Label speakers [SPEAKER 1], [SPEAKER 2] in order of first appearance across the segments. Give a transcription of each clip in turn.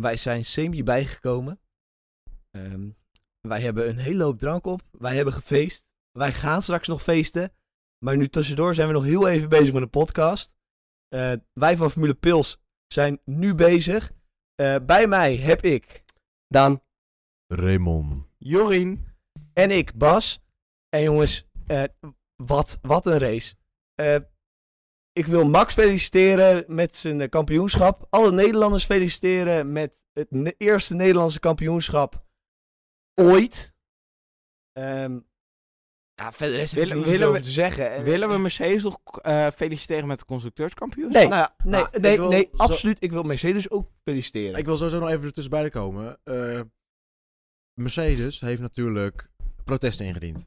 [SPEAKER 1] Wij zijn semi bijgekomen. Ehm, wij hebben een hele hoop drank op. Wij hebben gefeest. Wij gaan straks nog feesten. Maar nu tussendoor zijn we nog heel even bezig met een podcast. Eh, wij van Formule Pils zijn nu bezig. Eh, bij mij heb ik
[SPEAKER 2] Daan.
[SPEAKER 3] Raymond.
[SPEAKER 4] Jorien.
[SPEAKER 1] en ik Bas. En jongens, eh, wat, wat een race. Eh, ik wil Max feliciteren met zijn eh, kampioenschap. Alle Nederlanders feliciteren met het ne- eerste Nederlandse kampioenschap ooit. Ehm, ja, verder is er
[SPEAKER 4] Willen-
[SPEAKER 1] niet zoveel
[SPEAKER 4] willen we-
[SPEAKER 1] over te zeggen. Eh, En-
[SPEAKER 4] Willen we Eh, Mercedes nog eh, feliciteren met de constructeurskampioenschap?
[SPEAKER 1] Nee, nou ja, nee,
[SPEAKER 3] maar
[SPEAKER 1] nee,
[SPEAKER 3] ik wil
[SPEAKER 1] nee
[SPEAKER 3] zo-
[SPEAKER 1] absoluut. Ik wil Mercedes ook feliciteren.
[SPEAKER 3] Ik wil sowieso nog even ertussen bij komen. Eh, Mercedes heeft natuurlijk protesten ingediend.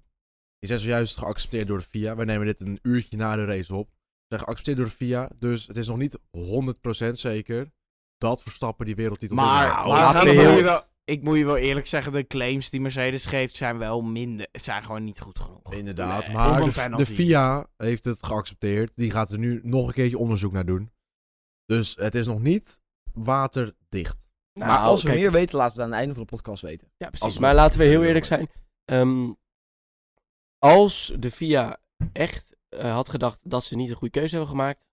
[SPEAKER 3] Die zijn zojuist geaccepteerd door de FIA. Wij nemen dit een uurtje na de race op. Ze zijn geaccepteerd door de FIA, dus het is nog niet 100% zeker dat Verstappen die wereldtitel
[SPEAKER 4] Maar,
[SPEAKER 3] wil winnen.
[SPEAKER 1] maar
[SPEAKER 4] laten
[SPEAKER 1] gaan
[SPEAKER 4] we
[SPEAKER 1] we
[SPEAKER 4] heel-
[SPEAKER 1] heel-
[SPEAKER 4] wel- ik moet je wel eerlijk zeggen, de claims die Mercedes geeft zijn wel minder, zijn gewoon niet goed genoeg.
[SPEAKER 3] Inderdaad,
[SPEAKER 4] Nee, op
[SPEAKER 3] maar
[SPEAKER 4] een
[SPEAKER 3] de,
[SPEAKER 4] penalty.
[SPEAKER 3] de FIA heeft het geaccepteerd. Die gaat er nu nog een keertje onderzoek naar doen. Dus het is nog niet waterdicht.
[SPEAKER 4] Nou,
[SPEAKER 1] maar als we
[SPEAKER 4] kijk,
[SPEAKER 1] meer weten, laten we het aan het einde van de podcast weten.
[SPEAKER 4] Ja, precies.
[SPEAKER 3] als-
[SPEAKER 2] Maar laten we heel eerlijk zijn. Ehm, als de FIA echt eh, had gedacht dat ze niet een goede keuze hebben gemaakt,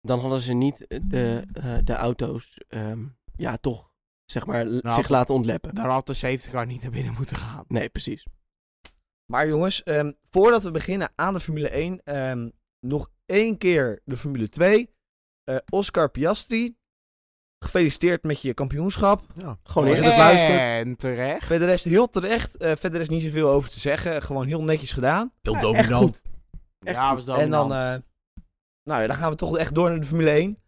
[SPEAKER 2] dan hadden ze niet de, eh, de auto's, ehm, ja, toch, zeg maar, l-
[SPEAKER 4] Nou,
[SPEAKER 2] zich laten ontleppen.
[SPEAKER 4] Daar had de safety car niet naar binnen moeten gaan.
[SPEAKER 2] Nee, precies.
[SPEAKER 1] Maar jongens, ehm, voordat we beginnen aan de Formule 1, ehm, nog één keer de Formule 2. Eh, Oscar Piastri, gefeliciteerd met je kampioenschap.
[SPEAKER 3] Ja.
[SPEAKER 2] Gewoon
[SPEAKER 4] Oh,
[SPEAKER 1] Maar
[SPEAKER 2] eerlijk.
[SPEAKER 1] het luistert.
[SPEAKER 4] En terecht.
[SPEAKER 1] Verder is heel terecht, eh, verder is niet zoveel over te zeggen. Gewoon heel netjes gedaan.
[SPEAKER 3] Heel
[SPEAKER 2] Ja, echt
[SPEAKER 3] dominant.
[SPEAKER 2] goed. Echt
[SPEAKER 4] Ja, was
[SPEAKER 1] En dan,
[SPEAKER 4] dominant.
[SPEAKER 1] eh, nou ja, dan gaan we toch echt door naar de Formule 1.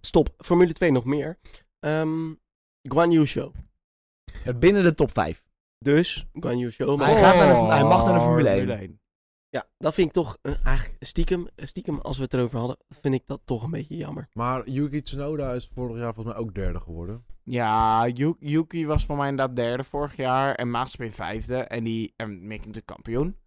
[SPEAKER 2] Stop. Formule 2 nog meer. Ehm Guan Yu Show.
[SPEAKER 1] Eh, binnen de top 5.
[SPEAKER 2] Dus, Guan Yu Show. Maar
[SPEAKER 1] hij gaat naar
[SPEAKER 4] Oh.
[SPEAKER 1] de- hij mag naar de Formule 1.
[SPEAKER 2] ja, dat vind ik toch, eh, eigenlijk stiekem, stiekem als we het erover hadden, vind ik dat toch een beetje jammer.
[SPEAKER 3] Maar Yuki Tsunoda is vorig jaar volgens mij ook derde geworden.
[SPEAKER 4] Ja, Yu- Yuki was voor mij inderdaad derde vorig jaar. En Maaspin vijfde. En die en Mick natuurlijk kampioen.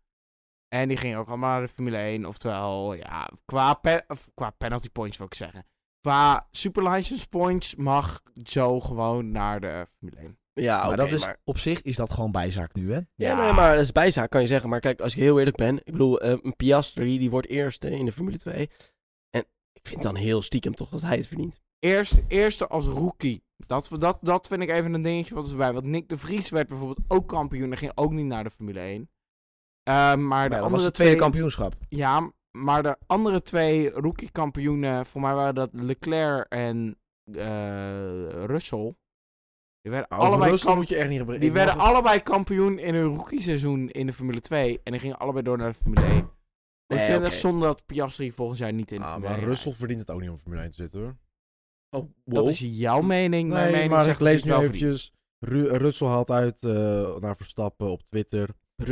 [SPEAKER 4] En die ging ook allemaal naar de Formule 1. Oftewel, ja, qua, pe- of qua penalty points wil ik zeggen. Qua super license points mag Joe gewoon naar de Formule 1.
[SPEAKER 2] Ja,
[SPEAKER 1] maar
[SPEAKER 2] oké,
[SPEAKER 1] dat is, op zich is dat gewoon bijzaak nu, hè?
[SPEAKER 2] Ja, nee, maar dat is bijzaak, kan je zeggen. Maar kijk, als ik heel eerlijk ben, ik bedoel, eh, een Piastri, die wordt eerste in de Formule 2. En ik vind dan heel stiekem toch dat hij het verdient.
[SPEAKER 4] Eerst, eerste als rookie. Dat, dat, dat vind ik even een dingetje wat erbij. Want Nick de Vries werd bijvoorbeeld ook kampioen en ging ook niet naar de Formule 1. Eh, maar de
[SPEAKER 1] Ja, dat was
[SPEAKER 4] andere
[SPEAKER 1] het tweede
[SPEAKER 4] twee-
[SPEAKER 1] kampioenschap.
[SPEAKER 4] Ja, m- maar de andere twee rookie-kampioenen, voor mij waren dat Leclerc en eh, Russell. Die werden, allebei,
[SPEAKER 3] Russell
[SPEAKER 4] kamp-
[SPEAKER 3] moet je echt niet hebben.
[SPEAKER 4] die werden allebei kampioen in hun rookie-seizoen in de Formule 2. En die gingen allebei door naar de Formule 1.
[SPEAKER 2] Nee,
[SPEAKER 4] ik vind het
[SPEAKER 2] oké.
[SPEAKER 4] echt zonde dat Piastri volgend jaar niet in de
[SPEAKER 3] Eh, Ah,
[SPEAKER 4] Formule
[SPEAKER 3] maar
[SPEAKER 4] 1
[SPEAKER 3] Russell verdient het ook niet om in Formule 1 te zitten hoor.
[SPEAKER 2] Oh,
[SPEAKER 4] Dat is jouw mening. Mijn mening
[SPEAKER 3] maar
[SPEAKER 4] zegt
[SPEAKER 3] ik lees
[SPEAKER 4] dat
[SPEAKER 3] nu
[SPEAKER 4] hij het wel verdient.
[SPEAKER 3] eventjes. Ru- Russell haalt uit eh, naar Verstappen op Twitter.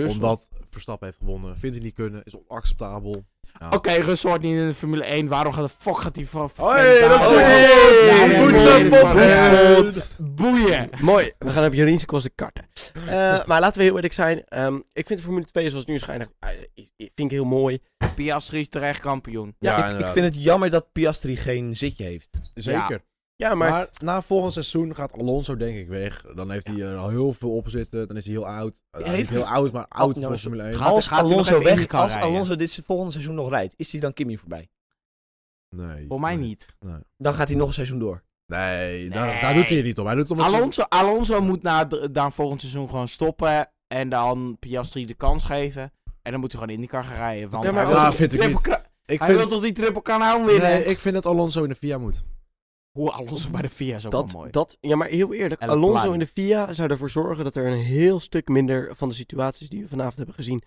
[SPEAKER 3] Omdat Verstappen heeft gewonnen. Vindt hij niet kunnen. Is onacceptabel.
[SPEAKER 4] Oké, Russell wordt niet in de Formule 1. Waarom gaat de fuck gaat hij van...
[SPEAKER 3] Hoi, dat is
[SPEAKER 4] Oh,
[SPEAKER 3] goed.
[SPEAKER 4] hey,
[SPEAKER 3] Goed
[SPEAKER 4] hey,
[SPEAKER 3] zo,
[SPEAKER 4] hey,
[SPEAKER 3] Bob.
[SPEAKER 4] hey,
[SPEAKER 3] Goed.
[SPEAKER 4] Boeien.
[SPEAKER 2] Mooi, we gaan op Joriense kosten karten. Eh, maar laten we heel eerlijk zijn. ehm, ik vind de Formule 2 zoals het nu schijnt, eh, ik- ik vind ik heel mooi.
[SPEAKER 4] Piastri is terecht kampioen.
[SPEAKER 2] Ja,
[SPEAKER 1] ik, ik vind het jammer dat Piastri geen zitje heeft.
[SPEAKER 3] Zeker.
[SPEAKER 4] Ja.
[SPEAKER 2] Ja, maar,
[SPEAKER 3] Maar... na volgend seizoen gaat Alonso denk ik weg. Dan heeft hij er al heel veel op zitten. Dan is hij heel oud. Eh,
[SPEAKER 1] Heeft
[SPEAKER 3] niet heel
[SPEAKER 1] hij-
[SPEAKER 3] oud, maar oud
[SPEAKER 1] Oh, nou,
[SPEAKER 3] voor
[SPEAKER 1] is-
[SPEAKER 3] Formule 1.
[SPEAKER 4] Gaat-
[SPEAKER 1] als
[SPEAKER 4] gaat hij nog
[SPEAKER 1] Alonso
[SPEAKER 4] even
[SPEAKER 1] weg,
[SPEAKER 4] IndyCar
[SPEAKER 1] als
[SPEAKER 4] rijden?
[SPEAKER 1] Alonso dit se- volgende seizoen nog rijdt, is hij dan Kimmy voorbij?
[SPEAKER 3] Nee.
[SPEAKER 4] Voor mij niet.
[SPEAKER 1] Dan gaat hij nog een seizoen door.
[SPEAKER 3] Nee,
[SPEAKER 4] Nee.
[SPEAKER 3] Daar, daar doet hij het niet om. Hij doet het omdat hij-
[SPEAKER 4] Alonso, Alonso moet na, d- na volgend seizoen gewoon stoppen. En dan Piastri de kans geven. En dan moet hij gewoon in die car gaan rijden. Want
[SPEAKER 2] Ja, maar
[SPEAKER 4] hij wil
[SPEAKER 3] als-
[SPEAKER 4] die
[SPEAKER 3] vind ik
[SPEAKER 4] triple
[SPEAKER 3] niet.
[SPEAKER 4] cra-
[SPEAKER 3] Ik
[SPEAKER 4] hij
[SPEAKER 3] vind,
[SPEAKER 4] wil toch die triple kanaal winnen?
[SPEAKER 3] nee, ik vind dat Alonso in de VIA moet.
[SPEAKER 4] Hoe Alonso bij de VIA is ook wel
[SPEAKER 2] dat,
[SPEAKER 4] mooi.
[SPEAKER 2] dat, ja, maar heel eerlijk,
[SPEAKER 4] En een
[SPEAKER 2] Alonso
[SPEAKER 4] plan.
[SPEAKER 2] in de FIA zou ervoor zorgen dat er een heel stuk minder van de situaties die we vanavond hebben gezien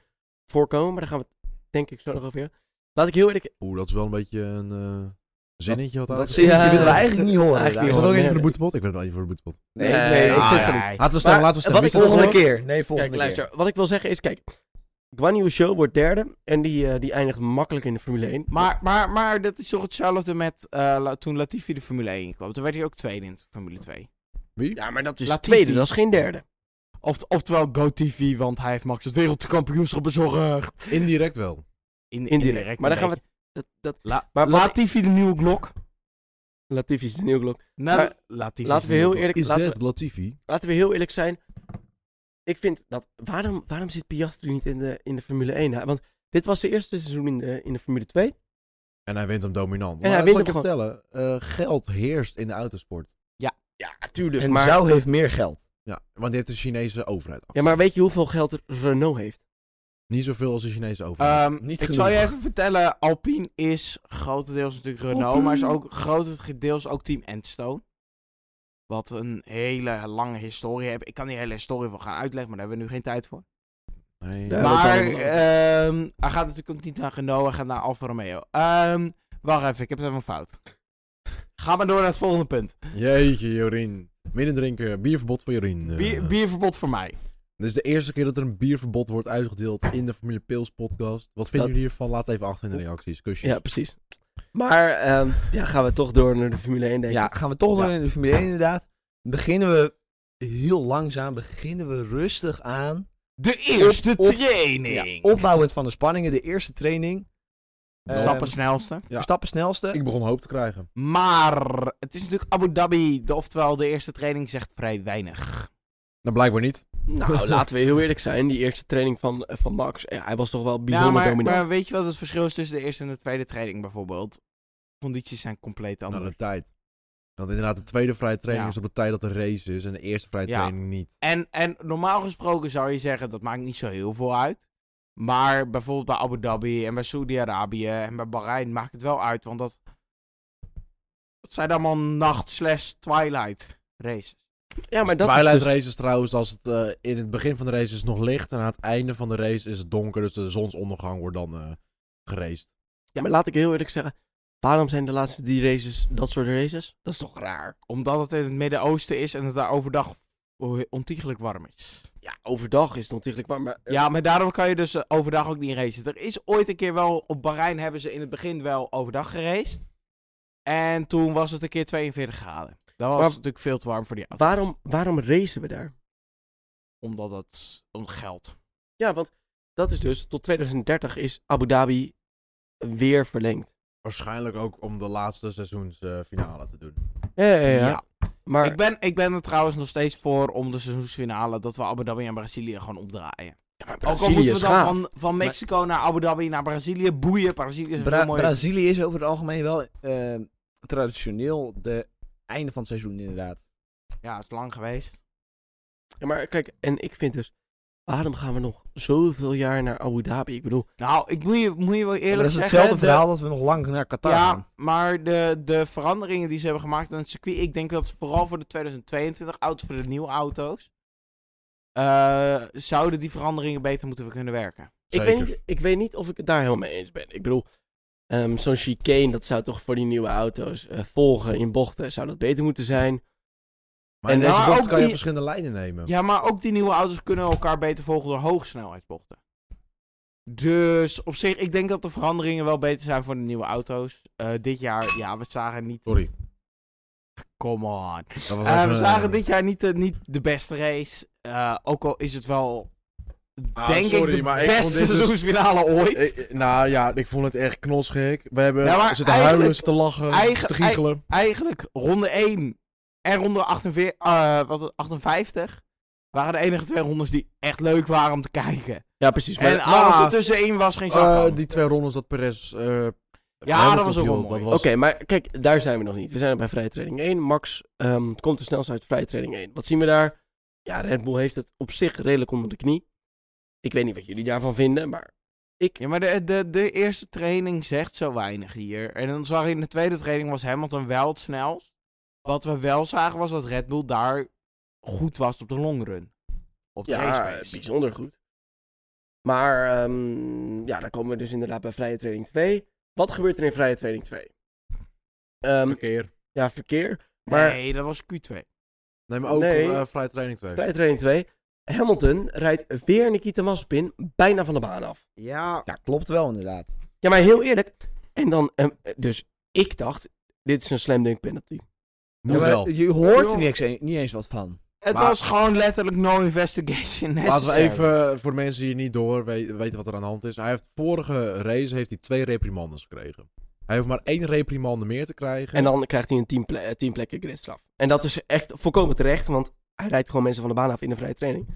[SPEAKER 2] voorkomen. Maar daar gaan we het denk ik zo nog over hebben. Laat ik heel eerlijk
[SPEAKER 3] Oeh, dat is wel een beetje een eh, zinnetje. wat
[SPEAKER 1] Dat,
[SPEAKER 3] hij-
[SPEAKER 1] zinnetje
[SPEAKER 2] Ja.
[SPEAKER 1] willen we eigenlijk niet horen.
[SPEAKER 2] Eigenlijk
[SPEAKER 3] Is
[SPEAKER 2] niet
[SPEAKER 3] dat
[SPEAKER 1] inderdaad.
[SPEAKER 3] ook
[SPEAKER 2] Nee,
[SPEAKER 3] even voor de
[SPEAKER 2] nee.
[SPEAKER 3] boetepot? Ik weet het wel even voor de boetepot.
[SPEAKER 1] Nee,
[SPEAKER 2] Nee,
[SPEAKER 1] nee,
[SPEAKER 2] ik
[SPEAKER 1] ik vind
[SPEAKER 2] vind-
[SPEAKER 4] ja.
[SPEAKER 3] Laten we stemmen,
[SPEAKER 1] Maar-
[SPEAKER 3] laten we
[SPEAKER 2] wat
[SPEAKER 3] stemmen. Wie
[SPEAKER 2] ik
[SPEAKER 3] staat
[SPEAKER 2] volgende
[SPEAKER 3] er
[SPEAKER 1] Volgende
[SPEAKER 3] voor?
[SPEAKER 1] keer. Nee, volgende
[SPEAKER 2] Kijk, luister.
[SPEAKER 1] keer.
[SPEAKER 2] Wat ik wil zeggen is, kijk. Guan Yu Show wordt derde. En die, eh, die eindigt makkelijk in de Formule 1.
[SPEAKER 4] Maar, maar, maar dat is toch hetzelfde met eh, La- toen Latifi de Formule 1 kwam. Toen werd hij ook tweede in de Formule 2.
[SPEAKER 3] Wie?
[SPEAKER 2] ja, maar dat is
[SPEAKER 4] Latifi.
[SPEAKER 2] tweede, dat is geen derde.
[SPEAKER 4] Oft, oftewel GoTV, want hij heeft Max het wereldkampioenschap bezorgd.
[SPEAKER 3] Indirect wel.
[SPEAKER 4] In,
[SPEAKER 2] Indirect. maar daar gaan we... Dat, dat,
[SPEAKER 4] La,
[SPEAKER 2] maar wat-
[SPEAKER 4] Latifi de nieuwe Glock.
[SPEAKER 2] Latifi is de nieuwe klok.
[SPEAKER 4] Nou,
[SPEAKER 2] Maar
[SPEAKER 4] Latifi
[SPEAKER 2] Laten we
[SPEAKER 4] is nu
[SPEAKER 2] heel
[SPEAKER 4] op-
[SPEAKER 2] eerlijk,
[SPEAKER 3] Is
[SPEAKER 2] laten,
[SPEAKER 3] dat Latifi?
[SPEAKER 2] we- laten we heel eerlijk zijn. Ik vind dat... Waarom, waarom zit Piastri niet in de, in de Formule 1? Hij- Want dit was zijn eerste seizoen in de, in de Formule 2.
[SPEAKER 3] En hij wint hem dominant.
[SPEAKER 2] En
[SPEAKER 3] Maar
[SPEAKER 2] hij wint
[SPEAKER 3] zal ik
[SPEAKER 2] hem
[SPEAKER 3] je vertellen, eh, geld heerst in de autosport.
[SPEAKER 2] Ja, tuurlijk.
[SPEAKER 1] En
[SPEAKER 2] eh, maar,
[SPEAKER 1] Zou heeft meer geld.
[SPEAKER 3] Ja, want die heeft de Chinese overheid. achter
[SPEAKER 2] Ja, maar weet je hoeveel geld er Renault heeft?
[SPEAKER 3] Niet zoveel als de Chinese overheid.
[SPEAKER 4] Ehm,
[SPEAKER 1] Niet
[SPEAKER 4] ik
[SPEAKER 1] genoeg.
[SPEAKER 4] zal je even vertellen, Alpine is grotendeels natuurlijk Renault, maar is ook grotendeels ook Team Enstone. Wat een hele lange historie heeft. Ik kan die hele historie wel gaan uitleggen, maar daar hebben we nu geen tijd voor.
[SPEAKER 3] nee.
[SPEAKER 1] Ja, dat
[SPEAKER 4] maar
[SPEAKER 1] allemaal.
[SPEAKER 4] ehm, hij gaat natuurlijk ook niet naar Renault, hij gaat naar Alfa Romeo. Ehm, wacht even, ik heb het helemaal fout. Ga maar door naar het volgende punt.
[SPEAKER 3] Jeetje, Jorien. Midden drinken, bierverbod voor Jorien. eh.
[SPEAKER 4] Bier- bierverbod voor mij.
[SPEAKER 3] Dit is de eerste keer dat er een bierverbod wordt uitgedeeld in de Familie Pils podcast. Wat vinden
[SPEAKER 2] Dat-
[SPEAKER 3] jullie hiervan? Laat even achter in de reacties. Kusjes.
[SPEAKER 2] Ja, precies. Maar ehm, ja, gaan we toch door naar de Formule 1, denk ik.
[SPEAKER 1] Ja, gaan we toch
[SPEAKER 3] Ja.
[SPEAKER 1] door in de Formule 1 inderdaad. Beginnen we heel langzaam, beginnen we rustig aan.
[SPEAKER 4] De eerste
[SPEAKER 1] op- Ja,
[SPEAKER 4] training.
[SPEAKER 1] opbouwend van de spanningen, de eerste training. Ehm,
[SPEAKER 4] Stappen snelste.
[SPEAKER 3] Ja.
[SPEAKER 1] Verstappen snelste.
[SPEAKER 3] Ik begon hoop te krijgen.
[SPEAKER 4] Maar het is natuurlijk Abu Dhabi, de- oftewel de eerste training zegt vrij weinig.
[SPEAKER 3] Nou, blijkbaar niet.
[SPEAKER 2] Nou, laten we heel eerlijk zijn. Die eerste training van, eh, van Max, ja, hij was toch wel
[SPEAKER 4] Ja,
[SPEAKER 2] bijzonder
[SPEAKER 4] maar,
[SPEAKER 2] dominant.
[SPEAKER 4] maar weet je wat het verschil is tussen de eerste en de tweede training bijvoorbeeld? Condities zijn compleet
[SPEAKER 3] Naar
[SPEAKER 4] anders.
[SPEAKER 3] de tijd. Want inderdaad, de tweede vrije training
[SPEAKER 4] Ja.
[SPEAKER 3] is op de tijd dat de race is. En de eerste vrije
[SPEAKER 4] Ja.
[SPEAKER 3] training niet.
[SPEAKER 4] en, en normaal gesproken zou je zeggen, dat maakt niet zo heel veel uit. Maar bijvoorbeeld bij Abu Dhabi en bij Saudi-Arabië en bij Bahrein maakt het wel uit. Want dat, dat zijn allemaal nacht slash twilight races.
[SPEAKER 2] ja, maar
[SPEAKER 3] Dus
[SPEAKER 2] dat
[SPEAKER 3] Twilight
[SPEAKER 2] is dus-
[SPEAKER 3] races trouwens, als het eh, in het begin van de race is het nog licht. En aan het einde van de race is het donker. Dus de zonsondergang wordt dan eh geraced.
[SPEAKER 2] Ja, maar laat ik heel eerlijk zeggen. Waarom zijn de laatste die races dat soort races? Dat is toch raar?
[SPEAKER 4] Omdat het in het Midden-Oosten is en het daar overdag ontiegelijk warm is.
[SPEAKER 2] Ja, overdag is het ontiegelijk warm. Maar, eh,
[SPEAKER 4] Ja, maar daarom kan je dus eh, overdag ook niet racen. Er is ooit een keer wel, op Bahrein hebben ze in het begin wel overdag geraced. En toen was het een keer 42 graden. Dat was
[SPEAKER 2] Maar-
[SPEAKER 4] het natuurlijk veel te warm voor die auto.
[SPEAKER 2] waarom, waarom racen we daar?
[SPEAKER 4] Omdat het om geld.
[SPEAKER 2] Ja, want dat is dus tot 2030 is Abu Dhabi weer verlengd.
[SPEAKER 3] Waarschijnlijk ook om de laatste seizoensfinale te doen.
[SPEAKER 2] Ja, ja, ja. Maar
[SPEAKER 4] Ik, ben, ik ben er trouwens nog steeds voor om de seizoensfinale dat we Abu Dhabi en Brazilië gewoon opdraaien. Ook al
[SPEAKER 2] Brazilië
[SPEAKER 4] moeten
[SPEAKER 2] is
[SPEAKER 4] we dan
[SPEAKER 2] gaaf.
[SPEAKER 4] van, van Mexico naar Abu Dhabi naar Brazilië boeien. Brazilië is een
[SPEAKER 1] Bra-
[SPEAKER 4] veel mooier.
[SPEAKER 1] Brazilië is over het algemeen wel ehm, traditioneel de einde van het seizoen inderdaad.
[SPEAKER 4] ja, het is lang geweest.
[SPEAKER 2] Ja, maar kijk, en ik vind dus, waarom gaan we nog zoveel jaar naar Abu Dhabi? Ik bedoel,
[SPEAKER 4] Nou, ik moet je, moet je wel eerlijk
[SPEAKER 1] Maar dat is
[SPEAKER 4] zeggen...
[SPEAKER 1] hetzelfde
[SPEAKER 4] de-
[SPEAKER 1] verhaal dat we nog lang naar Qatar gaan.
[SPEAKER 4] Ja, maar de, de veranderingen die ze hebben gemaakt aan het circuit, ik denk dat ze vooral voor de 2022 auto's, voor de nieuwe auto's, eh, zouden die veranderingen beter moeten kunnen werken.
[SPEAKER 2] ik weet, niet, ik weet niet of ik het daar helemaal mee eens ben. Ik bedoel, ehm, zo'n chicane, dat zou toch voor die nieuwe auto's eh, volgen in bochten, zou dat beter moeten zijn?
[SPEAKER 3] Maar
[SPEAKER 2] En
[SPEAKER 3] in deze
[SPEAKER 4] nou,
[SPEAKER 3] bocht
[SPEAKER 4] ook
[SPEAKER 3] kan je
[SPEAKER 4] die-
[SPEAKER 3] verschillende lijnen nemen.
[SPEAKER 4] Ja, maar ook die nieuwe auto's kunnen elkaar beter volgen door hogesnelheidsbochten. Dus op zich, ik denk dat de veranderingen wel beter zijn voor de nieuwe auto's. Eh, dit jaar, ja, we zagen niet...
[SPEAKER 3] Sorry.
[SPEAKER 4] Come on.
[SPEAKER 3] Dat was
[SPEAKER 4] Eh,
[SPEAKER 3] even,
[SPEAKER 4] we zagen
[SPEAKER 3] eh,
[SPEAKER 4] dit jaar niet de, niet de beste race. Eh, ook al is het wel,
[SPEAKER 3] Ah,
[SPEAKER 4] denk
[SPEAKER 3] sorry,
[SPEAKER 4] ik, de
[SPEAKER 3] maar ik vond
[SPEAKER 4] beste
[SPEAKER 3] dit dus-
[SPEAKER 4] seizoensfinale ooit.
[SPEAKER 3] eh, eh, nou ja, ik vond het echt knotsgek. We hebben
[SPEAKER 4] Ja, maar
[SPEAKER 3] zitten huilen,
[SPEAKER 4] eigenlijk-
[SPEAKER 3] zitten lachen,
[SPEAKER 4] eigen-
[SPEAKER 3] te giechelen.
[SPEAKER 4] eigenlijk ronde 1 en ronde 48, eh, wat, het, 58 waren de enige twee rondes die echt leuk waren om te kijken.
[SPEAKER 2] Ja, precies. Maar,
[SPEAKER 4] en
[SPEAKER 3] ah,
[SPEAKER 4] alles er tussenin was geen zak
[SPEAKER 3] Eh,
[SPEAKER 4] aan.
[SPEAKER 3] die twee rondes dat Perez... eh,
[SPEAKER 4] Ja, dat
[SPEAKER 3] Hamilton
[SPEAKER 4] was ook wel
[SPEAKER 3] hield,
[SPEAKER 4] mooi.
[SPEAKER 3] dat was-
[SPEAKER 2] Oké, maar kijk, daar zijn we nog niet. We zijn nog bij vrijtraining 1. Max ehm, komt er snelst uit vrijtraining 1. Wat zien we daar? Ja, Red Bull heeft het op zich redelijk onder de knie. Ik weet niet wat jullie daarvan vinden, maar
[SPEAKER 4] Ja, maar de, de, de eerste training zegt zo weinig hier. En dan zag je in de tweede training was Hamilton wel het snelst. Wat we wel zagen was dat Red Bull daar goed was op de longrun. Op de race
[SPEAKER 2] ja,
[SPEAKER 4] pace.
[SPEAKER 2] bijzonder goed. Maar ehm, ja, dan komen we dus inderdaad bij vrije training 2. Wat gebeurt er in vrije training 2? Ehm,
[SPEAKER 3] Verkeer.
[SPEAKER 2] ja, verkeer. Maar
[SPEAKER 4] Nee, dat was Q2.
[SPEAKER 3] Nee, maar ook
[SPEAKER 2] Nee.
[SPEAKER 3] eh, vrije training 2.
[SPEAKER 2] vrije training 2. Hamilton rijdt weer Nikita Mazepin bijna van de baan af.
[SPEAKER 1] Ja. klopt wel inderdaad.
[SPEAKER 2] Ja, maar heel eerlijk. En dan, ehm, dus ik dacht, dit is een slam dunk penalty.
[SPEAKER 3] Moet
[SPEAKER 1] Ja, maar
[SPEAKER 3] wel.
[SPEAKER 1] je hoort
[SPEAKER 4] Joh.
[SPEAKER 1] er niks, een- niet eens wat van.
[SPEAKER 4] Het
[SPEAKER 3] Maar-
[SPEAKER 4] was gewoon letterlijk no investigation
[SPEAKER 3] Laten we
[SPEAKER 4] necessary.
[SPEAKER 3] even, eh, voor de mensen die niet door we- weten wat er aan de hand is. Hij heeft vorige race heeft hij twee reprimandes gekregen. Hij hoeft maar één reprimande meer te krijgen.
[SPEAKER 2] En dan krijgt hij een 10 ple- eh, 10 plekken gridstraf. En dat is echt volkomen terecht, want hij rijdt gewoon mensen van de baan af in de vrije training.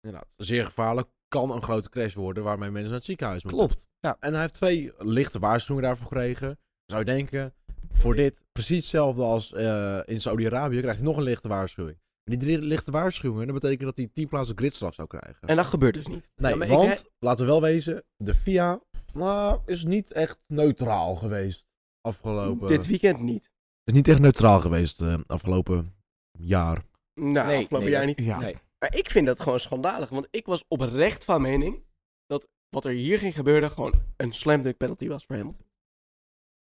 [SPEAKER 3] Inderdaad, zeer gevaarlijk. Kan een grote crash worden waarmee mensen naar het ziekenhuis moeten.
[SPEAKER 2] Klopt.
[SPEAKER 3] Ja, en hij heeft twee lichte waarschuwingen daarvoor gekregen. Zou je denken, voor dit precies hetzelfde als eh, in Saudi-Arabië krijgt hij nog een lichte waarschuwing. En die drie lichte waarschuwingen, dat betekent dat hij 10 plaatsen gridstraf zou krijgen.
[SPEAKER 2] En dat gebeurt dus niet.
[SPEAKER 3] Nee,
[SPEAKER 1] Ja, maar ik
[SPEAKER 3] want, laten we wel wezen, de FIA nou, is niet echt neutraal geweest afgelopen...
[SPEAKER 2] Dit weekend niet.
[SPEAKER 3] is niet echt neutraal geweest eh, afgelopen jaar.
[SPEAKER 2] Nou,
[SPEAKER 1] Nee,
[SPEAKER 2] afgelopen
[SPEAKER 1] nee,
[SPEAKER 2] jaar
[SPEAKER 1] dat-
[SPEAKER 2] niet.
[SPEAKER 4] Ja.
[SPEAKER 1] Nee.
[SPEAKER 2] Maar ik vind dat gewoon schandalig, want ik was oprecht van mening dat wat er hier ging gebeuren gewoon een slam dunk penalty was voor Hamilton.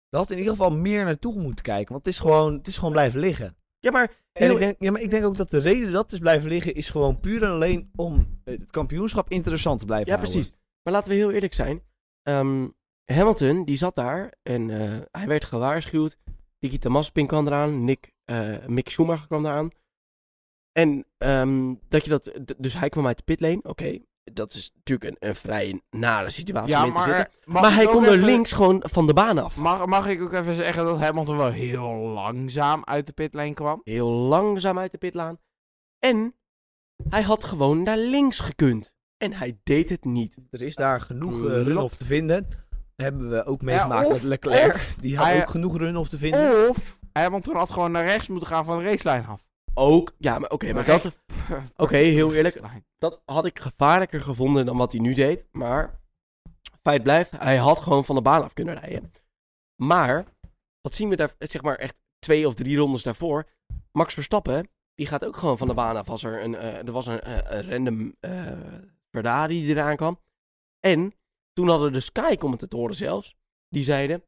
[SPEAKER 1] Dat had in ieder geval meer naartoe moeten kijken. Want het is gewoon, het is gewoon blijven liggen.
[SPEAKER 2] Ja, maar
[SPEAKER 1] En
[SPEAKER 2] Heel-
[SPEAKER 1] ik denk, ja, maar ik denk ook dat de reden dat het is blijven liggen is gewoon puur en alleen om eh, het kampioenschap interessant te blijven
[SPEAKER 2] Ja,
[SPEAKER 1] houden.
[SPEAKER 2] precies. Maar laten we heel eerlijk zijn. Ehm, Hamilton, die zat daar en eh, hij werd gewaarschuwd. Nikita Maspin kwam eraan. Nick, eh, Mick Schumacher kwam eraan. En ehm, dat je dat... d- Dus hij kwam uit de pitlane. Oké, dat is natuurlijk een, een vrij nare situatie om in te zitten.
[SPEAKER 4] eh, mag
[SPEAKER 2] maar
[SPEAKER 4] ik
[SPEAKER 2] hij
[SPEAKER 4] ook
[SPEAKER 2] kon er
[SPEAKER 4] even-
[SPEAKER 2] links gewoon van de baan af.
[SPEAKER 4] Mag, mag ik ook even zeggen dat Hamilton wel heel langzaam uit de pitlane kwam?
[SPEAKER 2] Heel langzaam uit de pitlaan. En hij had gewoon naar links gekund. En hij deed het niet.
[SPEAKER 1] Er is daar genoeg
[SPEAKER 4] Klopt.
[SPEAKER 1] eh, run-off te vinden. Hebben we ook meegemaakt
[SPEAKER 4] of-
[SPEAKER 1] met Leclerc.
[SPEAKER 4] of
[SPEAKER 1] die had
[SPEAKER 4] hij-
[SPEAKER 1] ook genoeg run-off te vinden.
[SPEAKER 4] Of Hamilton had gewoon naar rechts moeten gaan van de racelijn af.
[SPEAKER 2] Ook, ja, maar oké, maar
[SPEAKER 4] Maar
[SPEAKER 2] dat...
[SPEAKER 4] echt-
[SPEAKER 2] Oké, heel eerlijk. Dat had ik gevaarlijker gevonden dan wat hij nu deed. Maar feit blijft, hij had gewoon van de baan af kunnen rijden. Maar, wat zien we daar, zeg maar echt twee of drie rondes daarvoor. Max Verstappen, die gaat ook gewoon van de baan af. Als er, een, eh, er was een, eh, een random eh Ferrari die eraan kwam. En toen hadden de Sky-commentatoren zelfs, die zeiden...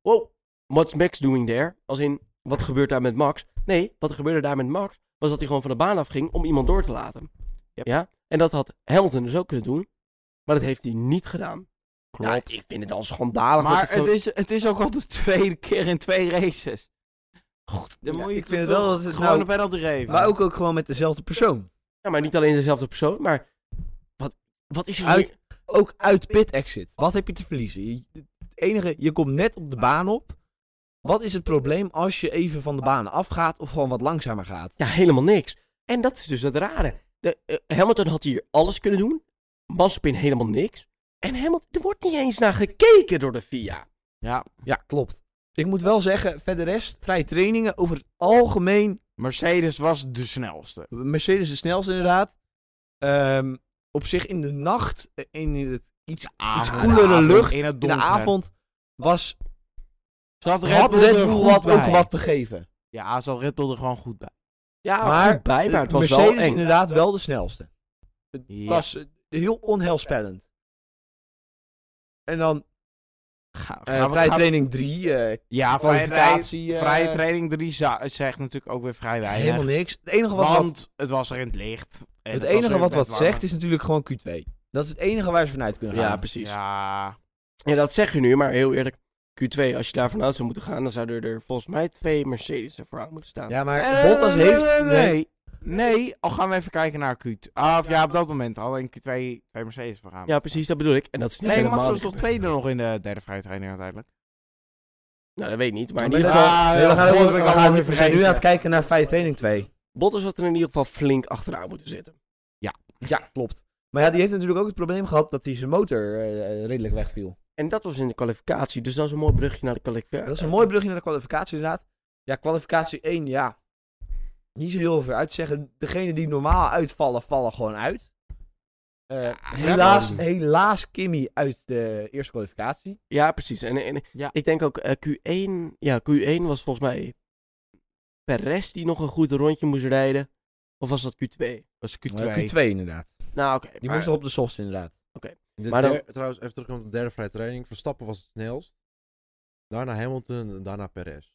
[SPEAKER 2] Wow, what's Max doing there? Als in, wat gebeurt daar met Max? Nee, wat gebeurde daar met Max was dat hij gewoon van de baan af ging om iemand door te laten. Ja? En dat had Hamilton dus ook kunnen doen. Maar dat heeft hij niet gedaan.
[SPEAKER 4] Klopt.
[SPEAKER 2] Ja, ik vind het al schandalig.
[SPEAKER 4] maar
[SPEAKER 2] dat hij
[SPEAKER 4] het
[SPEAKER 2] gewoon-
[SPEAKER 4] is, het is ook al de tweede keer in twee races. God, dan
[SPEAKER 1] Ja,
[SPEAKER 4] moet je
[SPEAKER 1] ik vind
[SPEAKER 4] toch
[SPEAKER 1] het wel dat het
[SPEAKER 4] gewoon
[SPEAKER 1] nou-
[SPEAKER 4] een penalty geven.
[SPEAKER 1] Maar ook, ook gewoon met dezelfde persoon.
[SPEAKER 2] ja, maar niet alleen dezelfde persoon. Maar wat, wat is er
[SPEAKER 1] Uit-
[SPEAKER 2] hier-
[SPEAKER 1] Ook uit pit exit. Wat heb je te verliezen? Je- het enige, je komt net op de baan op. Wat is het probleem als je even van de baan afgaat of gewoon wat langzamer gaat?
[SPEAKER 2] Ja, helemaal niks. En dat is dus het rare. De, eh, Hamilton had hier alles kunnen doen. Mazepin helemaal niks. En Hamilton, er wordt niet eens naar gekeken door de FIA.
[SPEAKER 4] Ja,
[SPEAKER 1] Ja, klopt. Ik moet wel zeggen, verder rest, vrije trainingen over het algemeen.
[SPEAKER 4] Mercedes was de snelste.
[SPEAKER 1] Mercedes is snelst inderdaad. Ehm, op zich in de nacht, eh, in het iets, iets
[SPEAKER 4] Avond,
[SPEAKER 1] koelere
[SPEAKER 4] avond,
[SPEAKER 1] lucht,
[SPEAKER 4] in het
[SPEAKER 1] in de
[SPEAKER 4] donker.
[SPEAKER 1] avond, was
[SPEAKER 4] Zat Red
[SPEAKER 1] had
[SPEAKER 4] Bull
[SPEAKER 1] Red
[SPEAKER 4] er
[SPEAKER 1] Bull
[SPEAKER 4] goed
[SPEAKER 1] wat,
[SPEAKER 4] bij.
[SPEAKER 1] ook wat te geven.
[SPEAKER 4] Ja, zat Red Bull er gewoon goed bij.
[SPEAKER 2] Ja,
[SPEAKER 1] Maar,
[SPEAKER 2] goed bij, maar het was
[SPEAKER 1] Mercedes
[SPEAKER 2] wel eng.
[SPEAKER 1] inderdaad wel de snelste.
[SPEAKER 4] Ja.
[SPEAKER 1] was eh, heel onheilspellend. En dan
[SPEAKER 4] Ga-
[SPEAKER 1] eh,
[SPEAKER 4] gaan we-
[SPEAKER 1] vrije
[SPEAKER 4] gaan we-
[SPEAKER 1] training 3, eh
[SPEAKER 4] Ja, vrije,
[SPEAKER 1] kwalificatie.
[SPEAKER 4] vrij
[SPEAKER 1] eh,
[SPEAKER 4] vrije training 3 zegt natuurlijk ook weer vrij weinig.
[SPEAKER 1] helemaal niks. Het enige wat,
[SPEAKER 4] want
[SPEAKER 1] wat,
[SPEAKER 4] het was er in het licht. En
[SPEAKER 1] het
[SPEAKER 4] was
[SPEAKER 1] enige
[SPEAKER 4] er
[SPEAKER 1] wat,
[SPEAKER 4] best
[SPEAKER 1] wat
[SPEAKER 4] warm.
[SPEAKER 1] zegt is natuurlijk gewoon Q2. Dat is het enige waar ze vanuit kunnen gaan.
[SPEAKER 2] Ja, precies. Ja.
[SPEAKER 4] Ja,
[SPEAKER 2] dat zeg je nu, maar heel eerlijk. Q2, als je daar vanuit zou moeten gaan, dan zouden er volgens mij twee Mercedes er vooraan moeten staan.
[SPEAKER 1] Ja, maar
[SPEAKER 4] Eh,
[SPEAKER 1] Bottas
[SPEAKER 4] nee,
[SPEAKER 1] heeft...
[SPEAKER 4] Nee, nee.
[SPEAKER 1] nee.
[SPEAKER 4] Nee, al gaan we even kijken naar Q2. Ah, of ja, op dat moment al in Q2 twee Mercedes vergaan.
[SPEAKER 2] Ja, precies, dat bedoel ik. En dat is niet
[SPEAKER 4] Nee,
[SPEAKER 2] helemaal
[SPEAKER 4] Max was
[SPEAKER 2] niet
[SPEAKER 4] toch
[SPEAKER 2] gebeurd.
[SPEAKER 4] tweede nog in de derde vrije training uiteindelijk?
[SPEAKER 2] Nou, dat weet ik niet. Maar in
[SPEAKER 1] Maar
[SPEAKER 2] ieder
[SPEAKER 1] dat-
[SPEAKER 2] geval,
[SPEAKER 4] Ah,
[SPEAKER 1] Nee, we, gaan,
[SPEAKER 4] dat
[SPEAKER 1] we,
[SPEAKER 4] heb ik
[SPEAKER 1] we
[SPEAKER 4] allemaal
[SPEAKER 1] gaan-
[SPEAKER 4] weer
[SPEAKER 1] we zijn nu aan het
[SPEAKER 4] vergeten.
[SPEAKER 1] kijken naar vrije training 2.
[SPEAKER 2] Bottas had er in ieder geval flink achteraan moeten zitten.
[SPEAKER 1] Ja, klopt. Maar ja, die heeft natuurlijk ook het probleem gehad dat hij zijn motor eh, eh, redelijk wegviel.
[SPEAKER 2] En dat was in de kwalificatie. Dus dat is een mooi brugje naar de kwalificatie.
[SPEAKER 1] Dat is een mooi brugje naar de kwalificatie, inderdaad. Ja, kwalificatie 1, ja. Niet zo heel veel uit te zeggen. Degene die normaal uitvallen, vallen gewoon uit. Eh, helaas,
[SPEAKER 2] kan.
[SPEAKER 1] helaas Kimmy uit de eerste kwalificatie.
[SPEAKER 2] Ja, precies. En, en
[SPEAKER 4] Ja.
[SPEAKER 2] ik denk ook eh, Q1... Ja, Q1 was volgens mij Perez die nog een goed rondje moest rijden. Of was dat Q2?
[SPEAKER 4] Dat is
[SPEAKER 1] Eh,
[SPEAKER 4] Q2.
[SPEAKER 1] Q2 inderdaad.
[SPEAKER 2] Nou, oké.
[SPEAKER 1] Die
[SPEAKER 2] maar-
[SPEAKER 1] moest nog op de softs inderdaad.
[SPEAKER 3] De
[SPEAKER 2] Maar dan-
[SPEAKER 3] der- trouwens, even terugkomen op de derde vrije training. Verstappen was het snelst. Daarna Hamilton en daarna Perez.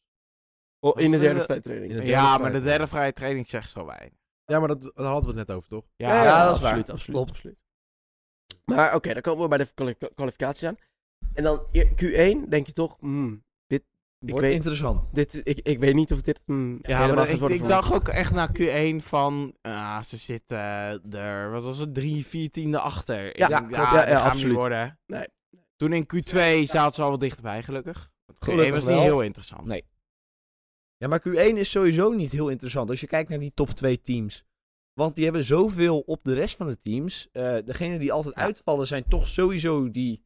[SPEAKER 2] oh, in de
[SPEAKER 3] was-
[SPEAKER 2] derde vrije
[SPEAKER 3] in
[SPEAKER 2] training.
[SPEAKER 3] de derde
[SPEAKER 4] Ja, maar
[SPEAKER 3] vrije
[SPEAKER 4] de derde
[SPEAKER 3] training.
[SPEAKER 4] vrije training zegt zo weinig.
[SPEAKER 3] Ja, maar dat, daar hadden we het net over, toch?
[SPEAKER 4] Ja,
[SPEAKER 1] Ja, dat is waar.
[SPEAKER 2] absoluut, absoluut,
[SPEAKER 1] Klopt.
[SPEAKER 2] absoluut. Maar oké, dan komen we bij de kwali- kwalificatie aan. En dan eer- Q1 denk je toch... hmm, dit, ik,
[SPEAKER 1] Wordt
[SPEAKER 2] weet,
[SPEAKER 1] interessant.
[SPEAKER 2] dit, ik, ik weet niet of dit hmm,
[SPEAKER 4] Ja,
[SPEAKER 2] helemaal
[SPEAKER 4] maar
[SPEAKER 2] gaat
[SPEAKER 4] ik,
[SPEAKER 2] worden
[SPEAKER 4] ik
[SPEAKER 2] voor
[SPEAKER 4] dacht ook echt naar Q1 van, ah, ze zitten er, wat was het, drie, vier tiende achter. Ik
[SPEAKER 2] Ja,
[SPEAKER 4] denk,
[SPEAKER 2] klopt. Ja,
[SPEAKER 4] dit
[SPEAKER 2] ja,
[SPEAKER 4] gaat hem niet
[SPEAKER 2] absoluut.
[SPEAKER 4] worden.
[SPEAKER 2] Nee.
[SPEAKER 4] Toen in Q2 zaten ze al wat dichterbij, gelukkig. Want Q1 was niet
[SPEAKER 1] wel.
[SPEAKER 4] heel interessant.
[SPEAKER 1] Nee. Ja, maar Q1 is sowieso niet heel interessant als je kijkt naar die top 2 teams. Want die hebben zoveel op de rest van de teams. Eh degene die altijd uitvallen zijn toch sowieso die, die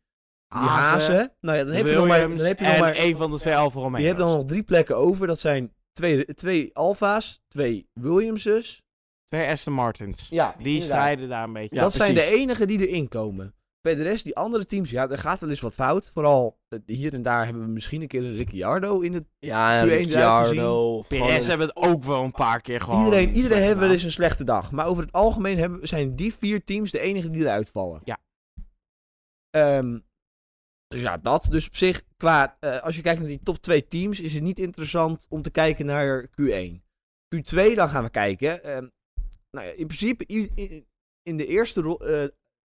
[SPEAKER 1] hazen. Nou ja, dan heb je nog maar... Dan heb je nog
[SPEAKER 4] en
[SPEAKER 1] maar
[SPEAKER 4] één van de twee Alfa Romeo's.
[SPEAKER 1] je hebt dan nog drie plekken over. Dat zijn twee, twee Alfa's, twee Williamses.
[SPEAKER 4] Twee Aston Martins.
[SPEAKER 1] Ja,
[SPEAKER 4] Die strijden daar een beetje.
[SPEAKER 2] Ja,
[SPEAKER 1] dat zijn de
[SPEAKER 2] precies.
[SPEAKER 1] enigen die erin komen. Bij de rest, die andere teams, ja, er gaat wel eens wat fout. Vooral eh, hier en daar hebben we misschien een keer een Ricciardo in het
[SPEAKER 2] Ja, en
[SPEAKER 1] Q1 eruit
[SPEAKER 2] Ricciardo. of gewoon
[SPEAKER 4] PRS
[SPEAKER 2] een-
[SPEAKER 4] hebben het ook wel een paar keer gewoon.
[SPEAKER 1] iedereen iedereen heeft wel
[SPEAKER 4] gedaan.
[SPEAKER 1] eens een slechte dag. Maar over het algemeen hebben, zijn die vier teams de enigen die eruit vallen.
[SPEAKER 4] Ja.
[SPEAKER 1] Ehm, dus ja, dat. Dus op zich, qua, eh, als je kijkt naar die top 2 teams, is het niet interessant om te kijken naar Q1. Q2, dan gaan we kijken. Ehm, nou ja, in principe, i- i- in de eerste ro- eh,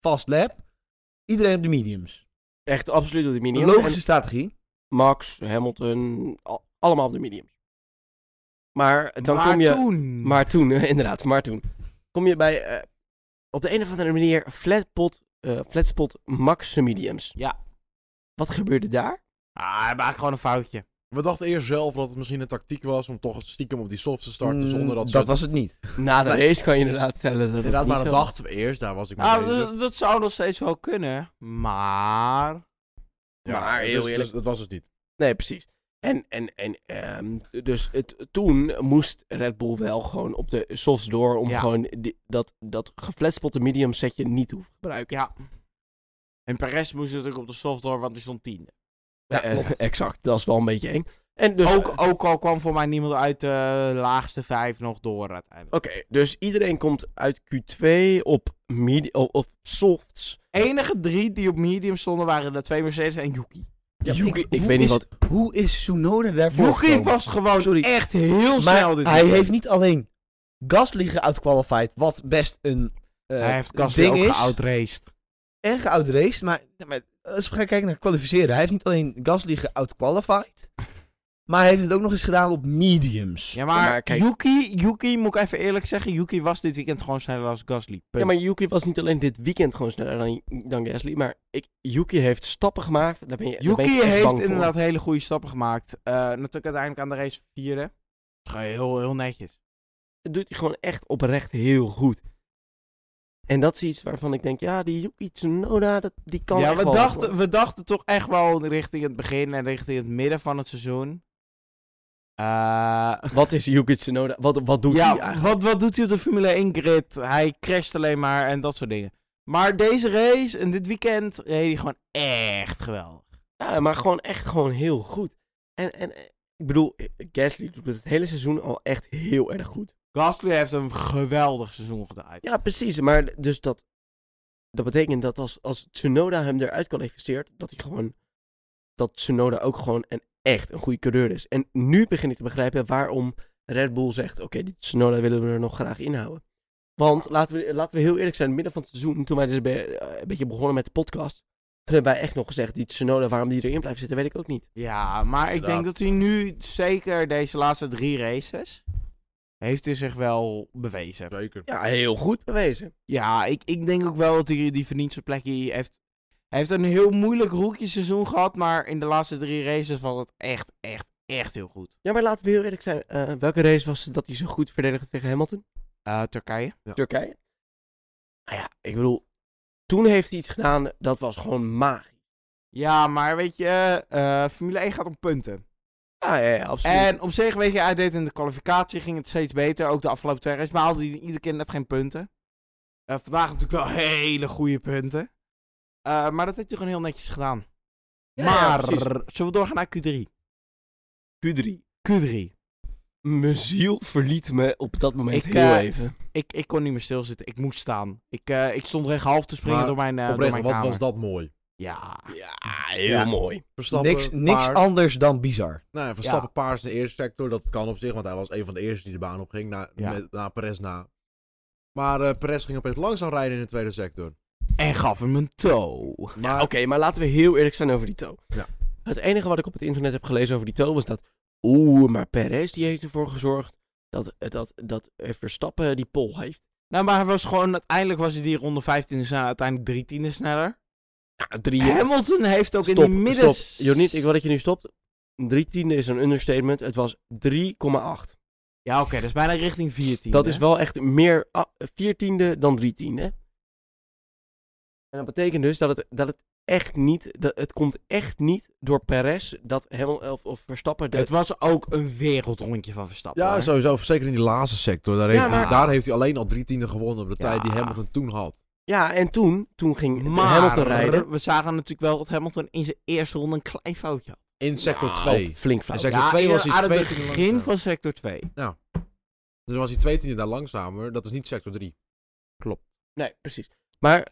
[SPEAKER 1] fast lap, iedereen op de mediums.
[SPEAKER 2] Echt absoluut op de
[SPEAKER 1] Een
[SPEAKER 2] medium.
[SPEAKER 1] logische strategie.
[SPEAKER 2] En Max, Hamilton, al- allemaal op de medium. Maar eh, dan
[SPEAKER 4] maar
[SPEAKER 2] kom je...
[SPEAKER 4] toen.
[SPEAKER 2] Maar toen, inderdaad, maar toen. Kom je bij, eh, op de een of andere manier, flatpot, eh flatspot max mediums.
[SPEAKER 4] Ja.
[SPEAKER 2] Wat gebeurde daar?
[SPEAKER 4] Ah, hij maakt gewoon een foutje.
[SPEAKER 3] We dachten eerst zelf dat het misschien een tactiek was om toch stiekem op die soft te starten
[SPEAKER 1] Mm,
[SPEAKER 3] zonder dat, ze...
[SPEAKER 1] was het niet.
[SPEAKER 2] Na de race kan je inderdaad vertellen dat
[SPEAKER 3] Inderdaad,
[SPEAKER 2] het niet
[SPEAKER 3] maar dat
[SPEAKER 2] zo
[SPEAKER 3] dachten we eerst. Daar was ik mee
[SPEAKER 4] Nou,
[SPEAKER 3] bezig.
[SPEAKER 4] dat, dat zou nog steeds wel kunnen. Maar.
[SPEAKER 3] Ja,
[SPEAKER 2] maar heel
[SPEAKER 3] dus- dus
[SPEAKER 2] eerlijk.
[SPEAKER 3] dat was het niet.
[SPEAKER 2] Nee, precies. En, en, en ehm, dus het, toen moest Red Bull wel gewoon op de softs door om
[SPEAKER 4] Ja.
[SPEAKER 2] gewoon die- dat, dat geflatspotte medium setje niet te hoeven gebruiken.
[SPEAKER 4] Ja. En Perez moest natuurlijk op de soft door, want die stond tiende.
[SPEAKER 1] Ja,
[SPEAKER 2] Eh,
[SPEAKER 1] klopt.
[SPEAKER 2] exact, dat is wel een beetje eng. En dus,
[SPEAKER 4] ook, ook al kwam voor mij niemand uit de laagste vijf nog door uiteindelijk.
[SPEAKER 2] Oké, dus iedereen komt uit Q2 op medi- of, of softs.
[SPEAKER 4] enige drie die op medium stonden waren de twee Mercedes en Yuki.
[SPEAKER 2] Ja,
[SPEAKER 1] Yuki,
[SPEAKER 2] ik, ik
[SPEAKER 1] hoe
[SPEAKER 2] weet niet
[SPEAKER 1] is-
[SPEAKER 2] wat.
[SPEAKER 1] Hoe is Tsunoda daarvoor
[SPEAKER 4] Yuki
[SPEAKER 1] gekomen?
[SPEAKER 4] was gewoon
[SPEAKER 1] Sorry.
[SPEAKER 4] echt heel snel
[SPEAKER 1] Maar
[SPEAKER 4] dit
[SPEAKER 1] hij
[SPEAKER 4] weekend.
[SPEAKER 1] heeft niet alleen Gasly geoutqualified, wat best een eh,
[SPEAKER 4] hij heeft Gasly
[SPEAKER 1] ding
[SPEAKER 4] ook
[SPEAKER 1] is.
[SPEAKER 4] geoutraced.
[SPEAKER 1] En geoutraced, maar, ja, maar eh, als we gaan kijken naar kwalificeren. Hij heeft niet alleen Gasly geoutqualified, maar hij heeft het ook nog eens gedaan op mediums.
[SPEAKER 4] Ja, maar,
[SPEAKER 2] Ja, maar kijk-
[SPEAKER 4] Yuki, Yuki, moet ik even eerlijk zeggen, Yuki was dit weekend gewoon sneller als Gasly. Punt.
[SPEAKER 2] Ja, maar Yuki was niet alleen dit weekend gewoon sneller dan, dan Gasly, maar ik, Yuki heeft stappen gemaakt. Daar ben je, daar ben
[SPEAKER 4] Yuki
[SPEAKER 2] ik echt
[SPEAKER 4] heeft
[SPEAKER 2] bang voor.
[SPEAKER 4] inderdaad hele goede stappen gemaakt. Eh, natuurlijk uiteindelijk aan de race vierde. Heel, heel netjes.
[SPEAKER 2] Dat doet hij gewoon echt oprecht heel goed. En dat is iets waarvan ik denk, ja, die Yuki Tsunoda, dat, die kan
[SPEAKER 4] ja,
[SPEAKER 2] echt
[SPEAKER 4] we
[SPEAKER 2] wel.
[SPEAKER 4] dachten, we dachten toch echt wel richting het begin en richting het midden van het seizoen. Eh,
[SPEAKER 2] Wat is Yuki Tsunoda? Wat, wat doet hij
[SPEAKER 4] ja,
[SPEAKER 2] eigenlijk?
[SPEAKER 4] wat, wat doet hij op de Formule 1 grid? Hij crasht alleen maar en dat soort dingen. Maar deze race en dit weekend reed hij gewoon echt geweldig.
[SPEAKER 2] Ja, maar gewoon echt gewoon heel goed. En, en eh, ik bedoel, eh, Gasly doet het hele seizoen al echt heel erg goed.
[SPEAKER 4] Gasly heeft een geweldig seizoen gedaan.
[SPEAKER 2] Ja, precies. Maar dus dat, dat betekent dat als, als Tsunoda hem eruit kwalificeert, dat hij gewoon, dat Tsunoda ook gewoon een, echt een goede coureur is. En nu begin ik te begrijpen waarom Red Bull zegt, oké, die Tsunoda willen we er nog graag inhouden. Want laten we, laten we heel eerlijk zijn, in het midden van het seizoen, toen wij dus be- eh, een beetje begonnen met de podcast, toen hebben wij echt nog gezegd, die Tsunoda, waarom die erin blijft zitten, weet ik ook niet.
[SPEAKER 4] Ja, maar ik denk dat
[SPEAKER 3] Inderdaad.
[SPEAKER 4] hij nu zeker deze laatste drie races. Heeft hij zich wel bewezen.
[SPEAKER 3] Zeker.
[SPEAKER 2] Ja, heel goed bewezen.
[SPEAKER 4] Ja, ik, ik denk ook wel dat hij die verdient zijn plekje heeft. Hij heeft een heel moeilijk roekje seizoen gehad. Maar in de laatste drie races was het echt, echt, echt heel goed.
[SPEAKER 2] Ja, maar laten we heel eerlijk zijn, eh, welke race was het dat hij zo goed verdedigde tegen Hamilton?
[SPEAKER 4] Eh, Turkije.
[SPEAKER 2] Turkije. Nou ja, ik bedoel, toen heeft hij iets gedaan, dat was gewoon magisch.
[SPEAKER 4] Ja, maar weet je, eh, Formule 1 gaat om punten.
[SPEAKER 2] Ja, ja, ja, absoluut.
[SPEAKER 4] En op zich, weet je, hij deed in de kwalificatie, ging het steeds beter. Ook de afgelopen twee races, maar haalde hij iedere keer net geen punten. Eh, vandaag natuurlijk wel hele goede punten. Eh, maar dat heeft hij gewoon heel netjes gedaan.
[SPEAKER 2] Ja, ja,
[SPEAKER 4] maar,
[SPEAKER 2] precies.
[SPEAKER 4] zullen we doorgaan naar Q3?
[SPEAKER 2] Q3.
[SPEAKER 4] Q3.
[SPEAKER 2] Mijn ziel verliet me op dat moment
[SPEAKER 4] Ik,
[SPEAKER 2] heel
[SPEAKER 4] eh,
[SPEAKER 2] even.
[SPEAKER 4] Ik, ik kon niet meer stilzitten, ik moest staan. Ik, eh, ik stond recht half te springen
[SPEAKER 3] Maar
[SPEAKER 4] door mijn, eh, door
[SPEAKER 3] Oprecht,
[SPEAKER 4] mijn
[SPEAKER 3] wat
[SPEAKER 4] kamer.
[SPEAKER 3] was dat mooi.
[SPEAKER 4] Ja.
[SPEAKER 2] Ja, heel mooi.
[SPEAKER 3] Verstappen,
[SPEAKER 1] niks niks
[SPEAKER 3] paars.
[SPEAKER 1] anders dan bizar.
[SPEAKER 3] Nou ja, Verstappen paars in de eerste sector, dat kan op zich, want hij was een van de eerste die de baan opging, na,
[SPEAKER 4] Ja.
[SPEAKER 3] met, na Perez na. Maar eh Perez ging opeens langzaam rijden in de tweede sector.
[SPEAKER 4] En gaf hem een toe.
[SPEAKER 3] Maar
[SPEAKER 2] Oké, maar laten we heel eerlijk zijn over die toe.
[SPEAKER 3] Ja.
[SPEAKER 2] Het enige wat ik op het internet heb gelezen over die toe was dat... Oeh, maar Perez die heeft ervoor gezorgd dat, dat, dat eh, Verstappen die pol heeft.
[SPEAKER 4] Nou, maar hij was gewoon, uiteindelijk was hij die ronde 15 sneller, uiteindelijk drie tiende sneller.
[SPEAKER 2] Nou, drie...
[SPEAKER 4] Hamilton heeft ook
[SPEAKER 2] stop,
[SPEAKER 4] in de midden...
[SPEAKER 2] stop. Jonit, ik wil dat je nu stopt. Drie tiende is een understatement. Het was 3,8.
[SPEAKER 4] Ja, oké, dat is bijna richting 14.
[SPEAKER 2] Dat is wel echt meer ah, vier tiende dan drie tiende. En dat betekent dus dat het, dat het echt niet, dat het komt echt niet door Perez dat Hamilton of, of Verstappen. De,
[SPEAKER 4] Het was ook een wereldrondje van Verstappen.
[SPEAKER 3] Ja,
[SPEAKER 4] hoor.
[SPEAKER 3] sowieso. Zeker in die laatste sector. Daar heeft,
[SPEAKER 2] Ja,
[SPEAKER 3] hij,
[SPEAKER 2] maar-
[SPEAKER 3] daar heeft hij alleen al drie tienden gewonnen op de
[SPEAKER 4] Ja.
[SPEAKER 3] tijd die Hamilton toen had.
[SPEAKER 2] ja, en toen, toen ging de
[SPEAKER 4] Maar
[SPEAKER 2] Hamilton rijden.
[SPEAKER 4] we zagen natuurlijk wel dat Hamilton in zijn eerste ronde een klein foutje had.
[SPEAKER 3] In sector
[SPEAKER 4] Nou,
[SPEAKER 3] 2.
[SPEAKER 2] Flink flauw.
[SPEAKER 3] En Sector twee
[SPEAKER 4] in-
[SPEAKER 3] was hij
[SPEAKER 4] aan het
[SPEAKER 3] twee tienden
[SPEAKER 4] begin
[SPEAKER 3] langzamer.
[SPEAKER 4] van sector 2.
[SPEAKER 3] Dus dan was hij twee tienden daar langzamer. Dat is niet sector 3.
[SPEAKER 2] Nee, precies. Maar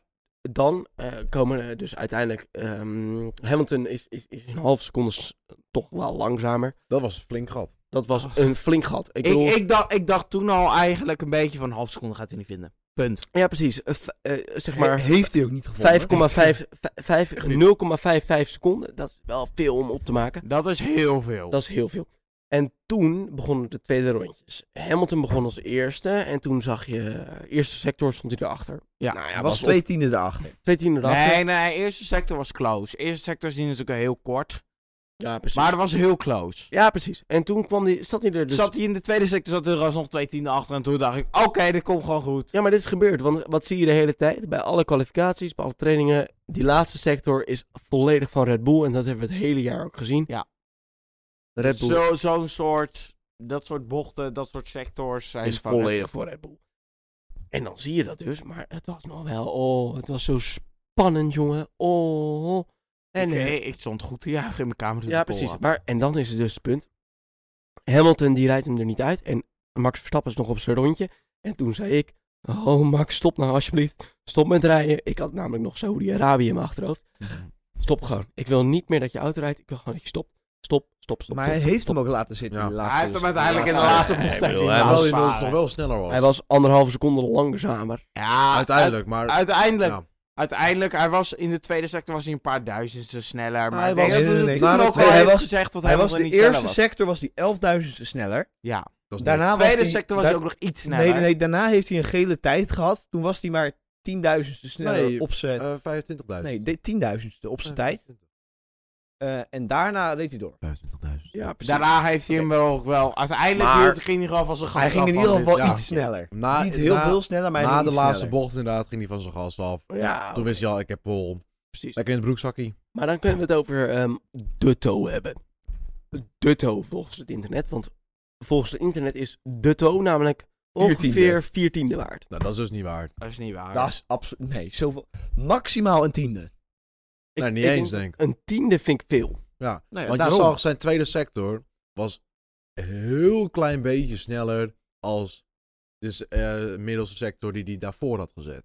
[SPEAKER 2] dan eh, komen er dus uiteindelijk. ehm, Hamilton is, is, is een half seconde s- toch wel langzamer.
[SPEAKER 3] Dat was een flink gat.
[SPEAKER 2] Dat was
[SPEAKER 4] Oh.
[SPEAKER 2] een flink gat. Ik
[SPEAKER 4] Ik,
[SPEAKER 2] bedoel,
[SPEAKER 4] ik, dacht, ik dacht toen al eigenlijk een beetje van half seconde gaat hij niet vinden. Punt.
[SPEAKER 2] ja, precies. Eh, f- eh, zeg maar.
[SPEAKER 1] heeft hij ook niet gevonden.
[SPEAKER 2] 5,5 vijf- 0,55 seconden. Dat is wel veel om op te maken.
[SPEAKER 4] Dat is heel veel.
[SPEAKER 2] Dat is heel veel. En toen begonnen de tweede rondjes. Hamilton begon als eerste. En toen zag je... eh, Eerste sector stond hij erachter.
[SPEAKER 4] Ja,
[SPEAKER 2] nou
[SPEAKER 1] Hij
[SPEAKER 2] ja,
[SPEAKER 1] was
[SPEAKER 2] was
[SPEAKER 1] twee tiende erachter.
[SPEAKER 2] op- twee tiende erachter.
[SPEAKER 4] nee, nee, eerste sector was close. Eerste sector is natuurlijk heel kort.
[SPEAKER 2] Ja, precies.
[SPEAKER 4] Maar dat was heel close.
[SPEAKER 2] Ja, precies. En toen kwam die, zat hij er dus...
[SPEAKER 4] Zat hij in de tweede sector, zat er alsnog twee tienden achter. En toen dacht ik, oké, dit komt gewoon goed.
[SPEAKER 2] Ja, maar dit is gebeurd. Want wat zie je de hele tijd? Bij alle kwalificaties, bij alle trainingen. Die laatste sector is volledig van Red Bull. En dat hebben we het hele jaar ook gezien.
[SPEAKER 4] Ja.
[SPEAKER 2] Red Bull
[SPEAKER 4] Zo- Zo'n soort, dat soort bochten, dat soort sectors zijn
[SPEAKER 2] is
[SPEAKER 4] van-
[SPEAKER 2] volledig voor Red Bull. En dan zie je dat dus, maar het was nog wel, oh, het was zo spannend, jongen. Oh. En,
[SPEAKER 4] Oké,
[SPEAKER 2] eh,
[SPEAKER 4] ik stond goed te juichen in mijn kamer. dus toen
[SPEAKER 2] ja,
[SPEAKER 4] de poll
[SPEAKER 2] precies.
[SPEAKER 4] had.
[SPEAKER 2] Maar, en dan is het dus het punt. Hamilton, die rijdt hem er niet uit. En Max Verstappen is nog op zijn rondje. En toen zei ik, oh Max, stop nou alsjeblieft. Stop met rijden. Ik had namelijk nog Saudi-Arabië in mijn achterhoofd. Stop gewoon. Ik wil niet meer dat je auto rijdt. Ik wil gewoon dat je stopt. Stop, stop, stop.
[SPEAKER 1] Maar
[SPEAKER 2] stop,
[SPEAKER 1] hij heeft
[SPEAKER 2] stop.
[SPEAKER 1] hem ook laten zitten in de
[SPEAKER 3] Ja.
[SPEAKER 1] laatste
[SPEAKER 4] Hij heeft hem
[SPEAKER 1] ronde.
[SPEAKER 4] uiteindelijk in de
[SPEAKER 3] Ja,
[SPEAKER 4] laatste
[SPEAKER 2] hij-
[SPEAKER 4] bocht
[SPEAKER 2] hij bedoel,
[SPEAKER 4] echt
[SPEAKER 2] hij
[SPEAKER 4] in
[SPEAKER 3] Terwijl
[SPEAKER 4] de
[SPEAKER 2] was-
[SPEAKER 3] hij
[SPEAKER 4] laatste
[SPEAKER 3] nog toch wel sneller was.
[SPEAKER 2] Hij was anderhalve seconde langzamer.
[SPEAKER 4] Ja,
[SPEAKER 3] Uiteindelijk, maar...
[SPEAKER 4] u- uiteindelijk,
[SPEAKER 3] ja.
[SPEAKER 4] uiteindelijk, hij was in de tweede sector was hij een paar duizendsten sneller. Maar
[SPEAKER 1] Hij
[SPEAKER 4] ik denk
[SPEAKER 1] was-
[SPEAKER 4] dat
[SPEAKER 1] nee, nee,
[SPEAKER 4] hij
[SPEAKER 1] nee.
[SPEAKER 4] toen
[SPEAKER 1] Maar
[SPEAKER 4] ook
[SPEAKER 1] dat-
[SPEAKER 4] wel
[SPEAKER 1] nee, hij
[SPEAKER 4] heeft
[SPEAKER 1] was-
[SPEAKER 4] gezegd dat hij,
[SPEAKER 1] Hij was
[SPEAKER 4] nog
[SPEAKER 1] de
[SPEAKER 4] niet sneller
[SPEAKER 1] eerste
[SPEAKER 4] was.
[SPEAKER 1] sector was die 11.000ste sneller.
[SPEAKER 4] Ja,
[SPEAKER 3] dat is
[SPEAKER 1] Daarna was
[SPEAKER 4] tweede
[SPEAKER 1] die-
[SPEAKER 4] sector was
[SPEAKER 1] daar-
[SPEAKER 4] hij ook nog iets sneller.
[SPEAKER 1] Nee, nee, nee, daarna heeft hij een gele tijd gehad. Toen was hij maar 10.000ste sneller
[SPEAKER 3] Nee,
[SPEAKER 1] op zijn...
[SPEAKER 3] niks. Eh, 25.000.
[SPEAKER 1] nee, de- 10.000ste op zijn tijd. Eh, en daarna reed hij door.
[SPEAKER 3] 25.000.
[SPEAKER 2] Ja, precies.
[SPEAKER 4] Daarna heeft hij hem wel ook wel. Uiteindelijk
[SPEAKER 1] Maar-
[SPEAKER 4] hield- ging hij gewoon van zijn gas
[SPEAKER 1] Hij ging
[SPEAKER 4] af
[SPEAKER 1] in
[SPEAKER 4] van
[SPEAKER 1] ieder
[SPEAKER 4] dit.
[SPEAKER 1] geval
[SPEAKER 3] ja.
[SPEAKER 1] iets sneller.
[SPEAKER 3] Na,
[SPEAKER 1] Niet heel
[SPEAKER 3] na-
[SPEAKER 1] veel sneller, maar hij
[SPEAKER 3] Na
[SPEAKER 1] ging
[SPEAKER 3] de
[SPEAKER 1] iets
[SPEAKER 3] laatste
[SPEAKER 1] sneller.
[SPEAKER 3] bocht inderdaad ging hij van zijn gas af.
[SPEAKER 2] Ja,
[SPEAKER 3] Toen wist hij al, ik heb pol.
[SPEAKER 2] precies.
[SPEAKER 3] Lekker in het broekzakkie.
[SPEAKER 2] Maar dan kunnen we het over ehm Dutto hebben. Dutto volgens het internet. Want volgens het internet is Dutto namelijk ongeveer vier tiende waard.
[SPEAKER 3] Nou, dat is dus niet waard.
[SPEAKER 4] Dat is niet waar.
[SPEAKER 1] Dat is absoluut... Nee, zoveel... Maximaal een tiende.
[SPEAKER 3] Nou, niet eens, denk
[SPEAKER 2] Een tiende vind ik veel.
[SPEAKER 3] Ja.
[SPEAKER 1] Nou ja,
[SPEAKER 3] Want
[SPEAKER 1] daarom.
[SPEAKER 3] je zag, zijn tweede sector was een heel klein beetje sneller als dus, eh middelste sector die hij daarvoor had gezet.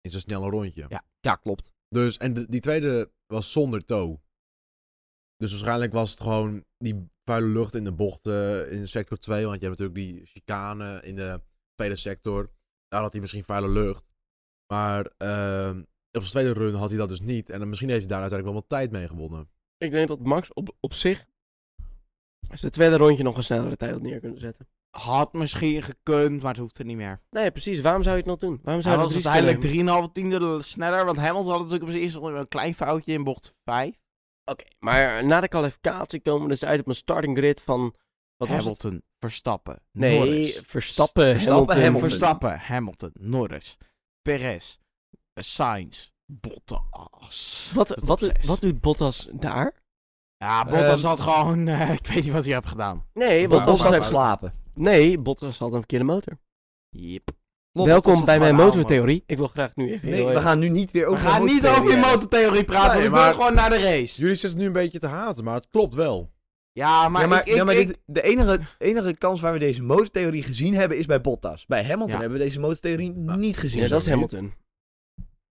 [SPEAKER 3] In zijn snelle rondje.
[SPEAKER 4] Ja, ja, klopt.
[SPEAKER 3] Dus, en de- die tweede was zonder toe. Dus waarschijnlijk was het gewoon die vuile lucht in de bochten in sector 2. Want je hebt natuurlijk die chicane in de tweede sector. Daar had hij misschien vuile lucht. Maar ehm, op zijn tweede run had hij dat dus niet. En dan misschien heeft hij daar uiteindelijk wel wat tijd mee gewonnen.
[SPEAKER 2] Ik denk dat Max op, op zich als de tweede rondje nog een snellere tijd had neer kunnen zetten.
[SPEAKER 4] Had misschien gekund, maar het hoeft er niet meer.
[SPEAKER 2] Nee, precies. Waarom zou je het nog doen? Waarom zou
[SPEAKER 4] Hij
[SPEAKER 2] je
[SPEAKER 4] was
[SPEAKER 2] dat risico
[SPEAKER 4] uiteindelijk
[SPEAKER 2] nemen?
[SPEAKER 4] 3,5 tiende sneller. Want Hamilton had natuurlijk op zijn eerste ronde een klein foutje in bocht 5.
[SPEAKER 2] Oké, maar na de kwalificatie komen we dus uit op een starting grid van... Wat was het?
[SPEAKER 4] Hamilton, Verstappen,
[SPEAKER 2] Nee,
[SPEAKER 4] Norris.
[SPEAKER 2] Verstappen, Hamilton.
[SPEAKER 1] Hamilton.
[SPEAKER 4] Verstappen, Hamilton, Norris, Perez, eh, Sainz, Bottas.
[SPEAKER 2] Wat,
[SPEAKER 4] De top
[SPEAKER 2] wat,
[SPEAKER 4] zes.
[SPEAKER 2] wat doet Bottas daar?
[SPEAKER 4] Ja, Bottas
[SPEAKER 1] Ehm,
[SPEAKER 4] had gewoon... eh, ik weet niet wat hij heeft gedaan.
[SPEAKER 2] Nee,
[SPEAKER 1] Want
[SPEAKER 2] want
[SPEAKER 3] Ja,
[SPEAKER 1] Bottas
[SPEAKER 2] Bottas
[SPEAKER 1] blijft
[SPEAKER 2] heeft...
[SPEAKER 1] slapen.
[SPEAKER 2] Nee, Bottas had een verkeerde motor.
[SPEAKER 4] Yep.
[SPEAKER 1] Klopt.
[SPEAKER 4] dat
[SPEAKER 2] Welkom
[SPEAKER 4] is
[SPEAKER 2] bij mijn
[SPEAKER 4] gewoon
[SPEAKER 2] motortheorie. Ik wil graag nu even...
[SPEAKER 1] Nee,
[SPEAKER 2] heel
[SPEAKER 1] we
[SPEAKER 2] even-
[SPEAKER 1] gaan nu niet weer
[SPEAKER 4] We
[SPEAKER 1] over
[SPEAKER 4] gaan niet
[SPEAKER 1] motortheorie
[SPEAKER 4] over je
[SPEAKER 1] hebben.
[SPEAKER 4] motortheorie praten,
[SPEAKER 3] Nee,
[SPEAKER 4] want we
[SPEAKER 3] maar-
[SPEAKER 4] willen gewoon naar de race.
[SPEAKER 3] Jullie zitten nu een beetje te haten, maar het klopt wel.
[SPEAKER 4] Ja, maar,
[SPEAKER 1] ja, maar,
[SPEAKER 4] ik, ik,
[SPEAKER 1] ja, maar
[SPEAKER 4] ik-
[SPEAKER 1] dit- de enige, enige kans waar we deze motortheorie gezien hebben is bij Bottas. Bij Hamilton
[SPEAKER 4] Ja.
[SPEAKER 1] hebben we deze motortheorie
[SPEAKER 3] Nou,
[SPEAKER 1] niet gezien.
[SPEAKER 2] Ja, dat is
[SPEAKER 3] niet.
[SPEAKER 2] Hamilton.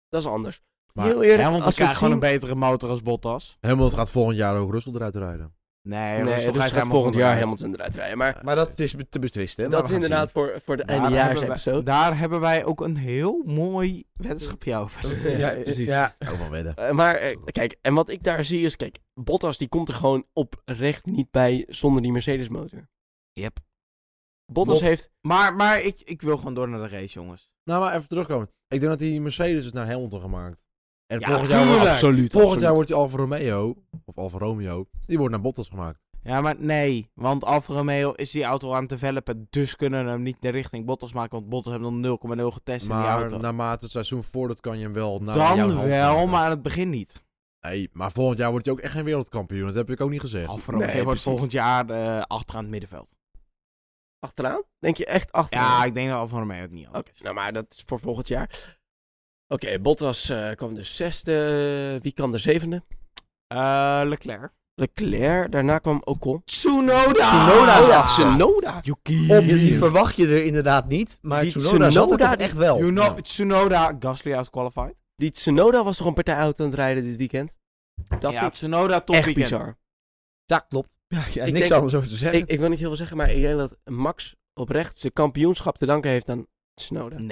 [SPEAKER 2] Dat is anders.
[SPEAKER 3] Maar
[SPEAKER 2] Heel eerlijk,
[SPEAKER 4] Hamilton
[SPEAKER 2] als we het
[SPEAKER 4] krijgt gewoon
[SPEAKER 2] zien...
[SPEAKER 4] een betere motor als Bottas.
[SPEAKER 3] Hamilton gaat volgend jaar ook Russell eruit rijden.
[SPEAKER 4] Nee,
[SPEAKER 2] Nee,
[SPEAKER 4] Russell
[SPEAKER 2] dus
[SPEAKER 4] krijgt
[SPEAKER 2] gaat
[SPEAKER 4] Hamilton
[SPEAKER 2] volgend jaar
[SPEAKER 4] eruit.
[SPEAKER 2] Hamilton eruit rijden. Maar
[SPEAKER 1] Maar dat is be- te betwisten. maar
[SPEAKER 2] dat is
[SPEAKER 1] we gaan
[SPEAKER 2] inderdaad voor, voor de
[SPEAKER 4] Daar hebben
[SPEAKER 2] eindejaarsepisode.
[SPEAKER 4] wij- Daar hebben wij ook een heel mooi weddenschapje over.
[SPEAKER 1] zien. Ja, eh,
[SPEAKER 2] precies.
[SPEAKER 1] ja,
[SPEAKER 3] Ook wel wedden.
[SPEAKER 2] Eh, maar eh, kijk, en wat ik daar zie is... Kijk, Bottas die komt er gewoon oprecht niet bij zonder die Mercedes motor.
[SPEAKER 4] Yep.
[SPEAKER 2] Bottas
[SPEAKER 1] Bob-
[SPEAKER 2] heeft...
[SPEAKER 4] Maar, maar ik, ik wil gewoon door naar de race, jongens.
[SPEAKER 3] Nou, maar even terugkomen. Ik denk dat die Mercedes is naar Hamilton gemaakt. En
[SPEAKER 4] Ja,
[SPEAKER 3] volgend, jaar
[SPEAKER 4] tuurlijk.
[SPEAKER 3] wordt,
[SPEAKER 4] Absoluut,
[SPEAKER 3] volgend jaar wordt die Alfa Romeo, of Alfa Romeo, die wordt naar Bottas gemaakt.
[SPEAKER 4] Ja, maar nee. Want Alfa Romeo is die auto aan het developen. Dus kunnen we hem niet de richting Bottas maken. Want Bottas hebben nog 0,0 getest in die
[SPEAKER 3] Maar
[SPEAKER 4] auto.
[SPEAKER 3] naarmate het seizoen voordat kan je hem wel... naar jouw
[SPEAKER 4] Dan
[SPEAKER 3] hand
[SPEAKER 4] wel,
[SPEAKER 3] maken.
[SPEAKER 4] maar aan het begin niet.
[SPEAKER 3] Nee, maar volgend jaar wordt hij ook echt geen wereldkampioen. Dat heb ik ook niet gezegd.
[SPEAKER 4] Alfa Romeo
[SPEAKER 2] Nee,
[SPEAKER 4] wordt
[SPEAKER 2] precies.
[SPEAKER 4] volgend jaar eh achter aan het middenveld.
[SPEAKER 2] Achteraan? Denk je echt achteraan?
[SPEAKER 4] Ja, ik denk dat Alfa Romeo het niet had.
[SPEAKER 2] Oké, nou maar dat is voor volgend jaar. Oké, Bottas eh, kwam dus zesde. Wie kwam de zevende?
[SPEAKER 4] Eh, Leclerc.
[SPEAKER 2] Leclerc. Daarna kwam Ocon.
[SPEAKER 4] Tsunoda!
[SPEAKER 1] Tsunoda!
[SPEAKER 2] Oh
[SPEAKER 1] is
[SPEAKER 2] ja,
[SPEAKER 1] achter.
[SPEAKER 2] Tsunoda.
[SPEAKER 4] Yuki!
[SPEAKER 1] Op, die verwacht je er inderdaad niet, maar
[SPEAKER 2] Die
[SPEAKER 1] Tsunoda, zat
[SPEAKER 2] Tsunoda,
[SPEAKER 1] er toch
[SPEAKER 2] die-
[SPEAKER 1] echt wel.
[SPEAKER 4] You know,
[SPEAKER 3] Ja.
[SPEAKER 4] Tsunoda, Gasly outqualified.
[SPEAKER 2] Die Tsunoda was toch een partij auto aan het rijden dit weekend? Dat
[SPEAKER 4] ja,
[SPEAKER 2] is
[SPEAKER 4] Tsunoda top
[SPEAKER 2] echt
[SPEAKER 4] weekend.
[SPEAKER 2] bizar.
[SPEAKER 1] Ja, klopt. Ja, ja,
[SPEAKER 2] Ik
[SPEAKER 1] niks
[SPEAKER 2] denk-
[SPEAKER 1] anders over te zeggen.
[SPEAKER 2] Ik, ik wil niet heel veel zeggen, maar ik denk dat Max oprecht zijn kampioenschap te danken heeft aan Tsunoda.
[SPEAKER 1] Tsu-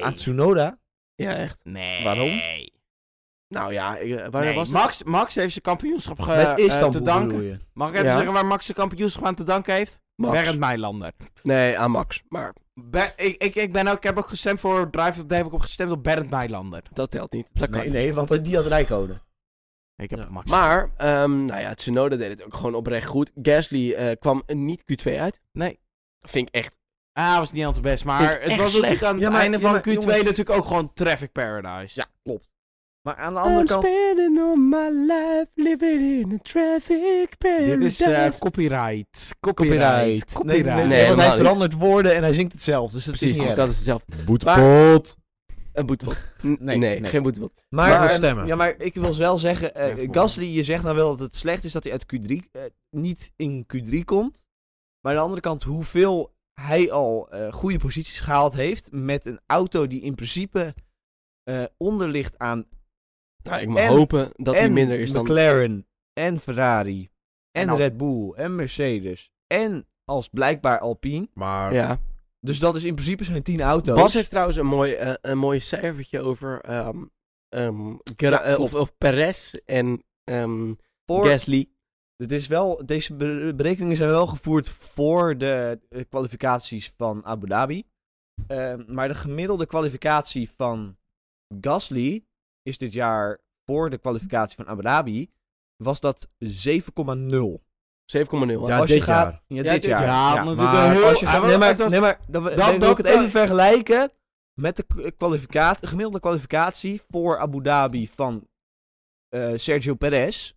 [SPEAKER 1] Aan
[SPEAKER 4] Nee.
[SPEAKER 1] Tsunoda?
[SPEAKER 2] Ja, echt.
[SPEAKER 4] Nee.
[SPEAKER 1] Waarom?
[SPEAKER 2] Nou ja, ik, eh, wanneer
[SPEAKER 4] Nee,
[SPEAKER 2] was het?
[SPEAKER 4] Max, Max heeft zijn kampioenschap ge-
[SPEAKER 1] Met
[SPEAKER 4] eh,
[SPEAKER 1] Istanbul
[SPEAKER 4] te
[SPEAKER 1] bedoel
[SPEAKER 4] danken.
[SPEAKER 1] je.
[SPEAKER 4] Mag ik even
[SPEAKER 2] Ja.
[SPEAKER 4] zeggen waar Max zijn kampioenschap aan te danken heeft?
[SPEAKER 2] Max.
[SPEAKER 4] Bernd Meilander.
[SPEAKER 2] Nee, aan Max. Maar
[SPEAKER 4] Be- ik, ik, ik, ben ook, ik heb ook gestemd voor Drive of the Day, heb ik op gestemd op Bernd Meilander.
[SPEAKER 2] dat telt niet. Dat kan
[SPEAKER 1] Nee, nee, want die had rijcode.
[SPEAKER 4] Ik heb
[SPEAKER 3] Ja.
[SPEAKER 4] Max.
[SPEAKER 2] Maar, ehm, nou ja, Tsunoda deed het ook gewoon oprecht goed. Gasly eh, kwam niet Q2 uit.
[SPEAKER 4] Nee.
[SPEAKER 2] Vind ik echt.
[SPEAKER 4] Ah, was niet al te best,
[SPEAKER 2] Vind
[SPEAKER 4] maar
[SPEAKER 2] ik
[SPEAKER 4] het
[SPEAKER 2] echt
[SPEAKER 4] was natuurlijk
[SPEAKER 2] slecht.
[SPEAKER 4] aan het
[SPEAKER 1] Ja, maar-
[SPEAKER 4] einde
[SPEAKER 1] ja,
[SPEAKER 4] van
[SPEAKER 1] maar
[SPEAKER 4] Q2
[SPEAKER 1] jongens-
[SPEAKER 4] natuurlijk ook gewoon Traffic Paradise.
[SPEAKER 1] Ja, klopt. Maar aan de andere kant...
[SPEAKER 2] spending all my life living in a traffic
[SPEAKER 4] Dit is eh,
[SPEAKER 2] paradise.
[SPEAKER 4] copyright.
[SPEAKER 1] Copyright.
[SPEAKER 4] Copyright.
[SPEAKER 1] Nee,
[SPEAKER 4] Copyright.
[SPEAKER 1] nee, nee,
[SPEAKER 2] Nee,
[SPEAKER 1] want
[SPEAKER 2] helemaal
[SPEAKER 1] hij
[SPEAKER 2] niet.
[SPEAKER 1] verandert woorden en hij zingt het zelf. Dus dat is
[SPEAKER 2] Precies,
[SPEAKER 1] niet
[SPEAKER 2] dus
[SPEAKER 1] erg.
[SPEAKER 2] dat is hetzelfde.
[SPEAKER 3] Boetpot.
[SPEAKER 2] Een boetepot.
[SPEAKER 1] Nee,
[SPEAKER 2] Nee,
[SPEAKER 1] nee.
[SPEAKER 2] geen boetepot.
[SPEAKER 1] Maar,
[SPEAKER 3] Laten we
[SPEAKER 1] ehm,
[SPEAKER 3] stemmen.
[SPEAKER 1] Ja, maar ik wil wel zeggen, eh,
[SPEAKER 4] Ja, voor.
[SPEAKER 1] Gasly, je zegt nou wel dat het slecht is dat hij uit Q3 eh, niet in Q3 komt. Maar aan de andere kant, hoeveel hij al eh, goede posities gehaald heeft met een auto die in principe eh onder ligt aan
[SPEAKER 2] Nou, ik mag
[SPEAKER 1] En-
[SPEAKER 2] hopen dat hij
[SPEAKER 1] en
[SPEAKER 2] minder is dan...
[SPEAKER 1] McLaren en Ferrari en,
[SPEAKER 4] En Al-
[SPEAKER 1] Red Bull en Mercedes en als blijkbaar Alpine.
[SPEAKER 3] Maar
[SPEAKER 2] Ja.
[SPEAKER 1] Dus dat is in principe zijn tien auto's.
[SPEAKER 2] Bas heeft trouwens een mooi, eh, een mooi cijfertje over... ehm, ehm, Gra-
[SPEAKER 1] Ja,
[SPEAKER 2] eh,
[SPEAKER 1] klopt.
[SPEAKER 2] of, of Perez en ehm,
[SPEAKER 1] Voor-
[SPEAKER 2] Gasly.
[SPEAKER 1] Dit is wel, deze be- berekeningen zijn wel gevoerd voor de eh, kwalificaties van Abu Dhabi. Ehm, maar de gemiddelde kwalificatie van Gasly is dit jaar voor de kwalificatie van Abu Dhabi. Was dat 7,0.
[SPEAKER 2] 7,0 hè?
[SPEAKER 3] Ja,
[SPEAKER 1] Als je
[SPEAKER 3] dit
[SPEAKER 1] gaat-
[SPEAKER 3] jaar.
[SPEAKER 1] Ja,
[SPEAKER 2] Ja,
[SPEAKER 1] dit
[SPEAKER 2] dit
[SPEAKER 1] jaar. Ja.
[SPEAKER 4] Ja, natuurlijk
[SPEAKER 3] maar
[SPEAKER 4] een heel...
[SPEAKER 1] Als je
[SPEAKER 4] hij
[SPEAKER 1] gaat-
[SPEAKER 4] was-
[SPEAKER 1] nee, maar,
[SPEAKER 4] het was-
[SPEAKER 1] nee, maar dan, dan wil
[SPEAKER 4] dat-
[SPEAKER 1] ik het even vergelijken met de k- kwalificatie, gemiddelde kwalificatie voor Abu Dhabi van eh, Sergio Perez.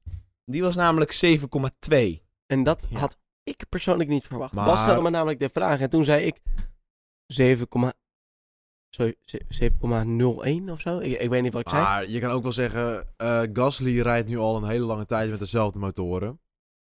[SPEAKER 1] Die was namelijk 7,2.
[SPEAKER 2] En dat
[SPEAKER 4] Ja.
[SPEAKER 2] had ik persoonlijk niet verwacht.
[SPEAKER 3] Maar-
[SPEAKER 2] Bas stelde me namelijk de vraag en toen zei ik 7,0 sorry, ze- 7,01 of zo. Ik, ik weet niet wat ik zei.
[SPEAKER 3] Maar je kan ook wel zeggen, eh, Gasly rijdt nu al een hele lange tijd met dezelfde motoren.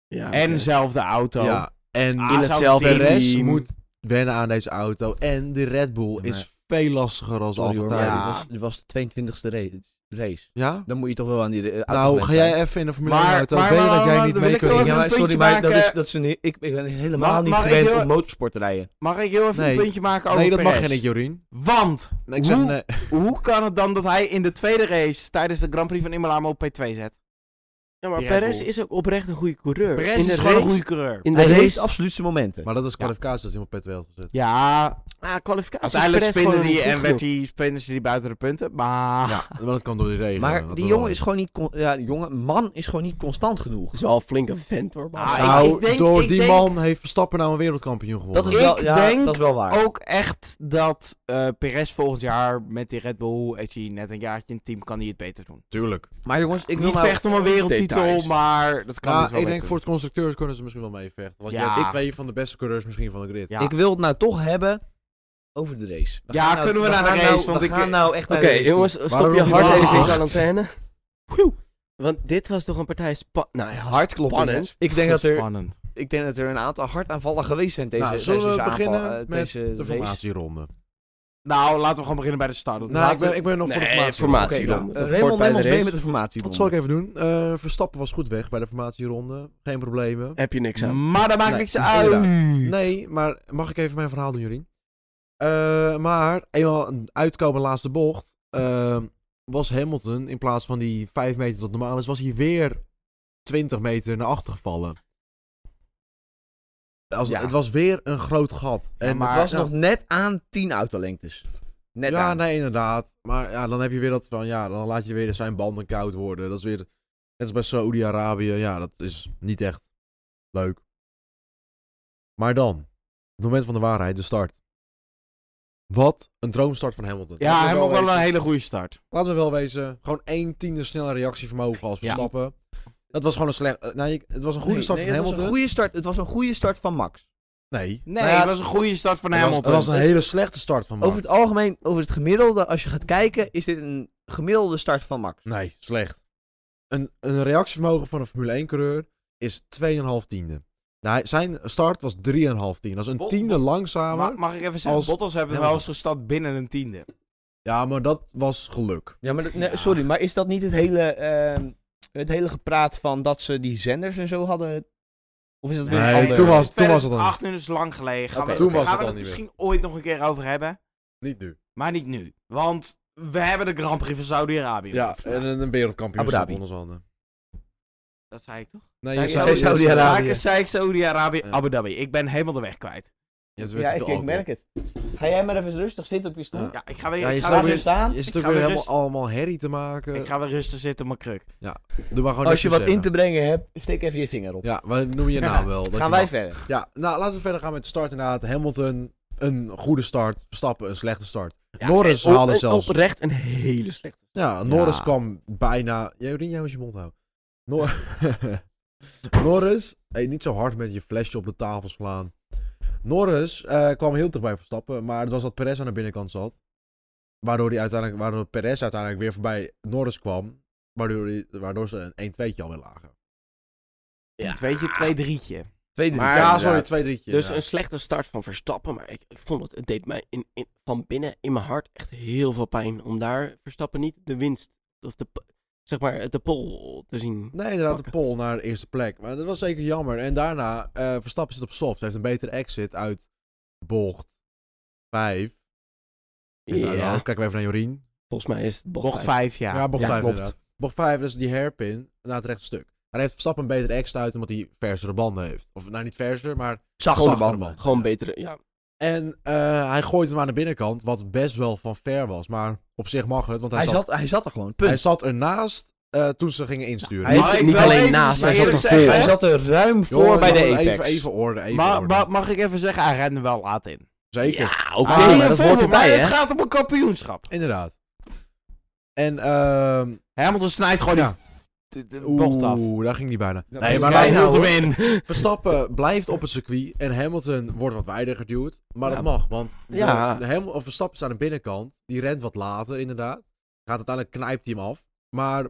[SPEAKER 2] Ja,
[SPEAKER 4] En
[SPEAKER 2] oké.
[SPEAKER 4] dezelfde auto.
[SPEAKER 3] Ja, en
[SPEAKER 4] Ah,
[SPEAKER 2] in
[SPEAKER 4] zou
[SPEAKER 2] hetzelfde
[SPEAKER 4] die-
[SPEAKER 3] Perez
[SPEAKER 2] team.
[SPEAKER 3] moet wennen aan deze auto. En de Red Bull
[SPEAKER 1] Ja, maar-
[SPEAKER 3] is veel lastiger als
[SPEAKER 1] Sorry
[SPEAKER 3] Alfa
[SPEAKER 1] hoor,
[SPEAKER 3] Tauri.
[SPEAKER 1] maar
[SPEAKER 4] Ja.
[SPEAKER 1] dit was, dit was de 22e ra- race.
[SPEAKER 3] Ja?
[SPEAKER 1] Dan moet je toch wel aan die eh, auto
[SPEAKER 3] Nou,
[SPEAKER 1] gewend
[SPEAKER 3] ga
[SPEAKER 1] zijn.
[SPEAKER 3] jij even in de Formule
[SPEAKER 4] Maar-
[SPEAKER 3] 1 auto.
[SPEAKER 4] maar-
[SPEAKER 3] weet
[SPEAKER 4] maar-
[SPEAKER 3] dat
[SPEAKER 4] maar-
[SPEAKER 3] jij
[SPEAKER 4] maar-
[SPEAKER 3] niet
[SPEAKER 4] dan
[SPEAKER 3] mee
[SPEAKER 4] wil ik
[SPEAKER 3] kunt.
[SPEAKER 4] wel
[SPEAKER 1] Ja,
[SPEAKER 4] even
[SPEAKER 1] maar
[SPEAKER 4] een
[SPEAKER 1] sorry,
[SPEAKER 4] puntje
[SPEAKER 1] maar dat is,
[SPEAKER 4] maken.
[SPEAKER 1] dat is een, ik ben helemaal
[SPEAKER 4] Mag-
[SPEAKER 1] niet
[SPEAKER 4] mag ik
[SPEAKER 1] gewend
[SPEAKER 4] heel-
[SPEAKER 1] om motorsport te rijden.
[SPEAKER 4] Mag ik heel even
[SPEAKER 3] Nee.
[SPEAKER 4] een puntje maken over
[SPEAKER 3] Nee, dat mag
[SPEAKER 4] Perez?
[SPEAKER 3] je niet, Jorien.
[SPEAKER 4] Want,
[SPEAKER 3] Nee, ik zeg
[SPEAKER 4] Hoe?
[SPEAKER 3] nee.
[SPEAKER 4] hoe kan het dan dat hij in de tweede race tijdens de Grand Prix van Imola hem op P2 zet?
[SPEAKER 2] Ja, maar
[SPEAKER 4] Red
[SPEAKER 2] Perez
[SPEAKER 4] Bull.
[SPEAKER 2] is ook oprecht een goede coureur.
[SPEAKER 4] Perez
[SPEAKER 2] in
[SPEAKER 4] is
[SPEAKER 2] de
[SPEAKER 4] gewoon
[SPEAKER 2] race,
[SPEAKER 4] een goede coureur.
[SPEAKER 2] In de
[SPEAKER 1] Hij
[SPEAKER 2] race,
[SPEAKER 1] heeft absoluut zijn momenten.
[SPEAKER 3] Maar dat is kwalificatie dat iemand pet wel gezet.
[SPEAKER 4] Ja,
[SPEAKER 2] ah, kwalificatie is
[SPEAKER 4] uiteindelijk
[SPEAKER 2] Perez
[SPEAKER 4] spinnen
[SPEAKER 2] gewoon
[SPEAKER 4] die
[SPEAKER 2] goed
[SPEAKER 4] en werd
[SPEAKER 2] genoeg.
[SPEAKER 4] die, spinnen ze die buiten de punten. Maar
[SPEAKER 3] Ja, maar dat kan door die regen.
[SPEAKER 1] Maar
[SPEAKER 3] dat
[SPEAKER 1] die
[SPEAKER 3] wel.
[SPEAKER 1] jongen is gewoon niet... con- Ja, die jongen, man is gewoon niet constant genoeg.
[SPEAKER 2] is wel een flinke vent hoor. Bas.
[SPEAKER 4] Ah, ik-
[SPEAKER 3] Nou,
[SPEAKER 4] ik denk-
[SPEAKER 3] door
[SPEAKER 4] ik
[SPEAKER 3] die
[SPEAKER 4] denk-
[SPEAKER 3] man heeft Verstappen nou een wereldkampioen gewonnen.
[SPEAKER 1] Dat is,
[SPEAKER 4] Ik
[SPEAKER 1] wel, ja,
[SPEAKER 4] denk Oh.
[SPEAKER 1] dat is wel waar.
[SPEAKER 4] ook echt dat eh Perez volgend jaar met die Red Bull, is hij net een jaartje in het team, kan hij het beter doen.
[SPEAKER 3] Tuurlijk.
[SPEAKER 1] maar jongens, ik wil
[SPEAKER 4] niet
[SPEAKER 1] nou...
[SPEAKER 4] vecht om een wereldtitel,
[SPEAKER 2] Details.
[SPEAKER 4] maar dat kan
[SPEAKER 3] Nou,
[SPEAKER 4] niet wel
[SPEAKER 3] ik
[SPEAKER 4] beter
[SPEAKER 3] denk voor het constructeurs kunnen ze misschien wel mee vechten. Want je
[SPEAKER 4] Ja.
[SPEAKER 3] hebt twee van de beste coureurs misschien van de grid.
[SPEAKER 4] Ja.
[SPEAKER 1] Ik wil het nou toch hebben over de race.
[SPEAKER 4] Ja,
[SPEAKER 1] gaan
[SPEAKER 4] kunnen we naar de
[SPEAKER 1] gaan
[SPEAKER 4] race,
[SPEAKER 1] nou-
[SPEAKER 4] want
[SPEAKER 1] we
[SPEAKER 4] ik-
[SPEAKER 1] gaan nou echt naar
[SPEAKER 2] Oké,
[SPEAKER 1] de race toe.
[SPEAKER 2] jongens, stop
[SPEAKER 3] Waarom
[SPEAKER 2] je
[SPEAKER 3] die
[SPEAKER 2] hard
[SPEAKER 3] man
[SPEAKER 2] even in de
[SPEAKER 3] acht?
[SPEAKER 2] quarantaine. Whew. Want dit was toch een partij spa... Nou ja,
[SPEAKER 1] Hard kloppen.
[SPEAKER 2] spannend.
[SPEAKER 1] jongens. Ik denk dat er
[SPEAKER 4] Spannend.
[SPEAKER 1] Ik denk dat er een aantal hartaanvallen geweest zijn deze
[SPEAKER 3] Nou, zullen we
[SPEAKER 1] deze aanval-
[SPEAKER 3] beginnen
[SPEAKER 1] eh,
[SPEAKER 3] met
[SPEAKER 1] deze
[SPEAKER 3] De
[SPEAKER 1] race?
[SPEAKER 3] formatieronde.
[SPEAKER 4] Nou, laten we gewoon beginnen bij de start. want
[SPEAKER 3] Nou, ik
[SPEAKER 4] laten we-
[SPEAKER 3] ben, ik ben nog voor de
[SPEAKER 2] Nee,
[SPEAKER 3] formatie.
[SPEAKER 1] Oké,
[SPEAKER 2] formatie.
[SPEAKER 1] nou,
[SPEAKER 2] Actieronde.
[SPEAKER 1] eh,
[SPEAKER 2] Dat
[SPEAKER 1] Raymond,
[SPEAKER 2] hoort bij
[SPEAKER 1] neem
[SPEAKER 2] de
[SPEAKER 1] ons mee
[SPEAKER 2] race.
[SPEAKER 1] met de formatie.
[SPEAKER 3] Wat zal ik even doen? Eh, Verstappen was goed weg bij de formatieronde. Geen problemen.
[SPEAKER 2] Heb je niks aan.
[SPEAKER 4] Maar dat maakt
[SPEAKER 3] Nee,
[SPEAKER 4] niks uit.
[SPEAKER 3] Nee, maar mag ik even mijn verhaal doen, Jorien? Eh, maar eenmaal een uitkomen laatste bocht. eh, was Hamilton in plaats van die 5 meter tot normaal is, was hij weer 20 meter naar achter gevallen. Als,
[SPEAKER 1] Ja.
[SPEAKER 3] Het was weer een groot gat.
[SPEAKER 4] Ja,
[SPEAKER 3] en
[SPEAKER 4] maar-
[SPEAKER 1] Het was
[SPEAKER 3] nou,
[SPEAKER 1] nog net aan 10 autolengtes. Net
[SPEAKER 3] ja,
[SPEAKER 1] aan.
[SPEAKER 3] nee, inderdaad. Maar ja, dan heb je weer dat van, ja, dan laat je weer zijn banden koud worden. Dat is weer, net als bij Saoedi-Arabië, ja, dat is niet echt Leuk. Maar dan, het moment van de waarheid, de start. Wat een droomstart van Hamilton.
[SPEAKER 4] Ja, hij
[SPEAKER 3] Laten we
[SPEAKER 4] heeft ook wel
[SPEAKER 3] wezen-
[SPEAKER 4] een hele goede start.
[SPEAKER 3] Laten we wel wezen, gewoon één tiende sneller reactievermogen als we
[SPEAKER 4] Ja.
[SPEAKER 3] stappen. Dat was gewoon een slecht... eh, Nee, het was een goede
[SPEAKER 1] Nee,
[SPEAKER 3] start
[SPEAKER 1] nee,
[SPEAKER 3] van
[SPEAKER 1] het was
[SPEAKER 3] Hamilton.
[SPEAKER 1] een goede start. Het was een goede start van Max.
[SPEAKER 3] Nee,
[SPEAKER 4] Nee,
[SPEAKER 1] Nou ja,
[SPEAKER 4] het was een goede start van
[SPEAKER 3] het was, het
[SPEAKER 4] Hamilton.
[SPEAKER 3] was een hele slechte start van Max.
[SPEAKER 1] Over het algemeen, over het gemiddelde, als je gaat kijken, is dit een gemiddelde start van Max.
[SPEAKER 3] Nee, slecht. Een, een reactievermogen van een Formule 1-coureur is 2,5 tiende. Nou, hij- zijn start was 3,5 tiende. Dat is een
[SPEAKER 4] Bot-
[SPEAKER 3] tiende langzamer.
[SPEAKER 4] Ma- mag ik even zeggen,
[SPEAKER 3] als
[SPEAKER 4] Bottas hebben wel
[SPEAKER 3] Hamilton.
[SPEAKER 4] eens gestart binnen een tiende.
[SPEAKER 3] Ja, maar dat was geluk.
[SPEAKER 1] Ja, maar dat- nee,
[SPEAKER 4] Ja.
[SPEAKER 1] sorry, maar is dat niet het hele, ehm, het hele gepraat van dat ze die zenders en zo hadden? Of is dat weer
[SPEAKER 3] Nee,
[SPEAKER 1] een ander?
[SPEAKER 3] toen was- het dan.
[SPEAKER 4] 2008 is lang geleden. Gaan
[SPEAKER 1] Oké,
[SPEAKER 4] we,
[SPEAKER 1] toen
[SPEAKER 3] was
[SPEAKER 4] gaan
[SPEAKER 3] het
[SPEAKER 4] we
[SPEAKER 3] al
[SPEAKER 4] het
[SPEAKER 3] niet meer.
[SPEAKER 4] misschien ooit nog een keer over hebben,
[SPEAKER 3] Niet nu.
[SPEAKER 4] maar niet nu. Want we hebben de Grand Prix van Saudi-Arabië.
[SPEAKER 3] Ja, en een, een wereldkampioenschap
[SPEAKER 1] Abu Dhabi.
[SPEAKER 3] onder zijn handen.
[SPEAKER 4] Dat zei ik toch?
[SPEAKER 3] Nee,
[SPEAKER 1] Ja,
[SPEAKER 3] je
[SPEAKER 1] ik
[SPEAKER 3] zei-
[SPEAKER 1] zei
[SPEAKER 3] je
[SPEAKER 1] Saudi-Arabië.
[SPEAKER 3] zei-
[SPEAKER 4] Vaker zei ik Saudi-Arabië,
[SPEAKER 3] Ja.
[SPEAKER 4] Abu Dhabi. Ik ben helemaal de weg kwijt.
[SPEAKER 3] Ja, het werd
[SPEAKER 1] Ja,
[SPEAKER 3] te
[SPEAKER 1] ik,
[SPEAKER 3] veel
[SPEAKER 1] ik merk het. Ga jij maar even rustig zitten op je stoel.
[SPEAKER 3] Ja.
[SPEAKER 4] Ja, ik ga weer,
[SPEAKER 3] Ja, je
[SPEAKER 4] ik
[SPEAKER 3] staat
[SPEAKER 4] ga weer,
[SPEAKER 3] weer
[SPEAKER 4] rustig,
[SPEAKER 1] staan.
[SPEAKER 3] Je
[SPEAKER 4] Ik
[SPEAKER 3] stuk
[SPEAKER 4] ga
[SPEAKER 3] weer
[SPEAKER 4] weer
[SPEAKER 3] helemaal
[SPEAKER 4] rust-
[SPEAKER 3] allemaal herrie te maken.
[SPEAKER 4] ik ga weer rustig zitten op mijn kruk.
[SPEAKER 3] Doe maar gewoon
[SPEAKER 1] Als je
[SPEAKER 3] netjes
[SPEAKER 1] wat in
[SPEAKER 3] zeggen.
[SPEAKER 1] te brengen hebt, steek even je vinger op.
[SPEAKER 3] Ja, wat noem je nou wel? Dat je
[SPEAKER 1] Gaan
[SPEAKER 3] mag-
[SPEAKER 1] wij verder.
[SPEAKER 3] Ja, nou laten we verder gaan met de start inderdaad. Hamilton, een goede start. Verstappen, een slechte start.
[SPEAKER 2] Ja,
[SPEAKER 3] Norris
[SPEAKER 2] en-
[SPEAKER 3] haalde
[SPEAKER 2] en
[SPEAKER 3] zelfs-
[SPEAKER 2] Oprecht een hele slechte.
[SPEAKER 3] Ja, Norris
[SPEAKER 4] Ja.
[SPEAKER 3] kwam bijna... Ja, Jorien, jij moet je mond houden. Nor... Norris, hey, niet zo hard met je flesje op de tafel slaan. Norris eh, kwam heel dicht bij Verstappen, maar het was dat Perez aan de binnenkant zat. Waardoor, die uiteindelijk, waardoor Perez uiteindelijk weer voorbij Norris kwam. Waardoor, die- waardoor ze een 1-2'tje alweer lagen.
[SPEAKER 4] Een tweetje, twee drietje.
[SPEAKER 1] Twee,
[SPEAKER 2] Maar-
[SPEAKER 3] ja,
[SPEAKER 2] inderdaad.
[SPEAKER 3] sorry, 2-3'tje.
[SPEAKER 2] Dus
[SPEAKER 3] ja.
[SPEAKER 2] een slechte start van Verstappen. Maar ik, ik vond het, het deed mij in, in- van binnen in mijn hart echt heel veel pijn. Om daar Verstappen niet de winst, of de, p- zeg maar, de pol te zien.
[SPEAKER 3] Nee, inderdaad, de
[SPEAKER 2] pakken.
[SPEAKER 3] pol naar de eerste plek. Maar dat was zeker jammer. En daarna, eh, Verstappen zit op soft. Hij heeft een betere exit uit bocht 5.
[SPEAKER 2] Ja,
[SPEAKER 3] nou, kijken we even naar Jorien.
[SPEAKER 2] volgens mij is het bocht,
[SPEAKER 4] Bocht
[SPEAKER 2] vijf.
[SPEAKER 4] 5, ja.
[SPEAKER 3] Ja, bocht
[SPEAKER 2] ja,
[SPEAKER 3] 5
[SPEAKER 2] klopt.
[SPEAKER 3] inderdaad. Bocht 5, dat is die hairpin naar het rechte stuk. Hij heeft Verstappen een betere exit uit omdat hij versere banden heeft. Of nou, niet versere, maar...
[SPEAKER 1] Zachtere
[SPEAKER 3] zachtere
[SPEAKER 1] banden.
[SPEAKER 2] Gewoon betere, ja.
[SPEAKER 3] En eh, hij gooit hem aan de binnenkant, wat best wel van ver was. Maar op zich mag het, want hij,
[SPEAKER 1] Hij
[SPEAKER 3] zat,
[SPEAKER 1] zat, hij zat er gewoon, punt.
[SPEAKER 3] hij zat ernaast eh, toen ze gingen insturen.
[SPEAKER 1] Hij
[SPEAKER 2] Niet,
[SPEAKER 1] Maar ik
[SPEAKER 2] niet
[SPEAKER 4] wil
[SPEAKER 2] alleen
[SPEAKER 4] even
[SPEAKER 2] naast, hij
[SPEAKER 4] maar
[SPEAKER 2] zat er
[SPEAKER 4] eerlijk zeggen,
[SPEAKER 2] voor.
[SPEAKER 1] Hij
[SPEAKER 4] hè?
[SPEAKER 1] zat er ruim voor
[SPEAKER 3] Jongens,
[SPEAKER 1] bij de
[SPEAKER 3] jongen,
[SPEAKER 1] apex.
[SPEAKER 3] Even, even orde, even
[SPEAKER 4] Maar,
[SPEAKER 3] orde.
[SPEAKER 4] maar mag ik even zeggen, hij rende wel laat in.
[SPEAKER 3] Zeker.
[SPEAKER 2] Ja, oké,
[SPEAKER 4] Ah,
[SPEAKER 2] maar dat
[SPEAKER 4] veel,
[SPEAKER 2] hoort
[SPEAKER 4] maar
[SPEAKER 2] erbij,
[SPEAKER 4] Het
[SPEAKER 2] hè?
[SPEAKER 4] gaat om een kampioenschap.
[SPEAKER 3] Inderdaad. En ehm
[SPEAKER 4] Hamilton snijdt gewoon
[SPEAKER 3] Ja.
[SPEAKER 4] die de, de bocht af. Dus
[SPEAKER 3] oeh, daar ging die bijna.
[SPEAKER 1] Dat
[SPEAKER 3] nee,
[SPEAKER 1] was
[SPEAKER 3] maar
[SPEAKER 1] een
[SPEAKER 3] laten
[SPEAKER 1] bijna,
[SPEAKER 3] we-
[SPEAKER 1] hoor.
[SPEAKER 4] win.
[SPEAKER 3] Verstappen blijft op het circuit en Hamilton wordt wat wijder geduwd. Maar
[SPEAKER 2] Ja.
[SPEAKER 3] dat mag, want
[SPEAKER 2] Ja.
[SPEAKER 3] de Ham- of Verstappen is aan de binnenkant. Die rent wat later inderdaad. Gaat uiteindelijk knijpt hij hem af. Maar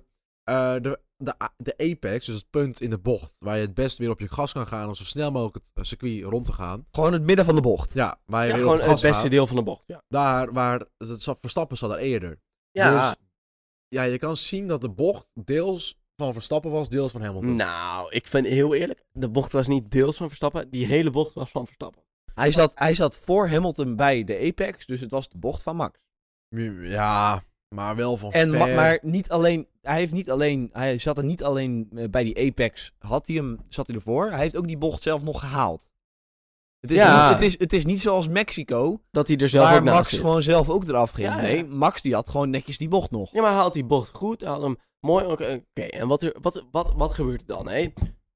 [SPEAKER 3] eh, de, de, a- de apex, dus het punt in de bocht, waar je het best weer op je gas kan gaan om zo snel mogelijk het eh, circuit rond te gaan.
[SPEAKER 1] Gewoon het midden van de bocht.
[SPEAKER 3] Ja, waar je
[SPEAKER 2] Ja,
[SPEAKER 3] weer
[SPEAKER 2] gewoon
[SPEAKER 3] op het gas
[SPEAKER 2] het beste
[SPEAKER 3] gaat.
[SPEAKER 2] deel van de bocht. Ja,
[SPEAKER 3] Daar waar het zat- Verstappen zat er eerder. Dus ja, je kan zien dat de bocht deels van Verstappen was, deels van Hamilton.
[SPEAKER 2] Nou, ik vind heel eerlijk, de bocht was niet deels van Verstappen, die hele bocht was van Verstappen.
[SPEAKER 1] Hij zat, hij zat voor Hamilton bij de apex, dus het was de bocht van Max.
[SPEAKER 3] Ja, maar wel van
[SPEAKER 1] En,
[SPEAKER 3] ver.
[SPEAKER 1] ma- maar niet alleen, hij, heeft niet alleen, hij zat er niet alleen eh, bij die apex, had hij hem, zat hij ervoor. Hij heeft ook die bocht zelf nog gehaald. Het is,
[SPEAKER 2] Ja.
[SPEAKER 1] niet, het is, het is niet zoals Mexico,
[SPEAKER 2] Dat hij er zelf
[SPEAKER 1] waar
[SPEAKER 2] ook naast
[SPEAKER 1] Max
[SPEAKER 2] zit.
[SPEAKER 1] gewoon zelf ook eraf ging.
[SPEAKER 2] Ja, ja.
[SPEAKER 1] Nee, Max die had gewoon netjes die bocht nog.
[SPEAKER 2] Ja, maar hij haalt die bocht goed. Hij haalt hem mooi. Oké, oké, en wat, er, wat, wat, wat gebeurt er dan? Hè?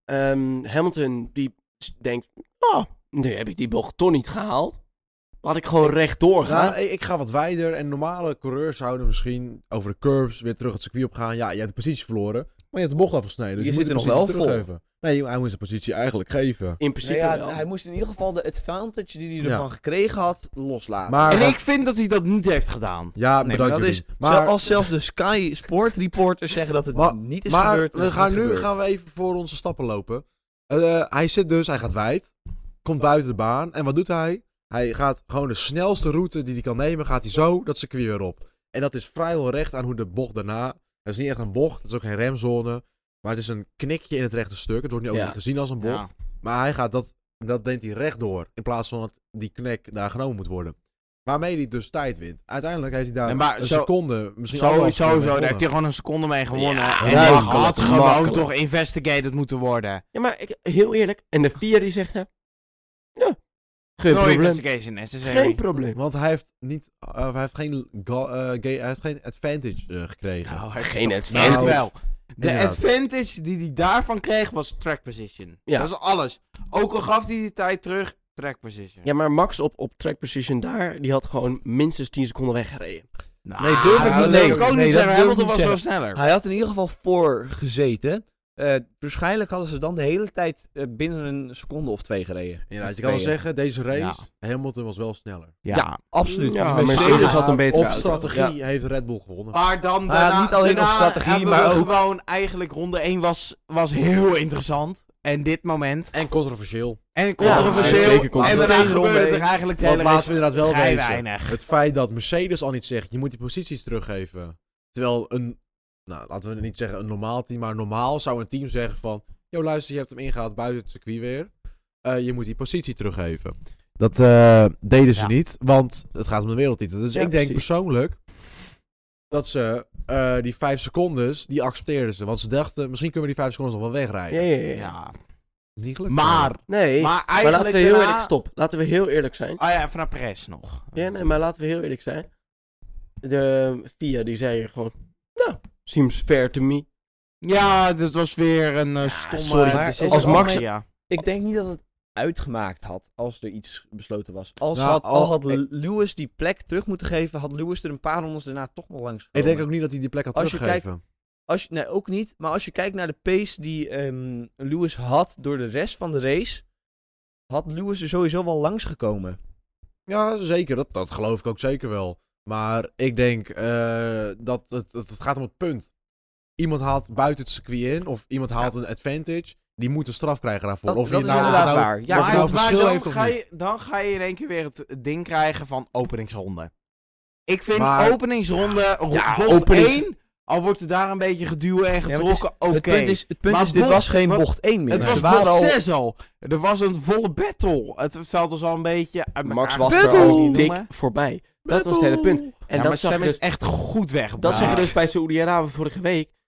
[SPEAKER 2] Ehm, Hamilton die s- denkt, oh, nu heb ik die bocht toch niet gehaald. Laat ik gewoon rechtdoor gaan.
[SPEAKER 3] Nou, ik ik ga wat wijder en normale coureurs zouden misschien over de curbs weer terug het circuit op gaan. Ja, je hebt de positie verloren, maar je hebt de bocht afgesneden. Dus
[SPEAKER 1] Je
[SPEAKER 3] je,
[SPEAKER 1] zit
[SPEAKER 3] moet
[SPEAKER 1] er
[SPEAKER 3] de
[SPEAKER 1] nog wel
[SPEAKER 3] positie
[SPEAKER 1] vol.
[SPEAKER 3] teruggeven. Nee, hij moet zijn positie eigenlijk geven.
[SPEAKER 2] In principe
[SPEAKER 1] Nou ja,
[SPEAKER 2] wel.
[SPEAKER 1] hij moest in ieder geval de advantage die hij
[SPEAKER 3] Ja.
[SPEAKER 1] ervan gekregen had, loslaten.
[SPEAKER 3] Maar-
[SPEAKER 4] En ik vind dat hij dat niet heeft gedaan.
[SPEAKER 3] Ja,
[SPEAKER 4] Nee, maar
[SPEAKER 3] bedankt
[SPEAKER 1] dat is,
[SPEAKER 3] Jorien. Maar,
[SPEAKER 1] als zelfs de Sky Sport reporters zeggen dat het
[SPEAKER 3] Maar-
[SPEAKER 1] niet is
[SPEAKER 3] maar
[SPEAKER 1] gebeurd.
[SPEAKER 3] we gaan nu gaan we even voor onze stappen lopen. Eh, hij zit dus, hij gaat wijd, komt buiten de baan. En wat doet hij? Hij gaat gewoon de snelste route die hij kan nemen, gaat hij zo dat circuit weer op. En dat is vrijwel recht aan hoe de bocht daarna... Dat is niet echt een bocht, het is ook geen remzone. Maar het is een knikje in het rechte stuk. Het wordt nu ook
[SPEAKER 2] Ja.
[SPEAKER 3] niet gezien als een bocht.
[SPEAKER 4] Ja.
[SPEAKER 3] Maar hij gaat dat, dat neemt hij rechtdoor. In plaats van dat die knek daar genomen moet worden. Waarmee hij dus tijd wint. Uiteindelijk heeft hij daar
[SPEAKER 4] Nee, maar
[SPEAKER 3] een
[SPEAKER 4] zo-
[SPEAKER 3] seconde, misschien
[SPEAKER 4] Zo,
[SPEAKER 3] anderhalf seconde
[SPEAKER 4] zo, zo.
[SPEAKER 3] mee
[SPEAKER 4] Daar heeft
[SPEAKER 3] gewonnen.
[SPEAKER 4] hij gewoon een seconde mee gewonnen.
[SPEAKER 2] Ja,
[SPEAKER 4] en
[SPEAKER 2] ja,
[SPEAKER 4] dat
[SPEAKER 2] makkelijk,
[SPEAKER 4] had gewoon
[SPEAKER 2] makkelijk.
[SPEAKER 4] toch investigated moeten worden.
[SPEAKER 2] Ja, maar ik, heel eerlijk. En de vier die zegt, hè, ja, geen
[SPEAKER 4] no
[SPEAKER 2] probleem.
[SPEAKER 4] investigation necessary.
[SPEAKER 2] Geen probleem.
[SPEAKER 3] Want hij heeft, niet, eh, hij heeft, geen, ga- eh, ga- hij heeft geen advantage eh, gekregen.
[SPEAKER 4] Nou, hij
[SPEAKER 2] Geen
[SPEAKER 4] heeft
[SPEAKER 2] het
[SPEAKER 4] toch- Echt
[SPEAKER 3] Nou,
[SPEAKER 4] wel. De
[SPEAKER 3] Inderdaad.
[SPEAKER 4] advantage die hij daarvan kreeg was track position.
[SPEAKER 2] Ja.
[SPEAKER 4] Dat is alles. Ook al gaf hij die tijd terug, track position.
[SPEAKER 2] Ja, maar Max op, op track precision daar, die had gewoon minstens 10 seconden weggereden.
[SPEAKER 4] Nou,
[SPEAKER 1] Nee, durf ik
[SPEAKER 4] dat
[SPEAKER 1] niet-
[SPEAKER 4] wil
[SPEAKER 1] nee,
[SPEAKER 4] ik ook
[SPEAKER 1] nee, dat
[SPEAKER 4] niet zeggen.
[SPEAKER 1] durf ik
[SPEAKER 4] Hamilton
[SPEAKER 1] niet
[SPEAKER 4] was wel
[SPEAKER 1] zeggen.
[SPEAKER 4] sneller.
[SPEAKER 1] Hij had in ieder geval voor gezeten. Eh, waarschijnlijk hadden ze dan de hele tijd eh, binnen een seconde of twee gereden.
[SPEAKER 3] Inderdaad,
[SPEAKER 1] Of
[SPEAKER 3] je kan wel
[SPEAKER 1] tweeën.
[SPEAKER 3] zeggen, deze race, Hamilton was wel sneller.
[SPEAKER 4] Ja.
[SPEAKER 1] Absoluut.
[SPEAKER 2] Ja,
[SPEAKER 1] Mercedes-
[SPEAKER 2] Mercedes had een betere
[SPEAKER 3] Op
[SPEAKER 2] auto.
[SPEAKER 3] strategie heeft Red Bull gewonnen.
[SPEAKER 4] Maar dan
[SPEAKER 1] Maar
[SPEAKER 4] daarna,
[SPEAKER 1] niet alleen op
[SPEAKER 4] daarna
[SPEAKER 1] strategie,
[SPEAKER 4] hebben
[SPEAKER 1] maar
[SPEAKER 4] we
[SPEAKER 1] ook-
[SPEAKER 4] gewoon eigenlijk ronde 1 was, was heel interessant. En dit moment.
[SPEAKER 3] En controversieel.
[SPEAKER 4] En
[SPEAKER 2] ja,
[SPEAKER 4] controversieel.
[SPEAKER 2] zeker
[SPEAKER 4] en
[SPEAKER 2] controversieel.
[SPEAKER 4] daarna
[SPEAKER 1] Tegen ronde
[SPEAKER 4] gebeurde er
[SPEAKER 1] één.
[SPEAKER 4] eigenlijk de
[SPEAKER 3] Want
[SPEAKER 4] hele
[SPEAKER 3] laten
[SPEAKER 4] race
[SPEAKER 3] we inderdaad wel
[SPEAKER 4] vrij
[SPEAKER 3] wezen.
[SPEAKER 4] weinig.
[SPEAKER 3] Het feit dat Mercedes al niet zegt, je moet die posities teruggeven. Terwijl een, nou laten we niet zeggen een normaal team, maar normaal zou een team zeggen van... Yo luister, je hebt hem ingehaald buiten het circuit weer. Eh, je moet die positie teruggeven. Dat eh, deden ze
[SPEAKER 4] Ja.
[SPEAKER 3] niet, want het gaat om de wereldtitel. Dus
[SPEAKER 2] Ja,
[SPEAKER 3] ik denk
[SPEAKER 2] precies.
[SPEAKER 3] persoonlijk dat ze eh, die vijf secondes, die accepteerden ze. Want ze dachten, misschien kunnen we die vijf seconden nog wel wegrijden.
[SPEAKER 2] Ja, ja, ja.
[SPEAKER 4] Ja.
[SPEAKER 3] Niet gelukt.
[SPEAKER 4] Maar,
[SPEAKER 2] Nee, maar,
[SPEAKER 4] maar eigenlijk
[SPEAKER 2] laten we heel
[SPEAKER 4] daarna-
[SPEAKER 2] eerlijk... Stop, laten we heel eerlijk zijn.
[SPEAKER 4] Ah ja, vanaf Perez nog.
[SPEAKER 2] Ja, nee, maar laten we heel eerlijk zijn. De Via, die zei hier gewoon... Nou, seems fair to me.
[SPEAKER 4] Ja, dit was weer een eh, stomme
[SPEAKER 2] sorry,
[SPEAKER 1] maar
[SPEAKER 4] decision.
[SPEAKER 1] als Max-
[SPEAKER 4] Ja.
[SPEAKER 1] Ik denk niet dat het uitgemaakt had als er iets besloten was. Als
[SPEAKER 3] Nou,
[SPEAKER 1] had, al
[SPEAKER 3] al-
[SPEAKER 1] had
[SPEAKER 3] ik-
[SPEAKER 1] Lewis die plek terug moeten geven, had Lewis er een paar rondes daarna toch nog langs
[SPEAKER 3] Ik denk
[SPEAKER 1] gekomen.
[SPEAKER 3] ook niet dat hij die plek had
[SPEAKER 1] Als je
[SPEAKER 3] teruggegeven.
[SPEAKER 1] Als je, nee, ook niet. Maar als je kijkt naar de pace die ehm, Lewis had door de rest van de race, had Lewis er sowieso wel langs gekomen.
[SPEAKER 3] Ja, zeker. Dat, dat geloof ik ook zeker wel. Maar ik denk eh, dat het, het, het gaat om het punt. Iemand haalt buiten het circuit in of iemand haalt een advantage. Die moet een straf krijgen daarvoor.
[SPEAKER 1] Dat,
[SPEAKER 3] of je
[SPEAKER 1] dat is
[SPEAKER 3] nou-
[SPEAKER 1] inderdaad
[SPEAKER 3] nou-
[SPEAKER 1] waar. Ja,
[SPEAKER 3] of
[SPEAKER 1] maar
[SPEAKER 3] je nou verschil
[SPEAKER 4] dan,
[SPEAKER 3] heeft of
[SPEAKER 4] ga
[SPEAKER 3] niet.
[SPEAKER 4] je, dan ga je in één keer weer het ding krijgen van openingsronde. Ik vind
[SPEAKER 3] Maar-
[SPEAKER 4] openingsronde, ro-
[SPEAKER 2] Ja,
[SPEAKER 4] bocht
[SPEAKER 2] openings-
[SPEAKER 4] 1, al wordt er daar een beetje geduwen en
[SPEAKER 1] maar het is-
[SPEAKER 4] getrokken, oké.
[SPEAKER 1] Het punt is, het punt
[SPEAKER 4] Maar
[SPEAKER 1] is dit
[SPEAKER 4] bocht-
[SPEAKER 1] was geen
[SPEAKER 4] wat-
[SPEAKER 1] bocht 1 meer.
[SPEAKER 4] Het was
[SPEAKER 1] Ze waren
[SPEAKER 4] bocht
[SPEAKER 1] al-
[SPEAKER 4] 6 al. Er was een volle battle. Het veld was al een beetje uit
[SPEAKER 2] Max
[SPEAKER 4] elkaar
[SPEAKER 2] was er
[SPEAKER 4] getrokken,
[SPEAKER 2] al
[SPEAKER 4] niet
[SPEAKER 2] dik
[SPEAKER 4] noemen.
[SPEAKER 2] voorbij. Dat was het hele punt. En
[SPEAKER 4] En ja,
[SPEAKER 2] dat
[SPEAKER 4] maar
[SPEAKER 2] zag je
[SPEAKER 4] Sam
[SPEAKER 2] dus
[SPEAKER 4] is echt goed weg.
[SPEAKER 2] Dat zag je dus bij Saoedi-Arabië vorige week.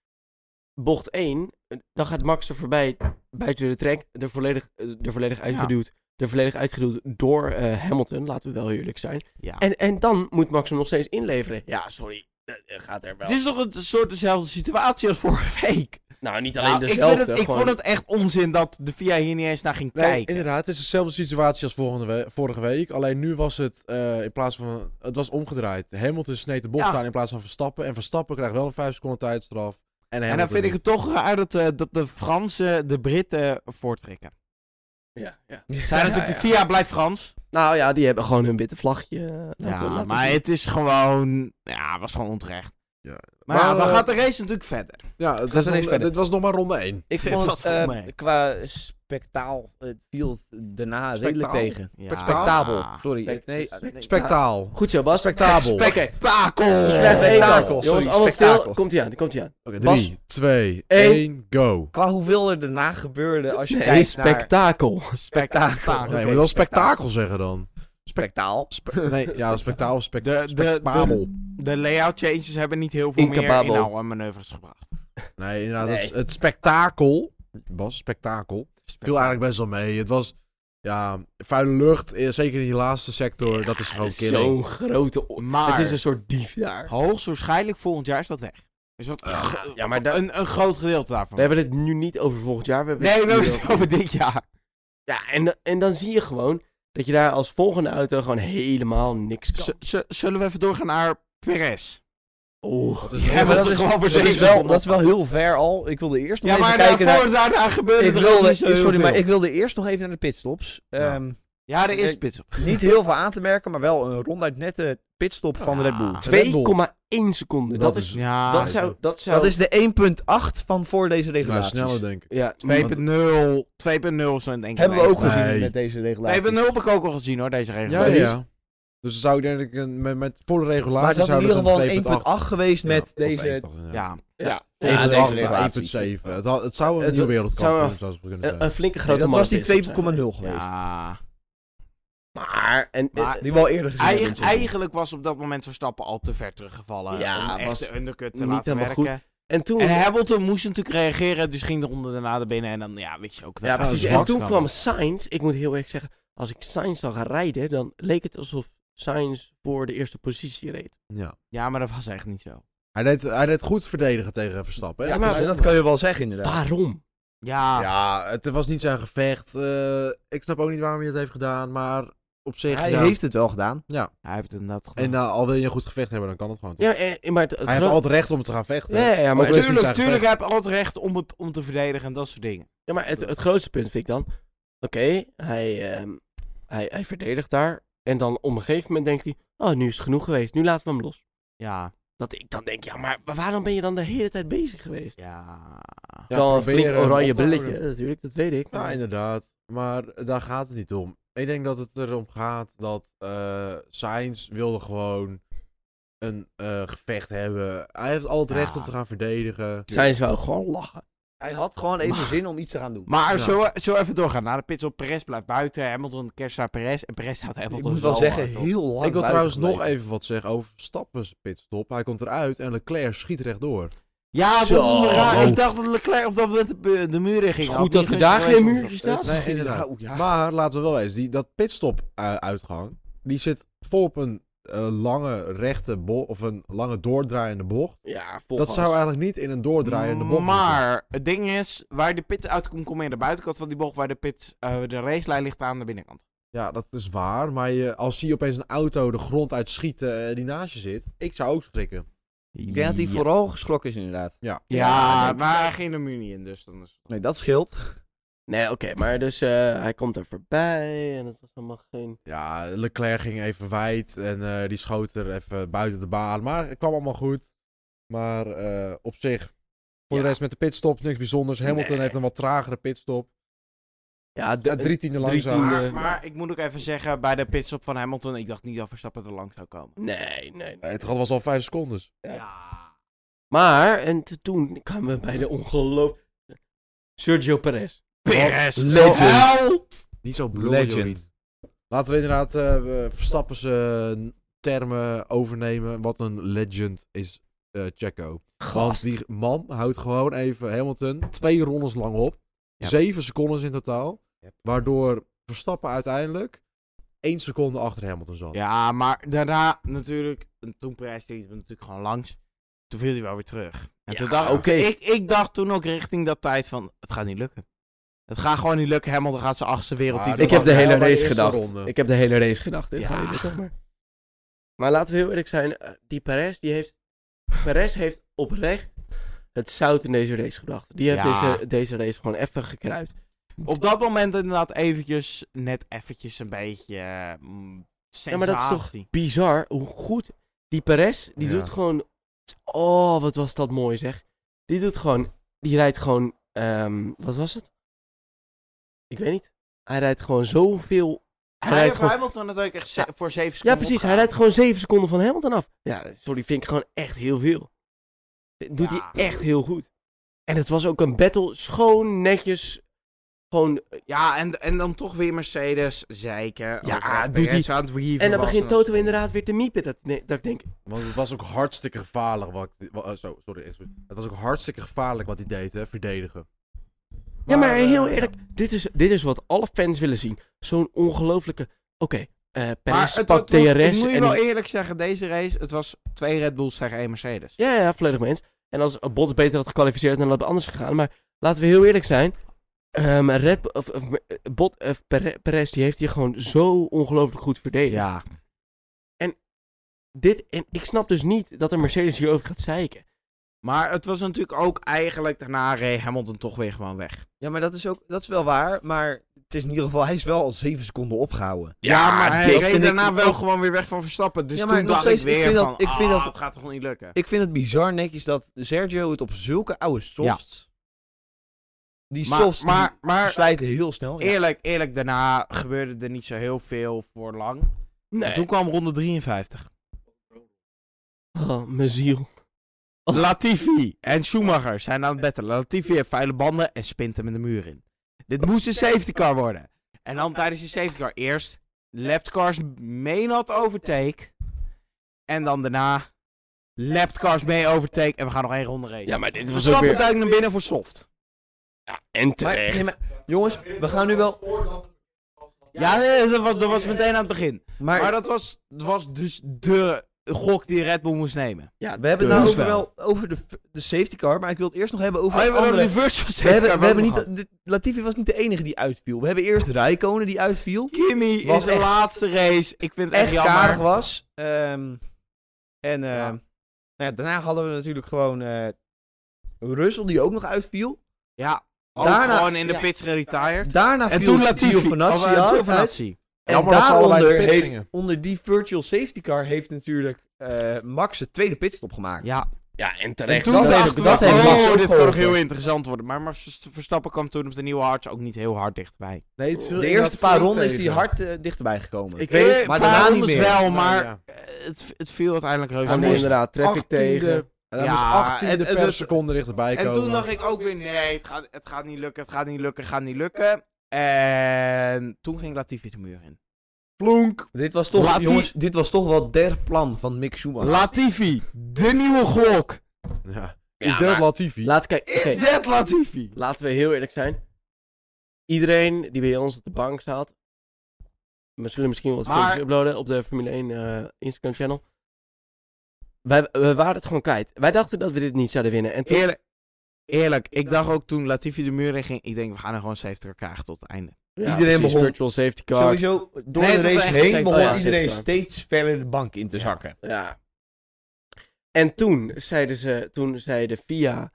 [SPEAKER 2] Bocht 1, dan gaat Max er voorbij buiten de trek. Er volledig, eh, er volledig uitgeduwd. Er volledig uitgeduwd door eh, Hamilton, laten we wel eerlijk zijn.
[SPEAKER 4] Ja.
[SPEAKER 2] En, en dan moet Max hem nog steeds inleveren. Ja, sorry. eh, eh, gaat er wel.
[SPEAKER 4] Het is toch een soort dezelfde situatie als vorige week.
[SPEAKER 2] nou, niet alleen
[SPEAKER 4] Nou, ik,
[SPEAKER 2] dezelfde.
[SPEAKER 4] vind het, ik
[SPEAKER 2] gewoon-
[SPEAKER 4] vond het echt onzin dat de VIA hier niet eens naar ging
[SPEAKER 3] Nee,
[SPEAKER 4] kijken.
[SPEAKER 3] inderdaad. Het is dezelfde situatie als volgende we- vorige week. Alleen nu was het eh, in plaats van... Het was omgedraaid. Hamilton sneed de bocht
[SPEAKER 4] Ja.
[SPEAKER 3] aan in plaats van Verstappen. En Verstappen krijgt wel een 5 seconden tijdstraf. En,
[SPEAKER 4] en dan vind ik
[SPEAKER 3] het...
[SPEAKER 4] het toch raar dat, eh, dat de Fransen de Britten voortrekken.
[SPEAKER 2] Ja, ja.
[SPEAKER 4] Zij
[SPEAKER 2] Ja,
[SPEAKER 4] natuurlijk,
[SPEAKER 2] ja.
[SPEAKER 4] de VIA blijft Frans.
[SPEAKER 2] Nou ja, die hebben gewoon hun witte vlagje. eh, laten-
[SPEAKER 4] ja,
[SPEAKER 2] laten
[SPEAKER 4] maar
[SPEAKER 2] zien.
[SPEAKER 4] het is gewoon... Ja, het was gewoon onterecht.
[SPEAKER 3] Ja.
[SPEAKER 4] Maar, ja,
[SPEAKER 3] Maar,
[SPEAKER 4] dan
[SPEAKER 3] eh,
[SPEAKER 4] gaat de race natuurlijk verder.
[SPEAKER 3] Ja, het
[SPEAKER 1] Ga
[SPEAKER 3] was
[SPEAKER 1] ze
[SPEAKER 3] nog-
[SPEAKER 1] eens verder.
[SPEAKER 3] dit was nog maar ronde 1.
[SPEAKER 1] Ik
[SPEAKER 4] Dit
[SPEAKER 1] vond
[SPEAKER 4] was
[SPEAKER 1] het eh,
[SPEAKER 4] goed mee.
[SPEAKER 1] qua spektaal, het viel het daarna redelijk
[SPEAKER 3] Spektaal?
[SPEAKER 1] tegen.
[SPEAKER 4] Ja.
[SPEAKER 1] Spectabel, sorry.
[SPEAKER 2] Spek-
[SPEAKER 1] nee,
[SPEAKER 2] spek-
[SPEAKER 1] nee, nou,
[SPEAKER 3] Spectaal.
[SPEAKER 2] Goed zo, Bas.
[SPEAKER 3] Spectabel.
[SPEAKER 2] Spek-
[SPEAKER 4] Spektakel!
[SPEAKER 1] Spektakel,
[SPEAKER 2] Jongens,
[SPEAKER 1] sorry,
[SPEAKER 2] alles
[SPEAKER 1] spektakel.
[SPEAKER 2] stil. Komt-ie aan, komt-ie aan.
[SPEAKER 3] Oké,
[SPEAKER 2] Bas.
[SPEAKER 3] 3, 2,
[SPEAKER 2] Eén.
[SPEAKER 3] 1, go.
[SPEAKER 1] Qua hoeveel er daarna gebeurde als je
[SPEAKER 2] Nee,
[SPEAKER 1] kijkt naar
[SPEAKER 2] spektakel.
[SPEAKER 1] spektakel.
[SPEAKER 3] Nee,
[SPEAKER 1] Oké,
[SPEAKER 3] je moet wel
[SPEAKER 1] spektakel.
[SPEAKER 3] spektakel zeggen dan.
[SPEAKER 1] spektaal.
[SPEAKER 3] Spe- nee, ja, spektaal of spek
[SPEAKER 4] De, de, de,
[SPEAKER 3] spektabel.
[SPEAKER 4] de layout changes hebben niet heel veel meer
[SPEAKER 2] Incapabel.
[SPEAKER 4] inhaalmanoeuvres gebracht.
[SPEAKER 3] Nee, inderdaad, het-
[SPEAKER 2] Nee.
[SPEAKER 3] Het, spektakel, Bas, spektakel, viel eigenlijk best wel mee. Het was, ja, vuile lucht, eh, zeker in die laatste sector, dat is gewoon killing.
[SPEAKER 2] Zo'n grote... o-
[SPEAKER 4] Maar
[SPEAKER 2] Het is een soort dief daar.
[SPEAKER 4] hoogstwaarschijnlijk volgend jaar is dat weg. Dus dat,
[SPEAKER 2] ja, maar daar-
[SPEAKER 4] een, een groot gedeelte daarvan.
[SPEAKER 2] We hebben het nu niet over volgend jaar. We hebben
[SPEAKER 4] nee,
[SPEAKER 2] het
[SPEAKER 4] we hebben
[SPEAKER 2] nu
[SPEAKER 4] het over dit jaar.
[SPEAKER 2] Ja, en, da- en dan zie je gewoon dat je daar als volgende auto gewoon helemaal niks kan.
[SPEAKER 4] Z- z- zullen we even doorgaan naar Perez?
[SPEAKER 2] Oeh.
[SPEAKER 3] Dat is-
[SPEAKER 4] Ja, maar dat is gewoon voor
[SPEAKER 1] Dat is,
[SPEAKER 4] zeven
[SPEAKER 1] wel,
[SPEAKER 4] seconden.
[SPEAKER 1] dat is wel heel ver al. Ik wilde eerst nog
[SPEAKER 4] Ja, maar
[SPEAKER 1] even kijken naar...
[SPEAKER 4] daarvoor, daarna gebeurde
[SPEAKER 1] Ik
[SPEAKER 4] er al
[SPEAKER 1] wilde,
[SPEAKER 4] niet zo heel
[SPEAKER 1] sorry,
[SPEAKER 4] veel.
[SPEAKER 1] maar ik wilde eerst nog even naar de pitstops.
[SPEAKER 3] Ja.
[SPEAKER 1] Ehm,
[SPEAKER 4] Ja, er is
[SPEAKER 1] Ik-
[SPEAKER 4] pit op.
[SPEAKER 1] Niet heel veel aan te merken, maar wel een ronduit nette pitstop van
[SPEAKER 4] Ja.
[SPEAKER 1] Red Bull.
[SPEAKER 3] Red Bull.
[SPEAKER 2] 2,1 seconden. Dat,
[SPEAKER 3] Dat
[SPEAKER 2] is...
[SPEAKER 3] is-
[SPEAKER 4] Ja,
[SPEAKER 2] dat zou... Dat zou...
[SPEAKER 1] Dat is de 1.8 van voor deze
[SPEAKER 3] Nou,
[SPEAKER 1] regulaties.
[SPEAKER 3] sneller denk ik.
[SPEAKER 2] Ja,
[SPEAKER 4] 2.0. 2.0 zo denk ik.
[SPEAKER 1] Hebben we ook
[SPEAKER 3] Nee.
[SPEAKER 1] gezien met deze regulaties.
[SPEAKER 4] 2.0 heb ik ook al gezien hoor, deze regel.
[SPEAKER 3] Ja, ja, ja. Dus dan zou ik denk ik, een- met, met voor de
[SPEAKER 1] maar
[SPEAKER 3] regulatie
[SPEAKER 1] dat is in
[SPEAKER 3] zou
[SPEAKER 1] ieder geval
[SPEAKER 3] dat
[SPEAKER 1] een 1.8 geweest met deze...
[SPEAKER 4] Ja.
[SPEAKER 2] ja.
[SPEAKER 1] Ja, deze
[SPEAKER 3] 1.8,
[SPEAKER 1] regulaties.
[SPEAKER 3] 1.7. Het, had- het zou een
[SPEAKER 2] Het
[SPEAKER 3] nieuwe
[SPEAKER 2] was-
[SPEAKER 3] wereldkampioen
[SPEAKER 2] zou-
[SPEAKER 3] zou kunnen
[SPEAKER 2] Een,
[SPEAKER 3] zijn.
[SPEAKER 2] een flinke
[SPEAKER 1] Nee,
[SPEAKER 2] grote
[SPEAKER 1] dat was die 2.0
[SPEAKER 2] mannenpitstop zijn geweest.
[SPEAKER 1] geweest.
[SPEAKER 4] ja.
[SPEAKER 2] Maar... En,
[SPEAKER 4] Maar-
[SPEAKER 1] Die we al eerder gezien
[SPEAKER 4] Eigen-
[SPEAKER 1] hebben.
[SPEAKER 4] eigenlijk was op dat moment Verstappen al te ver teruggevallen. eh,
[SPEAKER 2] Ja,
[SPEAKER 4] om echt
[SPEAKER 2] was
[SPEAKER 4] de undercut te
[SPEAKER 2] niet
[SPEAKER 4] laten
[SPEAKER 2] helemaal
[SPEAKER 4] werken.
[SPEAKER 2] en toen...
[SPEAKER 4] En Hamilton moest natuurlijk reageren, dus ging de ronde daarna naar binnen. En dan, ja, weet je ook. dat
[SPEAKER 2] ja,
[SPEAKER 4] gaat
[SPEAKER 2] precies.
[SPEAKER 3] Oh,
[SPEAKER 4] dus
[SPEAKER 2] En
[SPEAKER 4] Max
[SPEAKER 2] toen
[SPEAKER 4] dan.
[SPEAKER 2] kwam Sainz. Ik moet heel erg zeggen, als ik Sainz zou gaan rijden, dan leek het alsof Sainz voor de eerste positie reed.
[SPEAKER 3] Ja.
[SPEAKER 4] Ja, maar dat was echt niet zo.
[SPEAKER 3] Hij deed, hij deed goed verdedigen tegen Verstappen. hè?
[SPEAKER 2] Ja,
[SPEAKER 3] Ja,
[SPEAKER 2] maar-
[SPEAKER 1] dus dat kan je wel zeggen, inderdaad.
[SPEAKER 2] Waarom?
[SPEAKER 4] Ja,
[SPEAKER 3] het was niet zijn gevecht. eh, ik snap ook niet waarom hij het heeft gedaan, maar op zich...
[SPEAKER 1] Hij
[SPEAKER 3] ja.
[SPEAKER 4] nou?
[SPEAKER 1] heeft het wel gedaan.
[SPEAKER 4] hij heeft het inderdaad gedaan.
[SPEAKER 3] En nou, al wil je een goed gevecht hebben, dan kan het gewoon. toch?
[SPEAKER 2] Ja, eh, maar het, het
[SPEAKER 3] hij heeft
[SPEAKER 2] gro-
[SPEAKER 3] al het recht om te gaan vechten.
[SPEAKER 2] ja, ja, ja, maar, het,
[SPEAKER 3] Ook best-
[SPEAKER 4] Tuurlijk,
[SPEAKER 3] zijn
[SPEAKER 4] tuurlijk, hij
[SPEAKER 3] gevecht.
[SPEAKER 4] heeft altijd recht om, het, om te verdedigen en dat soort dingen.
[SPEAKER 2] ja, maar het, het grootste punt vind ik dan... Oké, hij, ehm, hij, hij verdedigt daar. En dan op een gegeven moment denkt hij... Oh, nu is het genoeg geweest. Nu laten we hem los.
[SPEAKER 4] Ja,
[SPEAKER 2] Dat ik dan denk, ja, maar waarom ben je dan de hele tijd bezig geweest?
[SPEAKER 4] ja.
[SPEAKER 3] Ja,
[SPEAKER 2] wel een flink
[SPEAKER 3] proberen hem
[SPEAKER 2] oranje
[SPEAKER 3] op te houden.
[SPEAKER 2] brilletje, natuurlijk. Dat weet ik.
[SPEAKER 3] Ja,
[SPEAKER 2] maar-
[SPEAKER 3] inderdaad. Maar daar gaat het niet om. Ik denk dat het erom gaat dat eh Sainz wilde gewoon een eh, gevecht hebben. Hij heeft al het
[SPEAKER 4] Ja.
[SPEAKER 3] recht om te gaan verdedigen.
[SPEAKER 2] Zijn ze wel gewoon lachen.
[SPEAKER 1] Hij had gewoon even
[SPEAKER 4] Maar-
[SPEAKER 1] zin om iets te gaan doen.
[SPEAKER 4] Maar
[SPEAKER 3] Ja.
[SPEAKER 4] zo, zo even doorgaan. Na de pits op Perez blijft buiten. Hamilton kerst naar Perez. En Perez houdt
[SPEAKER 1] ik
[SPEAKER 4] Hamilton
[SPEAKER 1] moet wel zeggen,
[SPEAKER 4] hard op.
[SPEAKER 1] heel lang
[SPEAKER 3] Ik wil
[SPEAKER 1] buiten
[SPEAKER 3] trouwens nog
[SPEAKER 1] gebleven.
[SPEAKER 3] even wat zeggen over Verstappen's pitstop. Hij komt eruit en Leclerc schiet rechtdoor.
[SPEAKER 4] Ja, dat
[SPEAKER 1] Zo.
[SPEAKER 4] was raar. Ik dacht dat Leclerc op dat moment de, bu- de muur in ging.
[SPEAKER 2] Is
[SPEAKER 4] Had
[SPEAKER 2] goed dat
[SPEAKER 4] die
[SPEAKER 2] er
[SPEAKER 4] gunst
[SPEAKER 2] daar
[SPEAKER 4] geweest
[SPEAKER 2] geen
[SPEAKER 4] om-
[SPEAKER 2] muurtje staat.
[SPEAKER 3] Nee, inderdaad.
[SPEAKER 1] Nou, ja.
[SPEAKER 3] Maar laten we wel eens, die, dat pitstop-uitgang, die zit vol op een eh, lange rechte bocht, of een lange doordraaiende bocht.
[SPEAKER 2] Ja,
[SPEAKER 3] Dat zou eigenlijk niet in een doordraaiende bocht moeten.
[SPEAKER 4] Maar het ding is, waar de pit uitkomt, kom je aan de buitenkant van die bocht. Waar de pit, eh, de racelijn ligt aan de binnenkant.
[SPEAKER 3] Ja, dat is waar. Maar je, als zie je opeens een auto de grond uit schieten eh, die naast je zit, ik zou ook schrikken.
[SPEAKER 1] Ik denk dat hij vooral geschrokken is, inderdaad.
[SPEAKER 4] Ja,
[SPEAKER 2] Ja, denk ik
[SPEAKER 4] maar hij ging de muur niet in, dus dan is
[SPEAKER 1] Nee, dat scheelt.
[SPEAKER 2] Nee, oké, maar dus eh, hij komt er voorbij en het was allemaal geen...
[SPEAKER 3] Ja, Leclerc ging even wijd en eh, die schoot er even buiten de baan. Maar het kwam allemaal goed. Maar eh, op zich, voor
[SPEAKER 2] Ja.
[SPEAKER 3] de rest met de pitstop, niks bijzonders. Hamilton
[SPEAKER 2] Nee.
[SPEAKER 3] heeft een wat tragere pitstop.
[SPEAKER 2] Ja, de,
[SPEAKER 3] Ja, drie tiende
[SPEAKER 2] drie
[SPEAKER 3] langzaam.
[SPEAKER 2] tiende.
[SPEAKER 4] Maar, maar ik moet ook even zeggen, bij de pitstop van Hamilton, ik dacht niet dat Verstappen er lang zou komen.
[SPEAKER 2] Nee, nee, nee.
[SPEAKER 3] Nee, Eh, het was al vijf seconden.
[SPEAKER 2] Ja.
[SPEAKER 4] Ja.
[SPEAKER 2] Maar, en t- toen kwamen we bij de ongelooflijke... Sergio Perez.
[SPEAKER 4] Perez.
[SPEAKER 1] Legend.
[SPEAKER 4] Held.
[SPEAKER 3] Niet zo
[SPEAKER 1] bloerig, Legend.
[SPEAKER 3] Legend. Laten we inderdaad eh, we Verstappen zijn termen overnemen. Wat een legend is eh Checo. Want
[SPEAKER 2] Gast.
[SPEAKER 3] die man houdt gewoon even Hamilton twee rondes lang op.
[SPEAKER 4] Ja.
[SPEAKER 3] Zeven seconden in totaal.
[SPEAKER 4] Yep.
[SPEAKER 3] Waardoor Verstappen uiteindelijk één seconde achter Hamilton zat.
[SPEAKER 4] Ja, maar daarna natuurlijk, en toen Perez liep hem natuurlijk gewoon langs. Toen viel hij wel weer terug. En
[SPEAKER 2] Ja,
[SPEAKER 4] toen dacht
[SPEAKER 2] oké.
[SPEAKER 4] ik, ik dacht toen ook richting dat tijd van, het gaat niet lukken. Het gaat gewoon niet lukken, Hamilton gaat zijn achtste wereldtitel.
[SPEAKER 3] dat
[SPEAKER 2] Ik heb de
[SPEAKER 3] was
[SPEAKER 2] hele
[SPEAKER 3] wel bij de
[SPEAKER 2] race
[SPEAKER 3] eerste
[SPEAKER 2] gedacht.
[SPEAKER 3] ronde.
[SPEAKER 2] Ik heb de hele race gedacht. Dit
[SPEAKER 4] Ja.
[SPEAKER 2] gaat niet lukken, maar... Maar laten we heel eerlijk zijn. eh, Die Perez, die heeft... Perez heeft oprecht het zout in deze race gebracht. Die heeft
[SPEAKER 4] Ja.
[SPEAKER 2] deze, deze race gewoon even gekruid.
[SPEAKER 4] Op dat moment inderdaad eventjes, net eventjes een beetje... eh, mm,
[SPEAKER 2] Ja, maar dat is toch
[SPEAKER 4] sensatie.
[SPEAKER 2] bizar hoe goed die Perez, die
[SPEAKER 3] Ja.
[SPEAKER 2] doet gewoon... Oh, wat was dat mooi zeg. Die doet gewoon... Die rijdt gewoon... ehm, wat was het? Ik weet niet. Hij rijdt gewoon zoveel... Hij,
[SPEAKER 4] Hij
[SPEAKER 2] rijdt
[SPEAKER 4] heeft
[SPEAKER 2] gewoon...
[SPEAKER 4] Hamilton natuurlijk echt ze-
[SPEAKER 2] Ja.
[SPEAKER 4] voor zeven
[SPEAKER 2] Ja,
[SPEAKER 4] seconden
[SPEAKER 2] precies. Hij
[SPEAKER 4] opgehaald.
[SPEAKER 2] rijdt gewoon 7 seconden van Hamilton af. Ja, sorry, vind ik gewoon echt heel veel. Dit doet
[SPEAKER 4] Ja.
[SPEAKER 2] hij echt heel goed. En het was ook een battle. Schoon, netjes. Gewoon...
[SPEAKER 4] Ja, en, en dan toch weer Mercedes zeiken.
[SPEAKER 2] Ja,
[SPEAKER 4] Ook wel
[SPEAKER 2] doet
[SPEAKER 4] Perez
[SPEAKER 2] hij-
[SPEAKER 4] aan het wieven
[SPEAKER 2] En dan
[SPEAKER 4] was
[SPEAKER 2] begint
[SPEAKER 4] dat-
[SPEAKER 2] Toto inderdaad weer te miepen. Dat, nee, dat ik denk...
[SPEAKER 3] Want het was ook hartstikke gevaarlijk. Wat, ik- wa- eh, zo, sorry, excuus. Het was ook hartstikke gevaarlijk wat hij deed, hè? Verdedigen.
[SPEAKER 2] Ja, maar
[SPEAKER 3] eh,
[SPEAKER 2] heel eerlijk, dit is, dit is wat alle fans willen zien. Zo'n ongelofelijke... Oké, eh Perez
[SPEAKER 4] het-
[SPEAKER 2] pakt
[SPEAKER 4] het was-
[SPEAKER 2] DRS
[SPEAKER 4] Ik moet je
[SPEAKER 2] en...
[SPEAKER 4] wel
[SPEAKER 2] die-
[SPEAKER 4] eerlijk zeggen, deze race, het was twee Red Bulls tegen één Mercedes.
[SPEAKER 2] Ja, ja, volledig mens. En als Bottas beter had gekwalificeerd, dan had het anders gegaan. Maar laten we heel eerlijk zijn. ehm, Red, Bull- of, of, eh, Bot, of Pere- Perez, die heeft hier gewoon zo ongelooflijk goed verdedigd.
[SPEAKER 4] Ja.
[SPEAKER 2] Dit, en ik snap dus niet dat een Mercedes hier ook gaat zeiken.
[SPEAKER 4] Maar het was natuurlijk ook eigenlijk, daarna reed Hamilton toch weer gewoon weg.
[SPEAKER 1] Ja, maar dat is, ook, dat is wel waar. Maar het is in ieder geval, hij is wel al zeven seconden opgehouden.
[SPEAKER 4] Ja, maar hij
[SPEAKER 1] dit
[SPEAKER 4] reed
[SPEAKER 1] vind ik
[SPEAKER 4] daarna wel
[SPEAKER 1] ook-
[SPEAKER 4] gewoon weer weg van Verstappen. Dus
[SPEAKER 1] Ja, maar
[SPEAKER 4] toen
[SPEAKER 1] nog
[SPEAKER 4] dacht
[SPEAKER 1] steeds,
[SPEAKER 4] ik
[SPEAKER 1] ik
[SPEAKER 4] weer
[SPEAKER 1] vind dat-
[SPEAKER 4] van,
[SPEAKER 1] ik vind
[SPEAKER 4] ah,
[SPEAKER 1] dat-
[SPEAKER 4] het gaat toch niet lukken.
[SPEAKER 1] Ik vind het bizar netjes dat Sergio het op zulke oude softs... Die
[SPEAKER 4] maar,
[SPEAKER 1] softs
[SPEAKER 4] maar,
[SPEAKER 1] die
[SPEAKER 4] maar
[SPEAKER 1] slijten heel snel. Ja.
[SPEAKER 4] eerlijk, eerlijk, daarna gebeurde er niet zo heel veel voor lang. En Toen kwam ronde 53.
[SPEAKER 2] Oh, mijn ziel. Oh.
[SPEAKER 4] Latifi en Schumacher zijn aan het battelen. Latifi heeft vuile banden en spint hem in de muur in. Dit moest een safety car worden. En dan tijdens de safety car eerst lapped cars mee not overtake. En dan daarna lapped cars mee overtake. En we gaan nog één ronde race.
[SPEAKER 2] Ja, maar dit was ook
[SPEAKER 4] Verstappen
[SPEAKER 2] weer...
[SPEAKER 4] duikt naar binnen voor soft.
[SPEAKER 2] Ja, en
[SPEAKER 1] Maar-
[SPEAKER 2] terecht.
[SPEAKER 1] nee, maar- jongens, we gaan nu wel...
[SPEAKER 4] Ja, nee, dat was, dat was meteen aan het begin.
[SPEAKER 1] Maar,
[SPEAKER 4] Maar dat was, dat was dus de gok die Red Bull moest nemen.
[SPEAKER 2] Ja,
[SPEAKER 1] We hebben het nou
[SPEAKER 4] Dus
[SPEAKER 1] over, wel. over de, de safety car, maar ik wil het eerst nog hebben over
[SPEAKER 4] Oh,
[SPEAKER 1] een
[SPEAKER 4] ja, maar
[SPEAKER 1] andere...
[SPEAKER 4] de virtual
[SPEAKER 1] We
[SPEAKER 4] safety
[SPEAKER 1] hebben,
[SPEAKER 4] car
[SPEAKER 1] we hebben
[SPEAKER 4] ook nog
[SPEAKER 1] niet, de- Latifi was niet de enige die uitviel. We hebben eerst Rijkonen die uitviel.
[SPEAKER 4] gehad. Kimi
[SPEAKER 1] was
[SPEAKER 4] is de
[SPEAKER 1] echt-
[SPEAKER 4] laatste race. Ik vind het echt,
[SPEAKER 1] echt
[SPEAKER 4] jammer.
[SPEAKER 1] karig was. Ehm, en ehm,
[SPEAKER 4] Ja.
[SPEAKER 1] nou ja, daarna hadden we natuurlijk gewoon eh Russell die ook nog uitviel.
[SPEAKER 4] Ja, ook
[SPEAKER 1] Daarna-
[SPEAKER 4] gewoon in de
[SPEAKER 2] ja.
[SPEAKER 4] pits geretired.
[SPEAKER 1] Daarna
[SPEAKER 4] En
[SPEAKER 1] viel
[SPEAKER 4] toen Latifi.
[SPEAKER 1] Oh, Giovinazzi
[SPEAKER 4] Of, eh,
[SPEAKER 1] uit.
[SPEAKER 4] Giovinazzi.
[SPEAKER 1] En
[SPEAKER 3] Jammer dat ze allebei
[SPEAKER 1] daaronder
[SPEAKER 3] de pit
[SPEAKER 1] heeft,
[SPEAKER 3] gingen.
[SPEAKER 1] onder die virtual safety car heeft natuurlijk eh, Max de tweede pitstop gemaakt.
[SPEAKER 4] Ja,
[SPEAKER 2] Ja, en
[SPEAKER 4] en
[SPEAKER 2] terecht.
[SPEAKER 4] toen
[SPEAKER 1] dat
[SPEAKER 4] dachten
[SPEAKER 1] heeft-
[SPEAKER 4] we,
[SPEAKER 1] dat heeft Max
[SPEAKER 4] oh,
[SPEAKER 1] ook
[SPEAKER 4] dit kan nog
[SPEAKER 1] geholpen.
[SPEAKER 4] heel interessant worden. Maar Max Verstappen kwam toen op de nieuwe hards ook niet heel hard dichtbij.
[SPEAKER 3] Nee, het viel
[SPEAKER 1] De eerste
[SPEAKER 3] inderdaad
[SPEAKER 1] paar
[SPEAKER 3] flink
[SPEAKER 1] ronden is
[SPEAKER 3] tegen.
[SPEAKER 1] hij hard eh, dichterbij gekomen.
[SPEAKER 2] Ik weet het,
[SPEAKER 1] maar
[SPEAKER 4] een paar
[SPEAKER 1] daarna niet
[SPEAKER 4] rondes
[SPEAKER 1] meer.
[SPEAKER 4] Eh, wel,
[SPEAKER 3] Nou,
[SPEAKER 4] maar
[SPEAKER 3] ja.
[SPEAKER 4] eh, het, het viel uiteindelijk reuze
[SPEAKER 2] Hij
[SPEAKER 3] moest
[SPEAKER 2] moest
[SPEAKER 4] mee.
[SPEAKER 2] inderdaad traffic
[SPEAKER 3] 18e
[SPEAKER 2] tegen.
[SPEAKER 3] Hij
[SPEAKER 4] Ja,
[SPEAKER 3] moest 18
[SPEAKER 4] en- en
[SPEAKER 3] per
[SPEAKER 4] het-
[SPEAKER 3] seconde dichterbij komen.
[SPEAKER 4] En toen dacht ik ook weer, nee, het gaat, het gaat niet lukken, het gaat niet lukken, het gaat niet lukken. En toen ging Latifi de muur in. Plonk.
[SPEAKER 1] Dit was, toch,
[SPEAKER 4] Lati-
[SPEAKER 1] jongens, dit was toch wel der plan van Mick Schumacher.
[SPEAKER 4] Latifi, de nieuwe Glock.
[SPEAKER 3] Ja.
[SPEAKER 2] Ja,
[SPEAKER 3] Is dat
[SPEAKER 2] maar-
[SPEAKER 3] Latifi?
[SPEAKER 2] Laat kijk,
[SPEAKER 4] Is
[SPEAKER 2] oké,
[SPEAKER 4] dat Latifi?
[SPEAKER 2] laten we heel eerlijk zijn. Iedereen die bij ons op de bank zat. We zullen misschien wat
[SPEAKER 4] Maar-
[SPEAKER 2] filmpjes uploaden op de Formule 1 eh, Instagram channel. Wij, we waren het gewoon kwijt. Wij dachten dat we dit niet zouden winnen. En toen,
[SPEAKER 4] Eerlijk, eerlijk, ik dacht ook toen Latifi de muur in ging, ik denk, we gaan er gewoon 70 krijgen tot het einde.
[SPEAKER 2] Ja,
[SPEAKER 1] Iedereen begon-
[SPEAKER 2] virtual safety car.
[SPEAKER 1] Sowieso, door
[SPEAKER 4] Nee,
[SPEAKER 1] de
[SPEAKER 4] het was
[SPEAKER 1] race
[SPEAKER 4] echt
[SPEAKER 1] heen
[SPEAKER 4] een
[SPEAKER 1] begon
[SPEAKER 2] safety car.
[SPEAKER 1] iedereen
[SPEAKER 2] Ja.
[SPEAKER 1] steeds verder de bank in te zakken.
[SPEAKER 2] Ja. En toen zeiden ze, toen zei de FIA...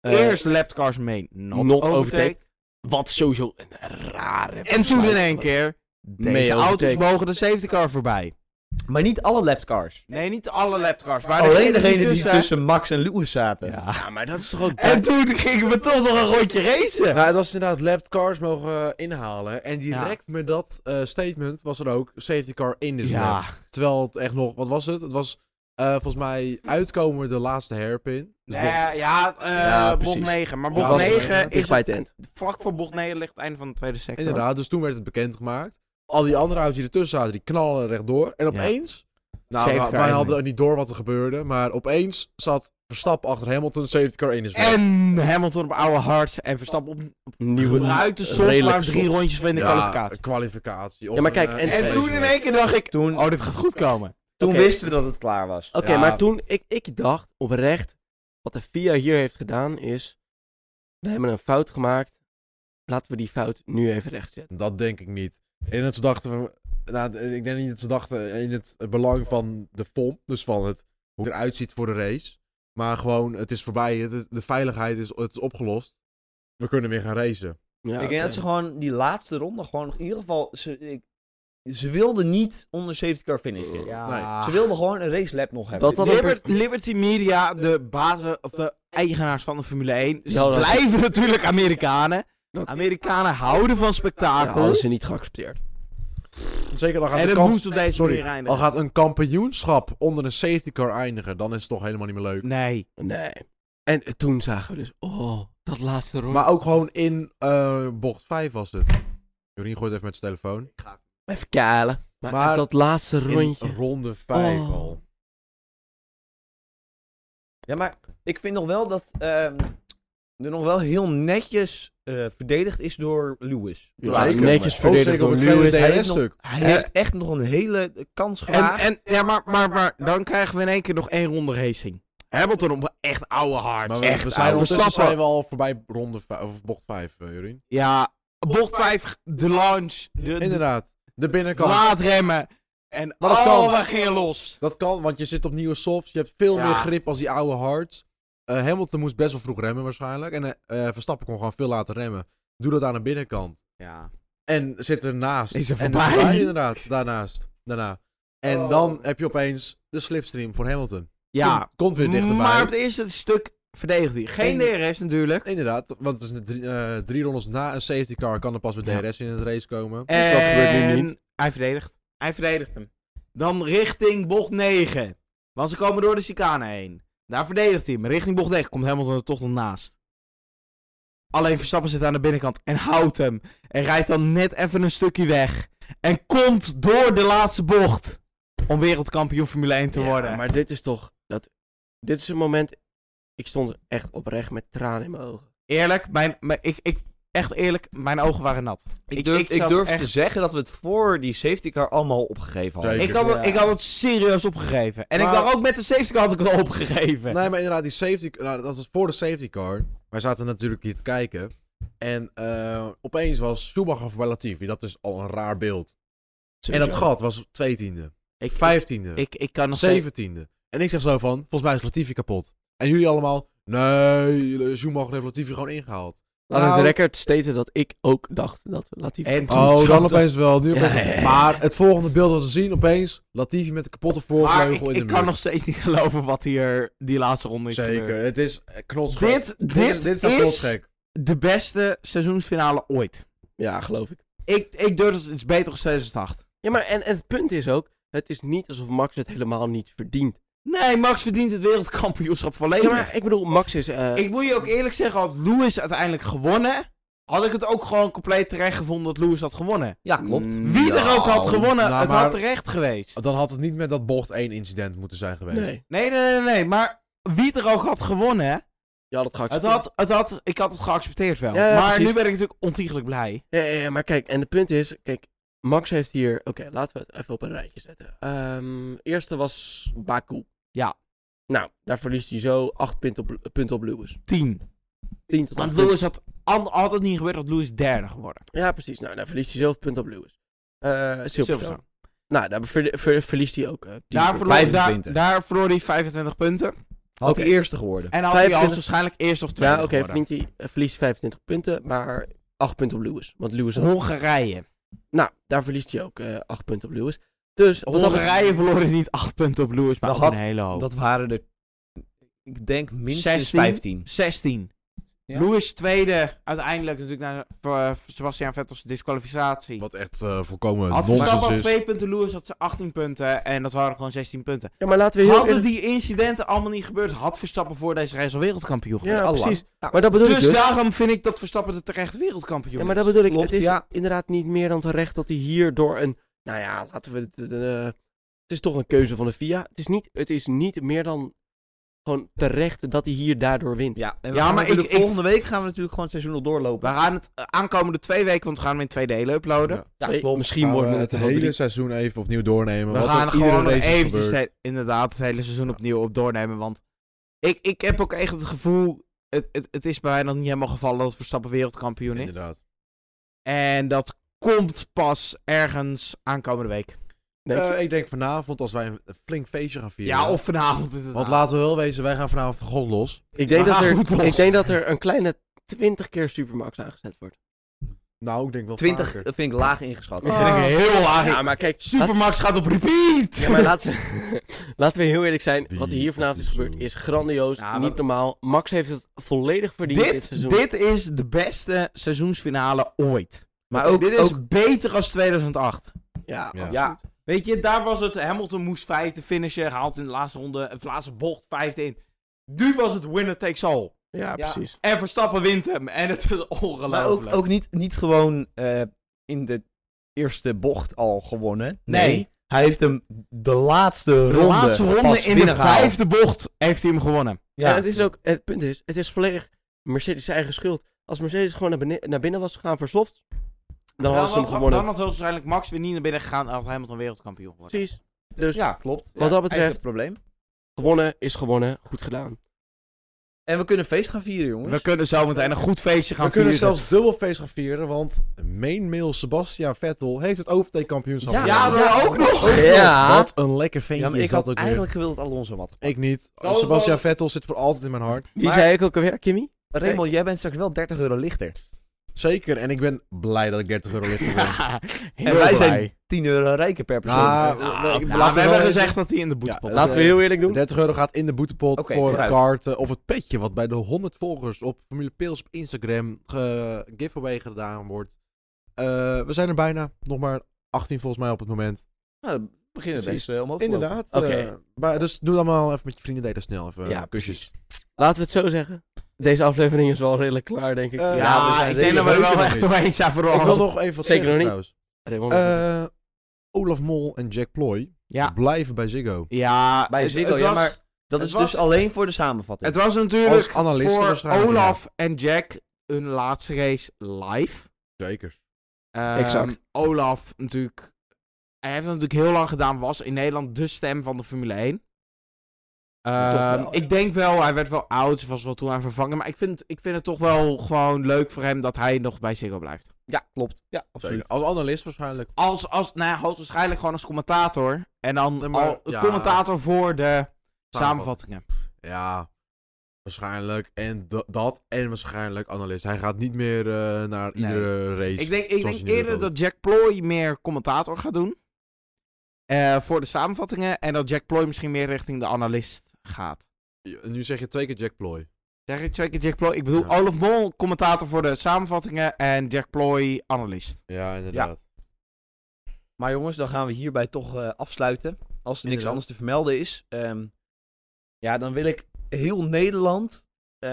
[SPEAKER 2] eh,
[SPEAKER 4] Eerst lapped cars mee, not,
[SPEAKER 2] not
[SPEAKER 4] overtake.
[SPEAKER 2] overtake. Wat sowieso een rare...
[SPEAKER 4] En toen in
[SPEAKER 2] besluit
[SPEAKER 4] één
[SPEAKER 2] was.
[SPEAKER 4] keer, deze
[SPEAKER 2] Mee
[SPEAKER 4] auto's
[SPEAKER 2] overtake.
[SPEAKER 4] mogen de safety car voorbij.
[SPEAKER 1] Maar niet alle lapcars.
[SPEAKER 4] Nee, niet alle lapped cars, maar
[SPEAKER 1] Alleen degene die
[SPEAKER 4] tussen-
[SPEAKER 1] tussen Max en Lewis zaten.
[SPEAKER 4] Ja.
[SPEAKER 2] Ja, maar dat is toch ook...
[SPEAKER 4] En toen gingen we toch nog een rondje racen.
[SPEAKER 3] Nou, het was inderdaad lapped cars mogen eh, inhalen. En direct met dat eh, statement was er ook safety car in de
[SPEAKER 4] Ja,
[SPEAKER 3] Terwijl het echt nog, wat was het? Het was eh, volgens mij uitkomen de laatste hairpin. Dus
[SPEAKER 4] Nee,
[SPEAKER 3] nog-
[SPEAKER 4] ja, eh,
[SPEAKER 2] Ja,
[SPEAKER 4] bocht
[SPEAKER 2] precies.
[SPEAKER 4] 9. Maar
[SPEAKER 3] Ja,
[SPEAKER 4] bocht
[SPEAKER 3] was-
[SPEAKER 4] 9
[SPEAKER 2] dicht
[SPEAKER 4] is
[SPEAKER 2] bij het end.
[SPEAKER 4] vlak voor bocht 9 ligt het einde van de tweede sector.
[SPEAKER 3] inderdaad, dus toen werd het bekendgemaakt. Al die andere auto's die ertussen zaten, die knallen rechtdoor. En opeens, nou,
[SPEAKER 4] Safety
[SPEAKER 3] wij,
[SPEAKER 4] car
[SPEAKER 3] wij
[SPEAKER 4] in.
[SPEAKER 3] hadden niet door wat er gebeurde. Maar opeens zat Verstappen achter Hamilton, safety car in de
[SPEAKER 4] En Hamilton op oude hards en Verstappen op
[SPEAKER 2] Nieuwe...
[SPEAKER 4] gebruikte soms
[SPEAKER 2] redelijk
[SPEAKER 4] maar drie
[SPEAKER 2] soft.
[SPEAKER 4] rondjes van de kwalificatie.
[SPEAKER 3] kwalificatie. of
[SPEAKER 2] Ja, maar
[SPEAKER 3] een,
[SPEAKER 2] kijk,
[SPEAKER 3] eh,
[SPEAKER 2] en-
[SPEAKER 3] een
[SPEAKER 4] En toen
[SPEAKER 3] race.
[SPEAKER 4] in één keer dacht ik,
[SPEAKER 1] Toen,
[SPEAKER 4] oh dit gaat goed komen.
[SPEAKER 1] toen
[SPEAKER 2] Oké.
[SPEAKER 1] wisten we dat het klaar was.
[SPEAKER 2] Oké,
[SPEAKER 3] Ja.
[SPEAKER 2] maar toen, ik, ik dacht oprecht, wat de FIA hier heeft gedaan is, we hebben een fout gemaakt, laten we die fout nu even rechtzetten.
[SPEAKER 3] Dat denk ik niet. En dat ze dachten van... Nou, d- ik denk niet dat ze dachten in het belang van de FOM. Dus van het, hoe het eruit ziet voor de race. Maar gewoon, het is voorbij. Het, is- de veiligheid is, het is opgelost. We kunnen weer gaan racen.
[SPEAKER 2] Ja,
[SPEAKER 1] ik denk dat ze gewoon die laatste ronde gewoon nog in ieder geval... Ze, ik- ze wilden niet onder safety car finishen.
[SPEAKER 3] Ja.
[SPEAKER 1] Ze wilden gewoon een race lap nog hebben.
[SPEAKER 2] Dat had
[SPEAKER 4] Liber- Liberty Media, de bazen of de eigenaars van de Formule 1. Ze
[SPEAKER 2] Ja, dat-
[SPEAKER 4] blijven natuurlijk Amerikanen.
[SPEAKER 2] Dat-
[SPEAKER 4] Amerikanen houden van
[SPEAKER 2] ja,
[SPEAKER 4] spektakel.
[SPEAKER 2] hadden ze niet geaccepteerd.
[SPEAKER 3] Zeker dan gaat,
[SPEAKER 4] en
[SPEAKER 3] een
[SPEAKER 4] het
[SPEAKER 3] kamp-
[SPEAKER 4] moest op deze
[SPEAKER 3] Sorry,
[SPEAKER 4] manier eindigen.
[SPEAKER 3] al gaat een kampioenschap onder een safety car eindigen. Dan is het toch helemaal niet meer leuk.
[SPEAKER 4] Nee.
[SPEAKER 2] Nee. En eh, toen zagen we dus, oh, dat laatste rondje.
[SPEAKER 3] Maar ook gewoon in eh, bocht 5 was het. Jorien gooit even met zijn telefoon.
[SPEAKER 2] Even keilen. Maar,
[SPEAKER 3] Maar
[SPEAKER 2] dat laatste rondje.
[SPEAKER 3] In ronde 5
[SPEAKER 2] Oh.
[SPEAKER 3] al.
[SPEAKER 1] Ja, maar ik vind nog wel dat ehm, er nog wel heel netjes eh, verdedigd is door Lewis.
[SPEAKER 2] Ja,
[SPEAKER 1] Terwijl-
[SPEAKER 2] zeker. netjes
[SPEAKER 3] Ook
[SPEAKER 2] verdedigd
[SPEAKER 3] zeker op
[SPEAKER 2] door
[SPEAKER 3] het
[SPEAKER 2] Lewis.
[SPEAKER 3] tweede
[SPEAKER 1] Hij heeft nog-
[SPEAKER 3] DRS-stuk.
[SPEAKER 1] Hij heeft echt nog een hele kans
[SPEAKER 4] En,
[SPEAKER 1] gemaakt.
[SPEAKER 4] en, ja, maar, maar, maar dan krijgen we in één keer nog één ronde racing. Hamilton op echt oude hard.
[SPEAKER 3] Maar we,
[SPEAKER 4] echt
[SPEAKER 3] we zijn
[SPEAKER 4] oude
[SPEAKER 3] ondertussen zijn
[SPEAKER 4] stappen.
[SPEAKER 3] we al voorbij ronde vijf- of bocht 5, eh Jorien.
[SPEAKER 4] Ja, bocht 5, de launch, de, de
[SPEAKER 3] Inderdaad, de binnenkant.
[SPEAKER 4] laat remmen. En
[SPEAKER 3] Maar dat
[SPEAKER 4] alle
[SPEAKER 3] kan.
[SPEAKER 4] gingen los.
[SPEAKER 3] Dat kan, want je zit op nieuwe softs. Je hebt veel
[SPEAKER 4] Ja.
[SPEAKER 3] meer grip als die oude hards. Eh, Hamilton moest best wel vroeg remmen waarschijnlijk. En eh, eh, Verstappen kon gewoon veel laten remmen. Doe dat aan de binnenkant.
[SPEAKER 4] Ja.
[SPEAKER 3] En zit ernaast.
[SPEAKER 4] Is er
[SPEAKER 3] en dus
[SPEAKER 4] voorbij.
[SPEAKER 3] voorbij, inderdaad, daarnaast. Daarna. En
[SPEAKER 4] Oh.
[SPEAKER 3] dan heb je opeens de slipstream voor Hamilton.
[SPEAKER 4] Ja,
[SPEAKER 3] Komt weer dichterbij.
[SPEAKER 4] maar op het eerste stuk verdedigt hij. Geen DRS natuurlijk.
[SPEAKER 3] Inderdaad, want het is drie, eh, drie rondes na een safety car kan er pas weer
[SPEAKER 2] Ja.
[SPEAKER 3] DRS in het race komen.
[SPEAKER 2] Dus dat gebeurt nu
[SPEAKER 4] En
[SPEAKER 2] niet.
[SPEAKER 4] Hij verdedigt. Hij verdedigt hem. Dan richting bocht 9. Want ze komen door de chicane heen. Daar verdedigt hij hem. Richting bocht 9 komt Hamilton er toch nog naast. Alleen Verstappen zit aan de binnenkant en houdt hem. En rijdt dan net even een stukje weg. En komt door de laatste bocht. Om wereldkampioen Formule 1 te
[SPEAKER 2] Ja,
[SPEAKER 4] worden.
[SPEAKER 2] Maar dit is toch, dat, dit is een moment, ik stond echt oprecht met tranen in mijn ogen.
[SPEAKER 4] Eerlijk, mijn, mijn- ik, ik, echt eerlijk, mijn ogen waren nat.
[SPEAKER 5] Ik
[SPEAKER 4] Ik-
[SPEAKER 5] durf,
[SPEAKER 4] ik
[SPEAKER 5] ik
[SPEAKER 4] zat
[SPEAKER 5] durf
[SPEAKER 4] echt-
[SPEAKER 5] te zeggen dat we het voor die safety car allemaal opgegeven hadden.
[SPEAKER 3] Zeker.
[SPEAKER 4] Ik had,
[SPEAKER 1] Ja.
[SPEAKER 4] ik had het serieus opgegeven. En ik
[SPEAKER 3] Maar-
[SPEAKER 4] dacht ook met de safety car had ik het al opgegeven.
[SPEAKER 3] Nee, maar inderdaad, die safety nou, dat was voor de safety car. Wij zaten natuurlijk hier te kijken. En eh, opeens was Schumacher voorbij Latifi. Dat is al een raar beeld. En dat gat was 12e,
[SPEAKER 4] ik,
[SPEAKER 3] 15e,
[SPEAKER 4] Ik, ik kan nog steeds...
[SPEAKER 3] 17e. En ik zeg zo van, volgens mij is Latifi kapot. En jullie allemaal, nee, Schumacher heeft Latifi gewoon ingehaald.
[SPEAKER 2] Laat het
[SPEAKER 3] Nou-
[SPEAKER 2] record staten dat ik ook dacht dat Latifi...
[SPEAKER 4] En toen-
[SPEAKER 3] Oh, dan
[SPEAKER 4] schrapte.
[SPEAKER 3] opeens wel. Nu
[SPEAKER 2] Ja,
[SPEAKER 3] opeens-
[SPEAKER 2] ja, ja.
[SPEAKER 3] Maar het volgende beeld dat we zien, opeens Latifi met de kapotte
[SPEAKER 4] Maar
[SPEAKER 3] voorvleugel
[SPEAKER 4] ik,
[SPEAKER 3] in de
[SPEAKER 4] ik
[SPEAKER 3] muur.
[SPEAKER 4] kan nog steeds niet geloven wat hier die laatste ronde is
[SPEAKER 3] Zeker,
[SPEAKER 4] gebeurd.
[SPEAKER 3] het is eh, knotsgek.
[SPEAKER 4] Dit, dit,
[SPEAKER 3] dit, dit is,
[SPEAKER 4] is
[SPEAKER 3] knotsgek.
[SPEAKER 4] de beste seizoensfinale ooit.
[SPEAKER 2] Ja, geloof ik.
[SPEAKER 4] Ik, ik durf het, het is beter dan 2008.
[SPEAKER 2] Ja, maar en, en het punt is ook, het is niet alsof Max het helemaal niet verdient.
[SPEAKER 4] Nee, Max verdient het wereldkampioenschap volledig.
[SPEAKER 2] Ja, maar ik bedoel, Max is... eh,
[SPEAKER 4] Ik moet je ook eerlijk zeggen, had Lewis uiteindelijk gewonnen, had ik het ook gewoon compleet terecht gevonden dat Lewis had gewonnen.
[SPEAKER 5] Ja, klopt.
[SPEAKER 1] Mm,
[SPEAKER 4] Wie er ook had gewonnen,
[SPEAKER 3] nou,
[SPEAKER 4] het
[SPEAKER 3] maar-
[SPEAKER 4] had terecht geweest.
[SPEAKER 3] Dan had het niet met dat bocht één incident moeten zijn geweest.
[SPEAKER 2] nee.
[SPEAKER 4] Nee, nee, nee, nee, maar wie er ook had gewonnen,
[SPEAKER 2] Ja, dat ga ik
[SPEAKER 4] het had, het had, ik had het geaccepteerd wel.
[SPEAKER 2] Ja, ja,
[SPEAKER 4] maar
[SPEAKER 2] precies.
[SPEAKER 4] nu ben ik natuurlijk ontiegelijk blij.
[SPEAKER 2] Ja, ja, ja, maar kijk, en het punt is, kijk, Max heeft hier... Oké, laten we het even op een rijtje zetten. Ehm, eerste was Baku.
[SPEAKER 4] Ja.
[SPEAKER 2] Nou, daar verliest hij zo acht punten op, punten op Lewis.
[SPEAKER 4] 10.
[SPEAKER 2] 10 tot acht
[SPEAKER 4] Want
[SPEAKER 2] punten.
[SPEAKER 4] Lewis had an- altijd niet gebeurd dat Lewis derde geworden.
[SPEAKER 2] Ja, precies. Nou, daar verliest hij zelf punten op Lewis. Eh Silverstone.
[SPEAKER 4] Silverstone.
[SPEAKER 2] Nou, daar ver- ver- verliest hij ook eh, 10
[SPEAKER 4] Daar
[SPEAKER 2] punten.
[SPEAKER 4] verloor, daar-
[SPEAKER 5] 25.
[SPEAKER 4] daar verloor hij 25 punten.
[SPEAKER 5] Had
[SPEAKER 2] Oké.
[SPEAKER 5] hij eerste geworden.
[SPEAKER 4] En dan had hij al
[SPEAKER 2] 25
[SPEAKER 4] waarschijnlijk eerst of tweede
[SPEAKER 2] Ja, oké,
[SPEAKER 4] geworden.
[SPEAKER 2] verdient hij eh, verliest 25 punten, maar 8 punten op Lewis. Want Lewis
[SPEAKER 1] dus
[SPEAKER 2] had-
[SPEAKER 4] Hongarije.
[SPEAKER 2] Nou, daar verliest hij ook eh 8 punten op Lewis. Dus
[SPEAKER 4] Oh,
[SPEAKER 2] wat dat-
[SPEAKER 4] Hongarije verloren niet 8 punten op Lewis, maar
[SPEAKER 1] Dat
[SPEAKER 4] ook
[SPEAKER 1] had-
[SPEAKER 4] een hele hoop.
[SPEAKER 1] Oh. Dat waren er, ik denk, minstens
[SPEAKER 4] 16.
[SPEAKER 1] 15.
[SPEAKER 4] 16.
[SPEAKER 1] Ja.
[SPEAKER 4] Lewis tweede, uiteindelijk natuurlijk naar eh, Sebastian Vettel's disqualificatie.
[SPEAKER 3] Wat echt eh, volkomen
[SPEAKER 4] had Verstappen
[SPEAKER 3] nonsens is.
[SPEAKER 4] 2 punten, Lewis had ze 18 punten en dat waren gewoon 16 punten.
[SPEAKER 2] Ja, maar laten we heel
[SPEAKER 4] Hadden
[SPEAKER 2] eerlijk-
[SPEAKER 4] die incidenten allemaal niet gebeurd, had Verstappen voor deze race al wereldkampioen geworden.
[SPEAKER 2] Ja,
[SPEAKER 1] Allang.
[SPEAKER 2] precies. Maar dat bedoel
[SPEAKER 4] dus,
[SPEAKER 2] ik dus.
[SPEAKER 4] daarom vind ik dat Verstappen de terecht wereldkampioen
[SPEAKER 2] Ja,
[SPEAKER 4] is.
[SPEAKER 2] maar dat bedoel ik.
[SPEAKER 1] Klopt,
[SPEAKER 2] het is
[SPEAKER 1] ja.
[SPEAKER 2] inderdaad niet meer dan terecht dat hij hier door een... Nou ja, laten we... Het, eh, het is toch een keuze van de FIA. Het is niet, het is niet meer dan gewoon terecht dat hij hier daardoor wint.
[SPEAKER 1] Ja, en we
[SPEAKER 4] Ja,
[SPEAKER 1] gaan
[SPEAKER 4] maar
[SPEAKER 1] natuurlijk
[SPEAKER 4] ik- ik-
[SPEAKER 1] volgende week gaan we natuurlijk gewoon het seizoen al
[SPEAKER 4] We
[SPEAKER 1] doorlopen.
[SPEAKER 4] gaan het eh, aankomende twee weken, want we gaan hem in twee delen uploaden.
[SPEAKER 3] Ja.
[SPEAKER 1] Ja,
[SPEAKER 2] Twee-
[SPEAKER 1] klopt.
[SPEAKER 2] Misschien wordt
[SPEAKER 3] Gaan we
[SPEAKER 2] het
[SPEAKER 3] het
[SPEAKER 2] er wel
[SPEAKER 3] hele
[SPEAKER 2] drie.
[SPEAKER 3] seizoen even opnieuw doornemen.
[SPEAKER 4] We
[SPEAKER 3] wat
[SPEAKER 4] gaan
[SPEAKER 3] er iedere
[SPEAKER 4] gewoon nog
[SPEAKER 3] race is
[SPEAKER 4] eventjes
[SPEAKER 3] gebeurd.
[SPEAKER 4] het- inderdaad het hele seizoen opnieuw op doornemen. Want ik, ik heb ook echt het gevoel, het, het, het is bij mij nog niet helemaal gevallen dat Verstappen wereldkampioen is.
[SPEAKER 3] Inderdaad.
[SPEAKER 4] En dat komt pas ergens aankomende week.
[SPEAKER 2] Denk je?
[SPEAKER 3] Eh, ik denk vanavond als wij een een flink feestje gaan vieren.
[SPEAKER 4] Ja, of vanavond inderdaad.
[SPEAKER 3] Want laten we wel wezen, wij gaan vanavond de grond los.
[SPEAKER 2] ik, denk
[SPEAKER 4] we
[SPEAKER 2] dat
[SPEAKER 4] gaan goed
[SPEAKER 2] er,
[SPEAKER 4] los.
[SPEAKER 2] ik denk dat er een kleine 20 keer Supermax aangezet wordt.
[SPEAKER 3] Nou, ik denk wel
[SPEAKER 1] 20
[SPEAKER 3] vaker.
[SPEAKER 1] vind ik laag ingeschat.
[SPEAKER 4] Ik vind het heel laag.
[SPEAKER 2] Ja, maar kijk,
[SPEAKER 4] Supermax gaat op repeat!
[SPEAKER 2] Ja, maar laten we, laten we heel eerlijk zijn. Wat er hier vanavond is
[SPEAKER 3] Wie-
[SPEAKER 2] gebeurd is grandioos.
[SPEAKER 4] Ja, maar-
[SPEAKER 2] niet normaal. Max heeft het volledig verdiend dit,
[SPEAKER 4] dit,
[SPEAKER 2] seizoen.
[SPEAKER 4] dit is de beste seizoensfinale ooit.
[SPEAKER 1] Maar ook,
[SPEAKER 4] dit is
[SPEAKER 1] ook
[SPEAKER 4] beter als 2008.
[SPEAKER 2] Ja,
[SPEAKER 3] Ja.
[SPEAKER 2] ja.
[SPEAKER 1] Ja.
[SPEAKER 2] absoluut.
[SPEAKER 4] Weet je, daar was het. Hamilton moest vijfde finishen. Haalt in de laatste ronde, of de laatste bocht vijfde in. Nu was het winner takes all.
[SPEAKER 2] Ja,
[SPEAKER 1] Ja.
[SPEAKER 2] precies.
[SPEAKER 4] En Verstappen wint hem. En het is ongelooflijk.
[SPEAKER 1] Maar ook, ook niet, niet gewoon eh, in de eerste bocht al gewonnen.
[SPEAKER 4] Nee.
[SPEAKER 1] Nee. Hij heeft hem de laatste
[SPEAKER 4] de
[SPEAKER 1] ronde.
[SPEAKER 4] laatste ronde
[SPEAKER 1] pas
[SPEAKER 4] in de
[SPEAKER 1] binnengehaald.
[SPEAKER 4] vijfde bocht heeft hij hem gewonnen.
[SPEAKER 2] En
[SPEAKER 1] Ja.
[SPEAKER 2] het, is ook, het punt is, het is volledig Mercedes zijn eigen schuld. Als Mercedes gewoon naar, bene- naar binnen was gegaan voor soft, dan hadden ze hem
[SPEAKER 4] had,
[SPEAKER 2] gewonnen.
[SPEAKER 4] dan had heel waarschijnlijk Max weer niet naar binnen gegaan. En had Hamilton wereldkampioen geworden.
[SPEAKER 2] Precies. Dus
[SPEAKER 1] ja, klopt.
[SPEAKER 2] wat dat
[SPEAKER 1] Hij heeft
[SPEAKER 2] betreft,
[SPEAKER 1] het probleem.
[SPEAKER 2] gewonnen is gewonnen. Goed gedaan.
[SPEAKER 1] En we kunnen feest gaan vieren, jongens.
[SPEAKER 4] We kunnen zo meteen een goed feestje gaan
[SPEAKER 3] We kunnen
[SPEAKER 4] vieren.
[SPEAKER 3] zelfs dubbel feest gaan vieren, want mainmail Sebastian Vettel heeft het overtake-kampioenschap
[SPEAKER 1] Ja.
[SPEAKER 4] Ja,
[SPEAKER 3] gewonnen.
[SPEAKER 4] dat ook nog.
[SPEAKER 1] Ja.
[SPEAKER 3] Wat een lekker ventje
[SPEAKER 1] Ja, maar ik
[SPEAKER 3] Oh, is dat
[SPEAKER 1] had
[SPEAKER 3] ook weer.
[SPEAKER 1] eigenlijk gewild dat Alonso wat.
[SPEAKER 3] Ik niet.
[SPEAKER 4] Dat was
[SPEAKER 3] Sebastian
[SPEAKER 4] wel-
[SPEAKER 3] Vettel zit voor altijd in mijn hart.
[SPEAKER 2] Wie
[SPEAKER 1] Maar-
[SPEAKER 2] zei ik ook alweer, Kimmy?
[SPEAKER 1] Raymond, jij bent straks wel 30 euro lichter.
[SPEAKER 3] Zeker, en ik ben blij dat ik 30 euro lichter ben.
[SPEAKER 4] Ja,
[SPEAKER 1] En wij zijn 10 euro rijker per persoon.
[SPEAKER 3] Ah,
[SPEAKER 1] Oké,
[SPEAKER 3] nou,
[SPEAKER 4] Nou,
[SPEAKER 3] ik-
[SPEAKER 4] nou,
[SPEAKER 3] laten
[SPEAKER 4] we
[SPEAKER 3] wel
[SPEAKER 4] hebben
[SPEAKER 3] even-
[SPEAKER 4] gezegd dat hij in de boetepot
[SPEAKER 3] Ja,
[SPEAKER 4] zat.
[SPEAKER 2] Laten we heel eerlijk doen.
[SPEAKER 3] 30 euro gaat in de boetepot
[SPEAKER 1] Oké,
[SPEAKER 3] voor
[SPEAKER 1] vooruit.
[SPEAKER 3] kaarten of het petje wat bij de 100 volgers op Formule Pils op Instagram ge- giveaway gedaan wordt. Eh, we zijn er bijna. Nog maar 18 volgens mij op het moment.
[SPEAKER 1] nou, dan beginnen we
[SPEAKER 3] Precies.
[SPEAKER 1] best eh, omhoog te lopen.
[SPEAKER 3] Inderdaad.
[SPEAKER 2] Oké.
[SPEAKER 3] eh, maar- dus doe dat maar even met je vrienden. Deed dat snel even.
[SPEAKER 2] Ja,
[SPEAKER 3] eh, kusjes.
[SPEAKER 2] Laten we het zo zeggen. Deze aflevering is wel redelijk klaar, denk ik.
[SPEAKER 3] Eh,
[SPEAKER 4] Ja,
[SPEAKER 3] Ja, we zijn
[SPEAKER 4] ik denk dat we er
[SPEAKER 3] redelijk
[SPEAKER 4] wel
[SPEAKER 3] leuk
[SPEAKER 4] echt
[SPEAKER 3] in.
[SPEAKER 4] doorheen zijn
[SPEAKER 3] Ik wil
[SPEAKER 4] vooral.
[SPEAKER 3] nog even wat
[SPEAKER 2] Zeker
[SPEAKER 3] zeggen
[SPEAKER 2] nog
[SPEAKER 3] trouwens.
[SPEAKER 2] Raymond,
[SPEAKER 3] Eh, Olaf Mol en Jack Ploy
[SPEAKER 4] Ja,
[SPEAKER 3] blijven bij Ziggo.
[SPEAKER 4] ja,
[SPEAKER 1] Bij
[SPEAKER 4] het-
[SPEAKER 1] Ziggo,
[SPEAKER 4] het
[SPEAKER 1] ja,
[SPEAKER 4] was-
[SPEAKER 1] maar dat
[SPEAKER 4] het
[SPEAKER 1] is
[SPEAKER 4] was-
[SPEAKER 1] dus alleen voor de samenvatting.
[SPEAKER 4] Het was natuurlijk
[SPEAKER 3] Als analist
[SPEAKER 4] voor
[SPEAKER 3] waarschijnlijk,
[SPEAKER 4] Olaf en Jack een laatste race live.
[SPEAKER 3] Zeker.
[SPEAKER 4] Ehm,
[SPEAKER 2] Exact.
[SPEAKER 4] Olaf natuurlijk. Hij heeft het natuurlijk heel lang gedaan. Was in Nederland de stem van de Formule 1. Ehm,
[SPEAKER 2] Toch wel, ja.
[SPEAKER 4] ik denk wel, hij werd wel oud. Dus was wel toe aan vervangen. Maar ik vind, ik vind het toch wel gewoon leuk voor hem dat hij nog bij Ziggo blijft.
[SPEAKER 6] Ja, klopt. Ja, absoluut.
[SPEAKER 3] Zeker. Als analist waarschijnlijk.
[SPEAKER 4] Als, als, nou ja, hoogstwaarschijnlijk gewoon als commentator. En dan
[SPEAKER 3] Nee, maar-
[SPEAKER 4] al-
[SPEAKER 3] ja.
[SPEAKER 4] commentator voor de samenvattingen.
[SPEAKER 3] Ja, waarschijnlijk. En da- dat en waarschijnlijk analist. Hij gaat niet meer eh, naar
[SPEAKER 4] Nee.
[SPEAKER 3] iedere race.
[SPEAKER 4] Ik denk, ik
[SPEAKER 3] zoals
[SPEAKER 4] denk
[SPEAKER 3] hij nu
[SPEAKER 4] eerder
[SPEAKER 3] ook
[SPEAKER 4] dat Jack Ploy meer commentator gaat doen. eh, voor de samenvattingen. En dat Jack Ploy misschien meer richting de analist gaat.
[SPEAKER 3] doet. Nu zeg je twee keer Jack Ploy.
[SPEAKER 4] Zeg ik twee keer Jack Ploy? Ik bedoel,
[SPEAKER 3] Ja.
[SPEAKER 4] Olaf Mol, commentator voor de samenvattingen. En Jack Ploy, analist.
[SPEAKER 3] Ja, inderdaad.
[SPEAKER 1] Maar jongens, dan gaan we hierbij toch eh, afsluiten. Als er niks
[SPEAKER 3] Inderdaad.
[SPEAKER 1] anders te vermelden is. Ehm, ja, dan wil ik heel Nederland. eh,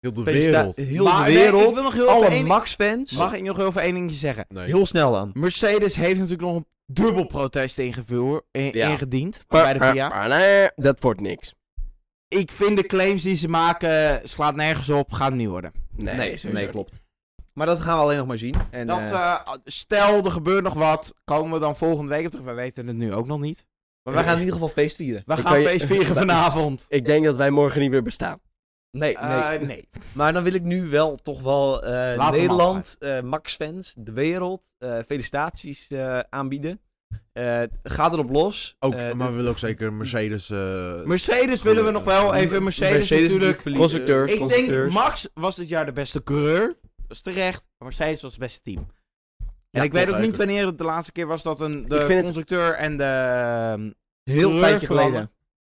[SPEAKER 3] Heel de
[SPEAKER 1] felicita-
[SPEAKER 3] wereld.
[SPEAKER 1] Heel
[SPEAKER 4] Maar
[SPEAKER 1] de
[SPEAKER 4] nee, ik
[SPEAKER 1] wereld.
[SPEAKER 4] wil nog heel even
[SPEAKER 1] alle
[SPEAKER 4] één-
[SPEAKER 1] Max-fans.
[SPEAKER 4] Mag ik nog even één dingetje zeggen?
[SPEAKER 3] Nee.
[SPEAKER 1] Heel snel dan.
[SPEAKER 4] Mercedes heeft natuurlijk nog een dubbel protest ingevoerd, in-
[SPEAKER 2] Ja.
[SPEAKER 4] ingediend bij de VIA.
[SPEAKER 2] Maar nee, dat wordt niks.
[SPEAKER 4] Ik vind de claims die ze maken, slaat nergens op, gaat hem niet worden.
[SPEAKER 2] Nee, sowieso
[SPEAKER 1] nee,
[SPEAKER 2] niet.
[SPEAKER 1] klopt. Maar dat gaan we alleen nog maar zien. En,
[SPEAKER 4] Dat,
[SPEAKER 1] eh,
[SPEAKER 4] eh, stel, er gebeurt nog wat, komen we dan volgende week op terug? We weten het nu ook nog niet.
[SPEAKER 1] maar wij gaan in ieder geval feest vieren.
[SPEAKER 4] We
[SPEAKER 2] Dan
[SPEAKER 4] gaan
[SPEAKER 2] kan je-
[SPEAKER 4] feest vieren vanavond.
[SPEAKER 2] Ik denk dat wij morgen niet meer bestaan.
[SPEAKER 1] Nee, nee.
[SPEAKER 4] Eh, nee.
[SPEAKER 1] Maar dan wil ik nu wel toch wel eh,
[SPEAKER 4] hem
[SPEAKER 1] Nederland, eh, Max fans, de wereld, eh, felicitaties eh, aanbieden. Eh, ga erop los.
[SPEAKER 3] Ook,
[SPEAKER 1] Eh,
[SPEAKER 3] maar we
[SPEAKER 1] de-
[SPEAKER 3] willen ook zeker Mercedes. eh,
[SPEAKER 4] Mercedes willen we nog wel. Even Mercedes, natuurlijk.
[SPEAKER 1] verliezen.
[SPEAKER 2] Constructeurs,
[SPEAKER 4] Ik denk,
[SPEAKER 2] constructeurs.
[SPEAKER 4] Max was dit jaar de beste coureur. Dat is terecht. Maar Mercedes was het beste team. En
[SPEAKER 3] Ja,
[SPEAKER 4] ik weet
[SPEAKER 3] klopt
[SPEAKER 4] ook niet
[SPEAKER 3] eigenlijk.
[SPEAKER 4] wanneer het de laatste keer was dat een, de
[SPEAKER 2] Ik vind het-
[SPEAKER 4] constructeur en de
[SPEAKER 1] Heel
[SPEAKER 4] een
[SPEAKER 1] tijdje geleden.
[SPEAKER 4] veranderen.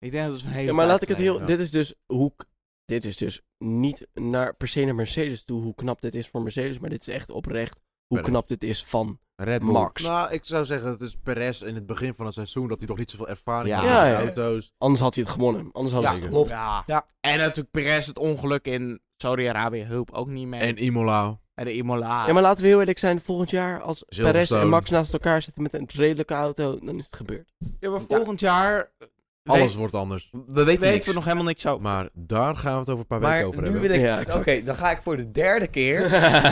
[SPEAKER 4] Ik denk dat het een hele
[SPEAKER 2] Ja, maar laat ik
[SPEAKER 4] tijd
[SPEAKER 2] het
[SPEAKER 4] geleden
[SPEAKER 2] heel.
[SPEAKER 3] ja.
[SPEAKER 2] Dit is dus hoe. k- Dit is dus niet naar, per se naar Mercedes toe hoe knap dit is voor Mercedes. Maar dit is echt oprecht hoe
[SPEAKER 3] Verder.
[SPEAKER 2] knap dit is van
[SPEAKER 4] Red Bull.
[SPEAKER 2] Max.
[SPEAKER 3] Nou, ik zou zeggen, het is Perez in het begin van het seizoen dat hij nog niet zoveel ervaring
[SPEAKER 4] Ja.
[SPEAKER 3] heeft
[SPEAKER 2] Ja,
[SPEAKER 3] met
[SPEAKER 2] ja.
[SPEAKER 3] auto's.
[SPEAKER 2] Anders had hij het gewonnen. Anders hadden
[SPEAKER 3] Ja,
[SPEAKER 2] ze het
[SPEAKER 1] klopt.
[SPEAKER 4] Ja.
[SPEAKER 1] Ja.
[SPEAKER 4] En natuurlijk Perez het ongeluk in Saudi-Arabië hulp ook niet mee. En,
[SPEAKER 3] En Imola.
[SPEAKER 4] de Imola.
[SPEAKER 2] Ja, maar laten we heel eerlijk zijn. Volgend jaar, als Perez
[SPEAKER 3] Silverstone.
[SPEAKER 2] en Max naast elkaar zitten met een redelijke auto, dan is het gebeurd.
[SPEAKER 4] Ja, maar volgend jaar eh,
[SPEAKER 3] Alles
[SPEAKER 4] weet-
[SPEAKER 3] wordt anders.
[SPEAKER 1] We weten
[SPEAKER 4] weten
[SPEAKER 1] niks.
[SPEAKER 4] we nog helemaal niks over.
[SPEAKER 3] Maar daar gaan we het over een paar weken
[SPEAKER 1] Maar
[SPEAKER 3] over
[SPEAKER 1] nu
[SPEAKER 3] hebben.
[SPEAKER 1] wil ik...
[SPEAKER 2] Ja,
[SPEAKER 1] Oké,
[SPEAKER 2] exact.
[SPEAKER 1] dan ga ik voor de derde keer...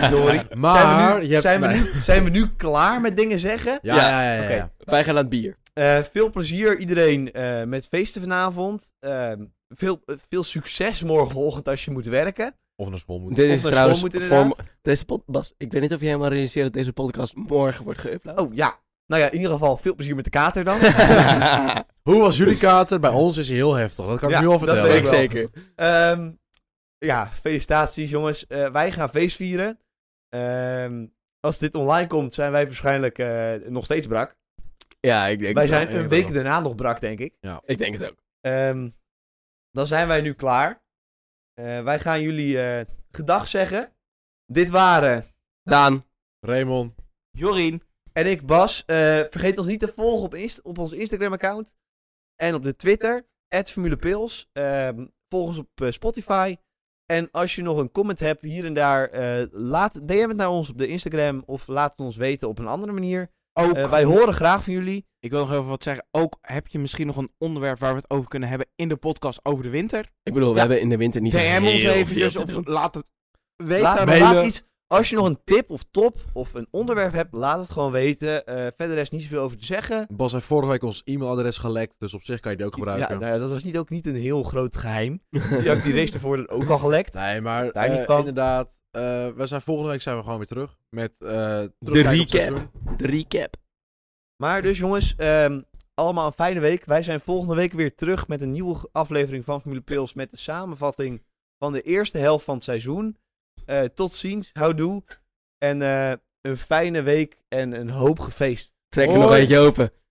[SPEAKER 1] Dory,
[SPEAKER 3] Maar
[SPEAKER 1] zijn, we
[SPEAKER 3] je
[SPEAKER 1] nu,
[SPEAKER 3] hebt
[SPEAKER 1] zijn, we
[SPEAKER 3] mij-
[SPEAKER 1] nu, zijn we nu klaar met dingen zeggen?
[SPEAKER 3] Ja,
[SPEAKER 2] Ja,
[SPEAKER 3] ja, ja. ja,
[SPEAKER 1] oké.
[SPEAKER 3] ja.
[SPEAKER 2] Wij gaan naar het bier.
[SPEAKER 1] Eh, veel plezier iedereen eh, met feesten vanavond. Ehm, veel, eh, veel succes morgenochtend als je moet werken.
[SPEAKER 3] Of naar school moet.
[SPEAKER 2] Dit
[SPEAKER 1] Of
[SPEAKER 2] is
[SPEAKER 1] naar
[SPEAKER 2] trouwens.
[SPEAKER 1] school moet
[SPEAKER 2] Voor,
[SPEAKER 1] inderdaad.
[SPEAKER 2] deze pod- Bas, ik weet niet of je helemaal realiseert dat deze podcast morgen wordt geüpload.
[SPEAKER 1] Oh ja. Nou ja, in ieder geval veel plezier met de kater dan.
[SPEAKER 3] Hoe was jullie kater? Bij ons is hij heel heftig. Dat kan
[SPEAKER 1] Ja,
[SPEAKER 3] ik nu al
[SPEAKER 1] dat
[SPEAKER 3] vertellen.
[SPEAKER 1] weet
[SPEAKER 2] ik zeker.
[SPEAKER 1] Ehm, ja, felicitaties jongens. Eh, wij gaan feest vieren. Ehm, als dit online komt, zijn wij waarschijnlijk eh, nog steeds brak.
[SPEAKER 2] Ja, ik denk,
[SPEAKER 1] wij
[SPEAKER 2] het wel.
[SPEAKER 1] zijn
[SPEAKER 3] ik
[SPEAKER 1] een
[SPEAKER 3] wel.
[SPEAKER 1] week daarna nog brak, denk ik.
[SPEAKER 2] ik denk het ook.
[SPEAKER 1] Ehm, dan zijn wij nu klaar. Eh, wij gaan jullie eh, gedag zeggen. Dit waren
[SPEAKER 2] Daan,
[SPEAKER 3] Raymond.
[SPEAKER 4] Jorien.
[SPEAKER 1] En ik, Bas, eh, vergeet ons niet te volgen op, Inst- op ons Instagram-account. En op de Twitter, @formulepils. Ehm, volg ons op eh, Spotify. En als je nog een comment hebt hier en daar, eh, laat, DM het naar ons op de Instagram. Of laat het ons weten op een andere manier.
[SPEAKER 4] Ook
[SPEAKER 1] Eh, wij horen graag van jullie.
[SPEAKER 4] Ik wil nog even wat zeggen. Ook heb je misschien nog een onderwerp waar we het over kunnen hebben in de podcast over de winter.
[SPEAKER 2] ik bedoel, we
[SPEAKER 1] Ja.
[SPEAKER 2] hebben in de winter niet zo
[SPEAKER 4] DM ons
[SPEAKER 2] heel veel
[SPEAKER 4] eventjes
[SPEAKER 2] te doen.
[SPEAKER 4] of laat het weten.
[SPEAKER 1] Laat,
[SPEAKER 3] mailen.
[SPEAKER 4] eh,
[SPEAKER 1] laat iets, als je nog een tip of top of een onderwerp hebt, laat het gewoon weten. Eh, verder is niet zoveel over te zeggen.
[SPEAKER 3] Bas heeft vorige week ons e-mailadres gelekt, dus op zich kan je die ook
[SPEAKER 1] Ja,
[SPEAKER 3] gebruiken.
[SPEAKER 1] nou ja, dat was niet, ook niet een heel groot geheim. Die, had ik die race daarvoor dan ook al gelekt.
[SPEAKER 3] Nee, maar
[SPEAKER 1] Daar niet
[SPEAKER 3] eh,
[SPEAKER 1] van.
[SPEAKER 3] inderdaad, eh, we zijn volgende week zijn we gewoon weer terug met eh
[SPEAKER 2] De
[SPEAKER 3] terugkijken op het
[SPEAKER 2] recap.
[SPEAKER 3] seizoen.
[SPEAKER 2] De recap.
[SPEAKER 1] Maar dus jongens, ehm, allemaal een fijne week. Wij zijn volgende week weer terug met een nieuwe aflevering van Formule Pils. Met de samenvatting van de eerste helft van het seizoen. Eh, tot ziens, houdoe. En eh, een fijne week en een hoop gefeest.
[SPEAKER 2] Trek er
[SPEAKER 1] Hoi.
[SPEAKER 2] nog eentje open.